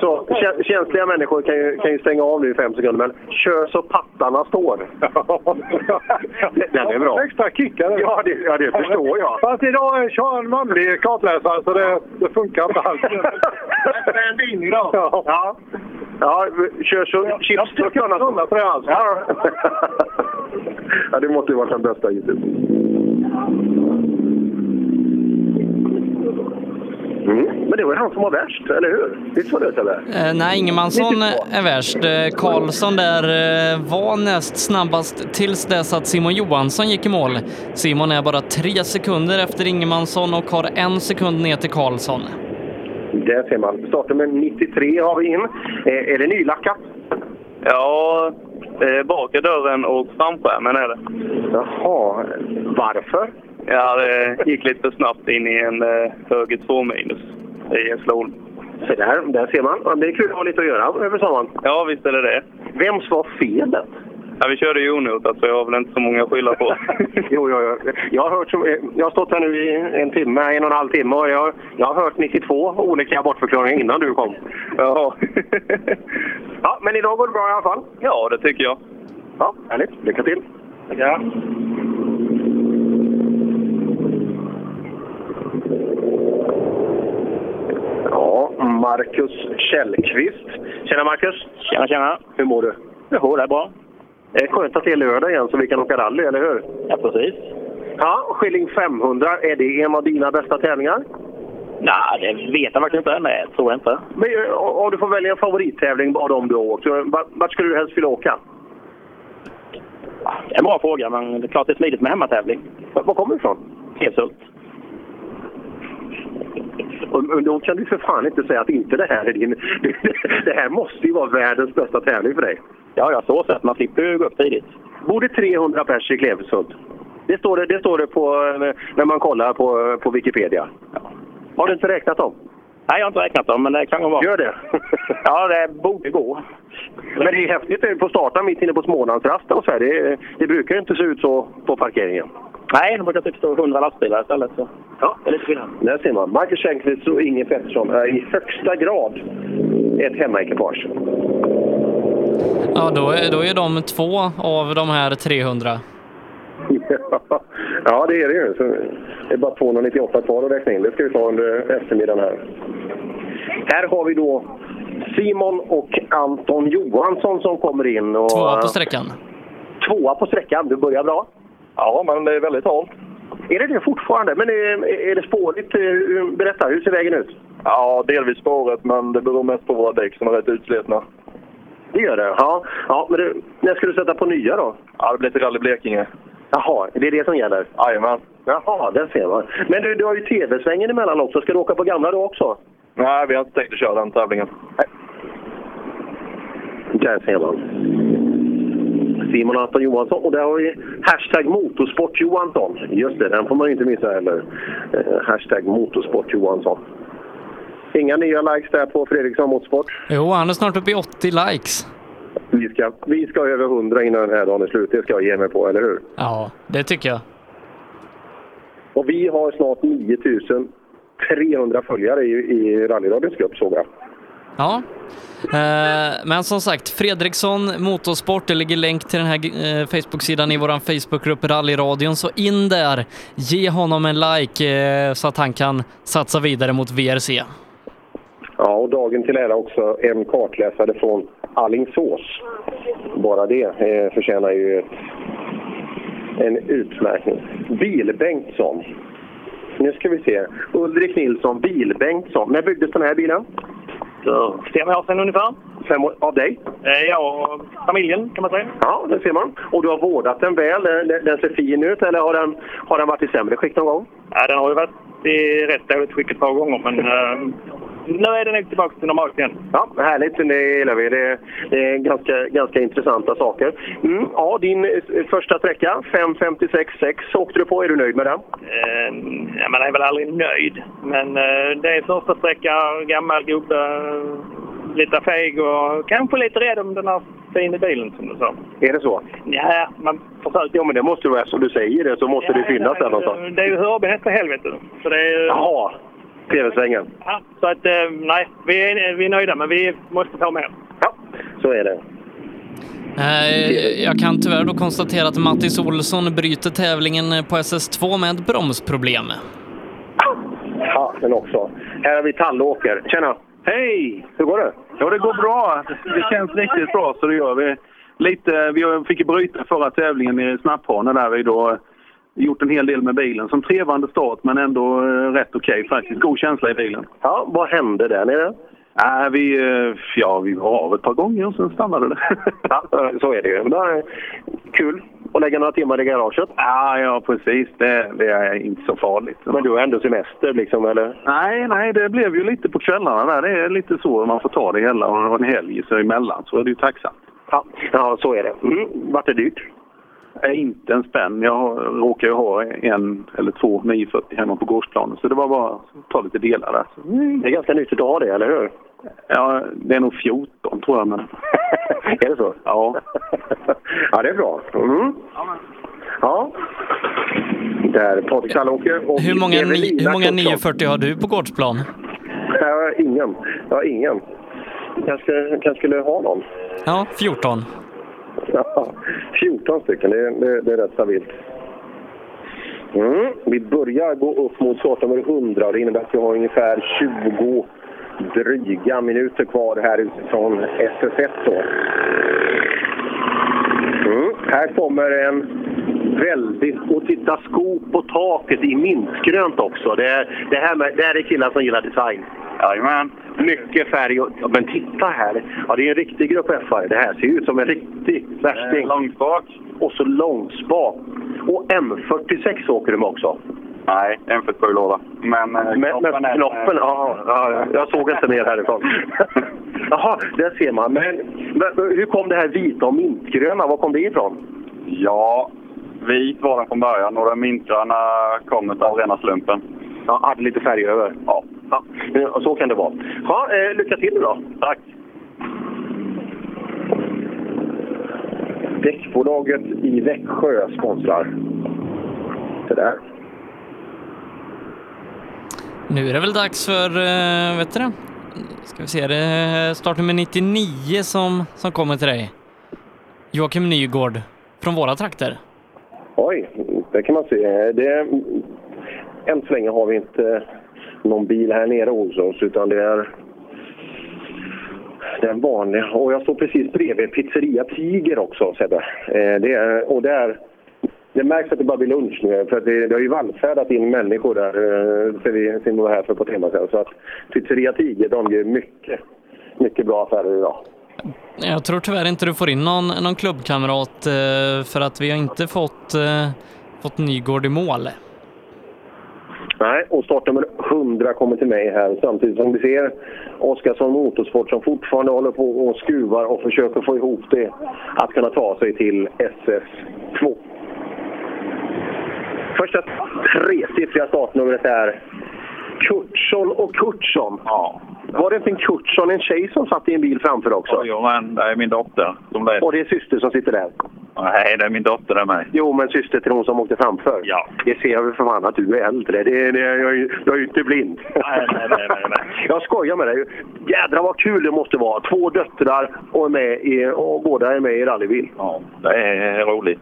Speaker 4: Så, kä- känsliga människor kan ju, kan ju stänga av nu i fem sekunder, men kör så pattarna står. Den är bra.
Speaker 61: Extra kickar.
Speaker 4: Ja, det, ja, det förstår jag.
Speaker 61: Fast idag kör en manlig kartläsare så det, det funkar inte alls.
Speaker 4: Ja. Ja. ja, kör så chipsturkarna står.
Speaker 61: på det alls.
Speaker 4: Ja. ja, det måste ju varit den bästa hittills. Mm. Men det var ju han som var värst, eller hur? Visst var det så? Eller?
Speaker 3: Eh, nej, Ingemansson är värst. Eh, Karlsson där eh, var näst snabbast tills dess att Simon Johansson gick i mål. Simon är bara tre sekunder efter Ingemansson och har en sekund ner till Karlsson.
Speaker 4: Där ser man. Startnummer 93 har vi in. Eh, är det nylackat?
Speaker 7: Ja, eh, bak är dörren och framskärmen är det.
Speaker 4: Jaha, varför?
Speaker 7: Ja, det gick lite för snabbt in i en eh, höger 2 minus i en slol.
Speaker 4: Så där, där ser man. Ja, Det är kul att ha lite att göra över sommaren.
Speaker 7: Ja, visst är det det.
Speaker 4: Vems var felet?
Speaker 7: Ja, vi körde ju onotat, så jag har väl inte så många att skylla på.
Speaker 4: jo, jo, jo. Jag, har hört, så- jag har stått här nu i en timme, en och en halv timme och jag, jag har hört 92 olika bortförklaringar innan du kom. Ja. ja, men idag går det bra i alla fall.
Speaker 7: Ja, det tycker jag.
Speaker 4: Ja, härligt. Lycka till! Tackar. Ja, Marcus Källqvist. Tjena Marcus! Tjena, tjena! Hur mår du? Jo, det är bra. Det är skönt att det är lördag igen så vi kan åka rally, eller hur? Ja, precis. Ja, Skilling 500, är det en av dina bästa tävlingar? Nej, det vet jag faktiskt inte. Nej, tror jag inte. Men eh, om du får välja en favorittävling av dem du har åkt, eh, va- vart skulle du helst vilja åka?
Speaker 62: Ah, Det är en bra fråga, men det är klart det är smidigt med hemmatävling.
Speaker 4: Var, var kommer du ifrån?
Speaker 62: Hedshult.
Speaker 4: Och, och då kan du för fan inte säga att inte det här är din... det här måste ju vara världens bästa tävling för dig. Ja, ja, så sett. Man slipper ju gå upp tidigt. Bor det 300 pers i Klevesund? Det står det, det, står det på, eh, när man kollar på, på Wikipedia. Har du inte räknat dem?
Speaker 62: Nej, jag har inte räknat dem, men det kan gå bra.
Speaker 4: Gör det?
Speaker 62: ja, det borde gå.
Speaker 4: Men det är häftigt att få starta mitt inne på Smålandsrasten och så här. Det, det brukar ju inte se ut så på parkeringen.
Speaker 62: Nej, de brukar typ stå 100 lastbilar istället. Så.
Speaker 4: Ja.
Speaker 62: Det är lite skillnad.
Speaker 4: Där ser man. Marcus Enqvist och Inge Pettersson är i högsta grad ett hemmaekipage.
Speaker 3: Ja, då är, då är de två av de här 300.
Speaker 4: Ja, det är det ju. Så det är bara 298 kvar att räkna in. Det ska vi ta under eftermiddagen här. Här har vi då Simon och Anton Johansson som kommer in. Och,
Speaker 3: Tvåa på sträckan.
Speaker 4: Tvåa på sträckan. Du börjar bra. Ja, men det är väldigt halt. Är det det fortfarande? Men är, är det spårigt? Eh, Berätta, hur ser vägen ut?
Speaker 63: Ja, delvis spåret, men det beror mest på våra däck som är rätt utslitna.
Speaker 4: Det gör det? Ja. ja men du, när ska du sätta på nya då?
Speaker 63: Ja, det blir till Rally Blekinge.
Speaker 4: Jaha, det är det som gäller?
Speaker 63: Jajamän.
Speaker 4: Jaha, där ser man. Men du, du har ju TV-svängen emellan också. Ska du åka på gamla då också?
Speaker 63: Nej, vi har inte tänkt att köra den tävlingen.
Speaker 4: Där ser man. Simon Anton Johansson. Och där har vi hashtag motorsport Johansson. Just det, den får man ju inte missa heller. Eh, hashtag motorsport Johansson. Inga nya likes där på Fredriksson Motorsport.
Speaker 3: Jo, han är snart uppe i 80 likes.
Speaker 4: Vi ska, vi ska över 100 innan den här dagen är slut. Det ska jag ge mig på, eller hur?
Speaker 3: Ja, det tycker jag.
Speaker 4: Och vi har snart 9300 följare i, i rallyradions grupp, såg jag.
Speaker 3: Ja. Eh, Men som sagt, Fredriksson Motorsport, det ligger länk till den här eh, Facebook-sidan i vår Facebookgrupp Rallyradion, så in där, ge honom en like eh, så att han kan satsa vidare mot VRC.
Speaker 4: Ja, och dagen till ära också en kartläsare från Allingsås. Bara det eh, förtjänar ju ett, en utmärkning. Bilbengtsson. Nu ska vi se. Ulrik Nilsson, Bilbengtsson. När byggdes den här bilen?
Speaker 7: Fem år sedan ungefär.
Speaker 4: Fem år, av dig?
Speaker 7: Ja, Eh, och familjen kan man säga.
Speaker 4: Ja, det ser man. Och du har vårdat den väl. Den- Den, den ser fin ut. Eller har den, har den varit i sämre skick någon gång?
Speaker 7: Ja, den har ju varit i rätt dåligt skick ett par gånger, men eh, nu är den nog tillbaka till normalt igen.
Speaker 4: Ja, härligt. Det gillar vi. Det, det är ganska, ganska intressanta saker. Mm, ja, din eh, första sträcka, 5.56,6 åkte du på. Är du nöjd med den?
Speaker 7: Eh, ja, man är väl aldrig nöjd, men eh, det är första sträcka, gammal gubbe, eh, lite feg och kanske lite rädd om den här fina bilen som du sa.
Speaker 4: Är det så?
Speaker 7: Ja, man försöker.
Speaker 4: Ja, men det måste du vara. Som du säger det så måste det finnas där någonstans.
Speaker 7: Det är ju hörbehäst för helvete. Så det är, ju-
Speaker 4: Jaha, tv-svängen.
Speaker 7: Ja, så att eh, nej, vi är, vi är nöjda, men vi måste ta mer.
Speaker 4: Så är det.
Speaker 3: Eh, Jag kan tyvärr då konstatera att Mattis Olsson bryter tävlingen på SS2 med ett bromsproblem.
Speaker 4: Ja, men också. Här har vi Tallåker. Tjena!
Speaker 64: Hej!
Speaker 4: Hur går det?
Speaker 64: Ja, det går bra. Det känns riktigt bra, så det gör vi. Lite, vi fick ju bryta förra tävlingen nere i Snapphane där vi då eh, gjort en hel del med bilen. Som trevande start, men ändå eh, rätt okej faktiskt. God känsla i bilen.
Speaker 4: Ja, vad hände där nere?
Speaker 64: Äh, vi, eh, ja, vi var av ett par gånger och sen stannade det.
Speaker 4: ja, så är det ju. Kul att lägga några timmar i garaget.
Speaker 64: Ja, ja precis. Det, det är inte så farligt.
Speaker 4: Men du har ändå semester liksom, eller?
Speaker 64: Nej, nej, det blev ju lite på kvällarna där. Det är lite så man får ta det hela. Och en helg så emellan så är det ju tacksamt.
Speaker 4: Ja, ja så är det. Mm. Vart det dyrt?
Speaker 64: Inte en spänn. Jag har- råkar ju ha en eller två 940 hemma på gårdsplanen så det var bara att ta lite delar där.
Speaker 4: Det är ganska nyttigt att ha det, eller hur?
Speaker 65: Ja, det är nog 14 tror jag. Men...
Speaker 4: är det så?
Speaker 65: Ja.
Speaker 4: ja, det är bra. Mm. Ja. Där Patrik och
Speaker 3: Hur många, ni,
Speaker 4: Evelina
Speaker 3: hur många
Speaker 4: Knutsson.
Speaker 3: 940 har du på gårdsplan?
Speaker 4: Jag har ingen. Jag har ingen. Kanske, kanske skulle jag ha någon.
Speaker 3: Ja, 14.
Speaker 4: Ja, 14 stycken, det, det, det är rätt stabilt. Mm. Vi börjar gå upp mot startnummer 100 och det innebär att vi har ungefär 20 dryga minuter kvar här utifrån SS1. Då. Mm. Här kommer en
Speaker 66: Väldigt. Och titta, skop på taket i mintgrönt också. Det, är, det, här med, det här är killar som gillar design. Jajamän. Mycket färg. Och, ja, men titta här! Ja, det är en riktig grupp f Det här ser ju ut som en riktig värsting. Långspak. Och så långspak. Och M46 åker de också.
Speaker 7: Nej, en för sju låda. Men, eh,
Speaker 66: Men, men
Speaker 7: knoppen är-
Speaker 66: knoppen, ja, ja, ja. jag såg inte mer härifrån. Jaha, där ser man. Men, men hur kom det här vita och mintgröna? Var kom det ifrån?
Speaker 7: Ja, vit var den från början och den mintgröna kom av rena slumpen.
Speaker 66: Ja, hade lite färg över.
Speaker 7: Ja.
Speaker 66: ja. Så kan det vara. Ja, eh, lycka till då. Tack.
Speaker 4: Däckbolaget i Växjö sponsrar. Det där.
Speaker 3: Nu är det väl dags för, eh, vet du det? Ska vi se, det är startnummer 99 som, som kommer till dig. Joakim Nygård, från våra trakter.
Speaker 4: Oj, det kan man se. Det, än så länge har vi inte någon bil här nere hos oss utan det är det är en vanlig. Och jag står precis bredvid pizzeria Tiger också Sebbe. Eh, det är, och där, det märks att det bara blir lunch nu för att det, det har ju vallfärdat in människor där eh, sen vi, sen vi var här för ett par timmar sedan. Så att pizzeria Tiger de gör mycket, mycket bra affärer idag.
Speaker 3: Jag tror tyvärr inte du får in någon, någon klubbkamrat eh, för att vi har inte fått, eh, fått Nygård i mål.
Speaker 4: Nej, och startnummer 100 kommer till mig här samtidigt som vi ser Oskarsson Motorsport som fortfarande håller på och skruvar och försöker få ihop det att kunna ta sig till SS2. Första tresiffriga startnumret är Kurtsson och Kurtsson. Ja. Var det inte en Kurtsson, en tjej som satt i en bil framför också?
Speaker 7: Jo, men det är min dotter. Som det är.
Speaker 4: Och det är syster som sitter där?
Speaker 7: Nej, det är min dotter det är mig.
Speaker 4: Jo, men syster till hon som åkte framför. Ja. Det ser jag väl för fan att du är äldre. Det, det, jag, är ju- jag är ju inte blind.
Speaker 7: Nej, nej, nej, nej, nej.
Speaker 4: Jag skojar med dig. Jädrar vad kul det måste vara. Två döttrar och, är med i, och båda är med i rallybil.
Speaker 7: Ja, det är roligt.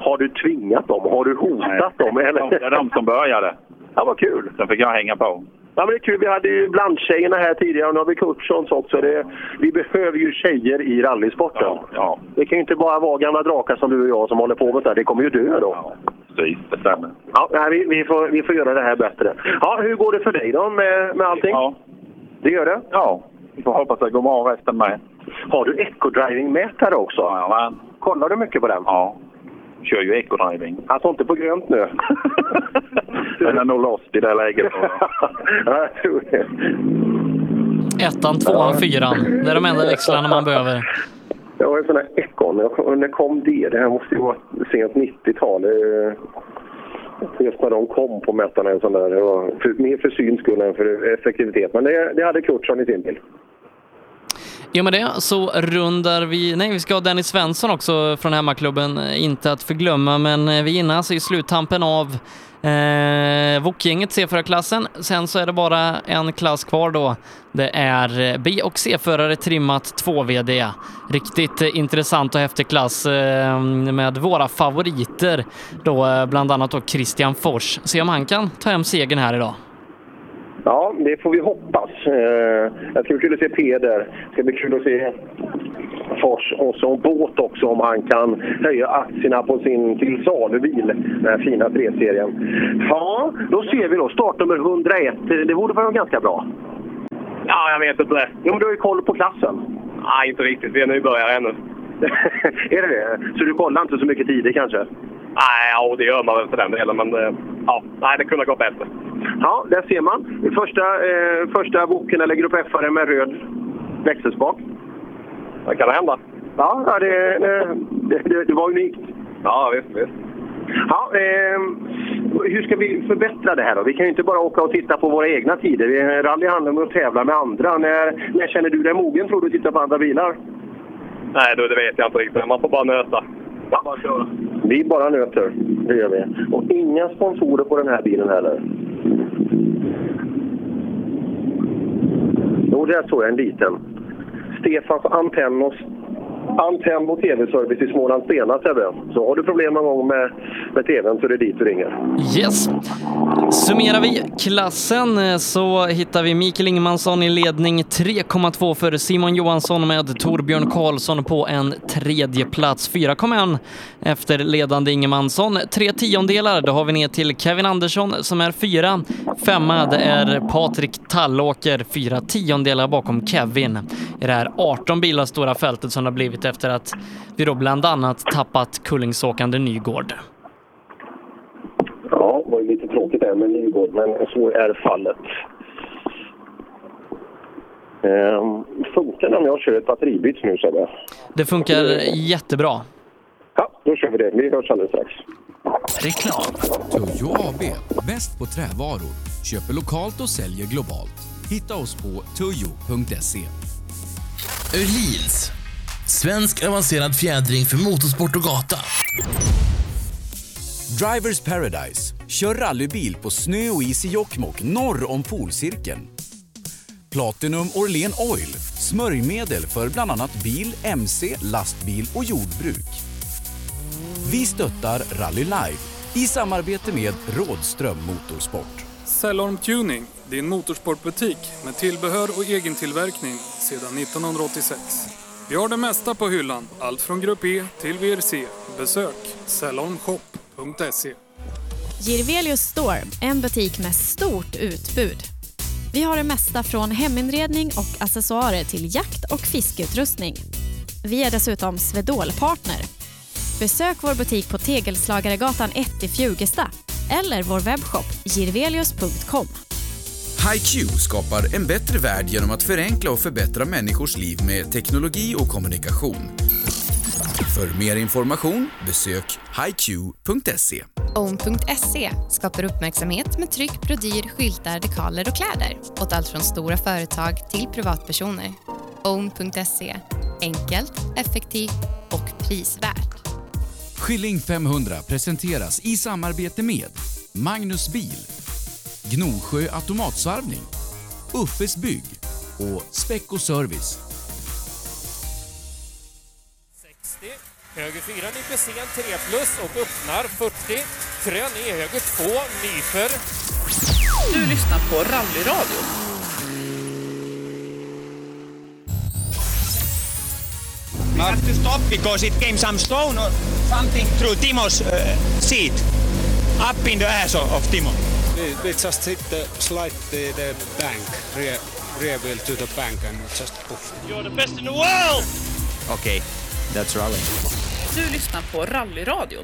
Speaker 4: Har du tvingat dem? Har du hotat dem? Eller?
Speaker 7: Det är de som började.
Speaker 4: Ja, vad kul!
Speaker 7: Sen fick jag hänga på.
Speaker 4: Ja, men det är kul. Vi hade ju blandtjejerna här tidigare och nu har vi Kurtssons också. Det, vi behöver ju tjejer i rallysporten. Ja, Det kan ju inte bara vara gamla drakar som du och jag som håller på med det här. Det kommer ju dö då.
Speaker 7: Precis, det stämmer.
Speaker 4: Ja, nej, vi, vi, får, vi får göra det här bättre. Ja, hur går det för dig då med, med allting? Ja. Det gör det?
Speaker 7: Ja, vi får hoppas det går bra resten med.
Speaker 4: Har du eco-driving-mätare också?
Speaker 7: Ja,
Speaker 4: Kollar du mycket på den?
Speaker 7: Ja. Kör ju eco-driving.
Speaker 4: Han står inte på grönt nu.
Speaker 7: Den är nog lost i det läget.
Speaker 4: ja, jag tror det.
Speaker 3: Ettan, tvåan, fyran. Det är de enda växlarna man behöver.
Speaker 4: Jag har en sån här ekon. Jag kom- När kom det? Det här måste ju vara sent 90-tal. eh, Just när de kom på mätarna. En sån där. Det var för, mer för syns skull än för effektivitet. Men det, det hade Kurtsson i sin bil.
Speaker 3: I och med det så rundar vi, nej vi ska ha Dennis Svensson också från hemmaklubben, eh, inte att förglömma, men eh, vi är inne alltså i sluttampen av eh, Wok-gänget C4-klassen. Sen så är det bara en klass kvar då. Det är eh, B och C-förare trimmat 2VD. Riktigt eh, intressant och häftig klass eh, med våra favoriter då, eh, bland annat då Christian Fors. Se om han kan ta hem segern här idag.
Speaker 4: Ja, det får vi hoppas. Eh, Det ska bli kul att se Peder. Det ska bli kul att se Fors och så Båt också om han kan höja aktierna på sin till salubil, den här fina 3-serien. Ja, då ser vi då. Startnummer 101. Det borde vara ganska bra.
Speaker 67: Ja, jag vet inte.
Speaker 4: Jo, men du har ju koll på klassen.
Speaker 67: Nej, inte riktigt. Vi är nybörjare ännu.
Speaker 4: är det det? Så du kollar inte så mycket tider kanske?
Speaker 67: Nej, ja, det gör man väl för den delen, men eh, ja, nej, det kunde ha gått bättre.
Speaker 4: Ja, där ser man. Första, eh, första boken eller grupp f med röd växelspak.
Speaker 67: Det kan hända.
Speaker 4: Ja, ja, det, det, det, det var unikt.
Speaker 67: Ja, visst, visst.
Speaker 4: Ja, eh, hur ska vi förbättra det här då? Vi kan ju inte bara åka och titta på våra egna tider. Vi- Rally handlar om att tävla med andra. När, när känner du dig mogen tror du att titta på andra bilar?
Speaker 7: Nej, du, det vet jag inte riktigt. Man får bara nöta.
Speaker 68: Vi bara nöter, det gör vi. Och inga sponsorer på den här bilen heller.
Speaker 4: Jo, där står jag en liten. Stefans Antennos Antenno TV-service i Småland Stena, Sebbe. Så har du problem någon gång med, med TVn så är det dit du ringer.
Speaker 3: Yes. Summerar vi klassen eh, så hittar vi Mikael Ingemansson i ledning 3,2 före Simon Johansson med Torbjörn Karlsson på en tredje plats 4,1 efter ledande Ingemansson. Tre tiondelar, då har vi ner till Kevin Andersson som är fyra. Femma, det är Patrik Tallåker, fyra tiondelar bakom Kevin i det här 18 bilar stora fältet som det har blivit efter att vi då bland annat tappat Kullingsåkande Nygård.
Speaker 68: Ja, det var ju lite tråkigt där med Nygård, men så är fallet. Ehm, funkar det om jag kör ett batteribyte nu, Sebbe?
Speaker 3: Det funkar jättebra.
Speaker 68: Ja, då kör vi det. Vi hörs alldeles strax.
Speaker 19: Reklam. Toyo AB, bäst på trävaror. Köper lokalt och säljer globalt. Hitta oss på toyo.se.
Speaker 69: Öhlins. Svensk avancerad fjädring för motorsport och gata.
Speaker 15: Drivers Paradise. Kör rallybil på snö och is i Jokkmokk norr om polcirkeln. Platinum Orlen Oil. Smörjmedel för bland annat bil, mc, lastbil och jordbruk. Vi stöttar Rally Life i samarbete med Rådström Motorsport.
Speaker 17: Cellorm Tuning, din motorsportbutik med tillbehör och egen tillverkning sedan 1986. Vi har det mesta på hyllan, allt från Grupp E till VRC. Besök cellormshop.se.
Speaker 18: Girvelius Store, en butik med stort utbud. Vi har det mesta från heminredning och accessoarer till jakt och fiskeutrustning. Vi är dessutom Swedol-partner. Besök vår butik på Tegelslagaregatan 1 i Fjugesta eller vår webbshop girvelius.com.
Speaker 19: HiQ skapar en bättre värld genom att förenkla och förbättra människors liv med teknologi och kommunikation. För mer information besök hiq.se.
Speaker 20: Own.se E skapar uppmärksamhet med tryck, brodyr, skyltar, dekaler och kläder åt allt från stora företag till privatpersoner. Own.se E. enkelt, effektivt och prisvärt.
Speaker 19: Skilling 500 presenteras i samarbete med Magnus Bil, Gnosjö Automatsvarvning, Uffes Bygg och Speck och Service.
Speaker 17: Höger 4, Nipesén 3 plus och öppnar 40. Krön i höger 2, Nyfer.
Speaker 70: Du lyssnar på Rallyradio.
Speaker 18: We have to stop because it came some stone or something through Timo's uh, seat, up in the ass of, of Timo.
Speaker 71: We, we just hit the slide the, the bank, rear, rear wheel to the bank and just poof.
Speaker 18: You're the best in the world!
Speaker 71: Okay, that's rally.
Speaker 70: Du lyssnar på Rallyradio.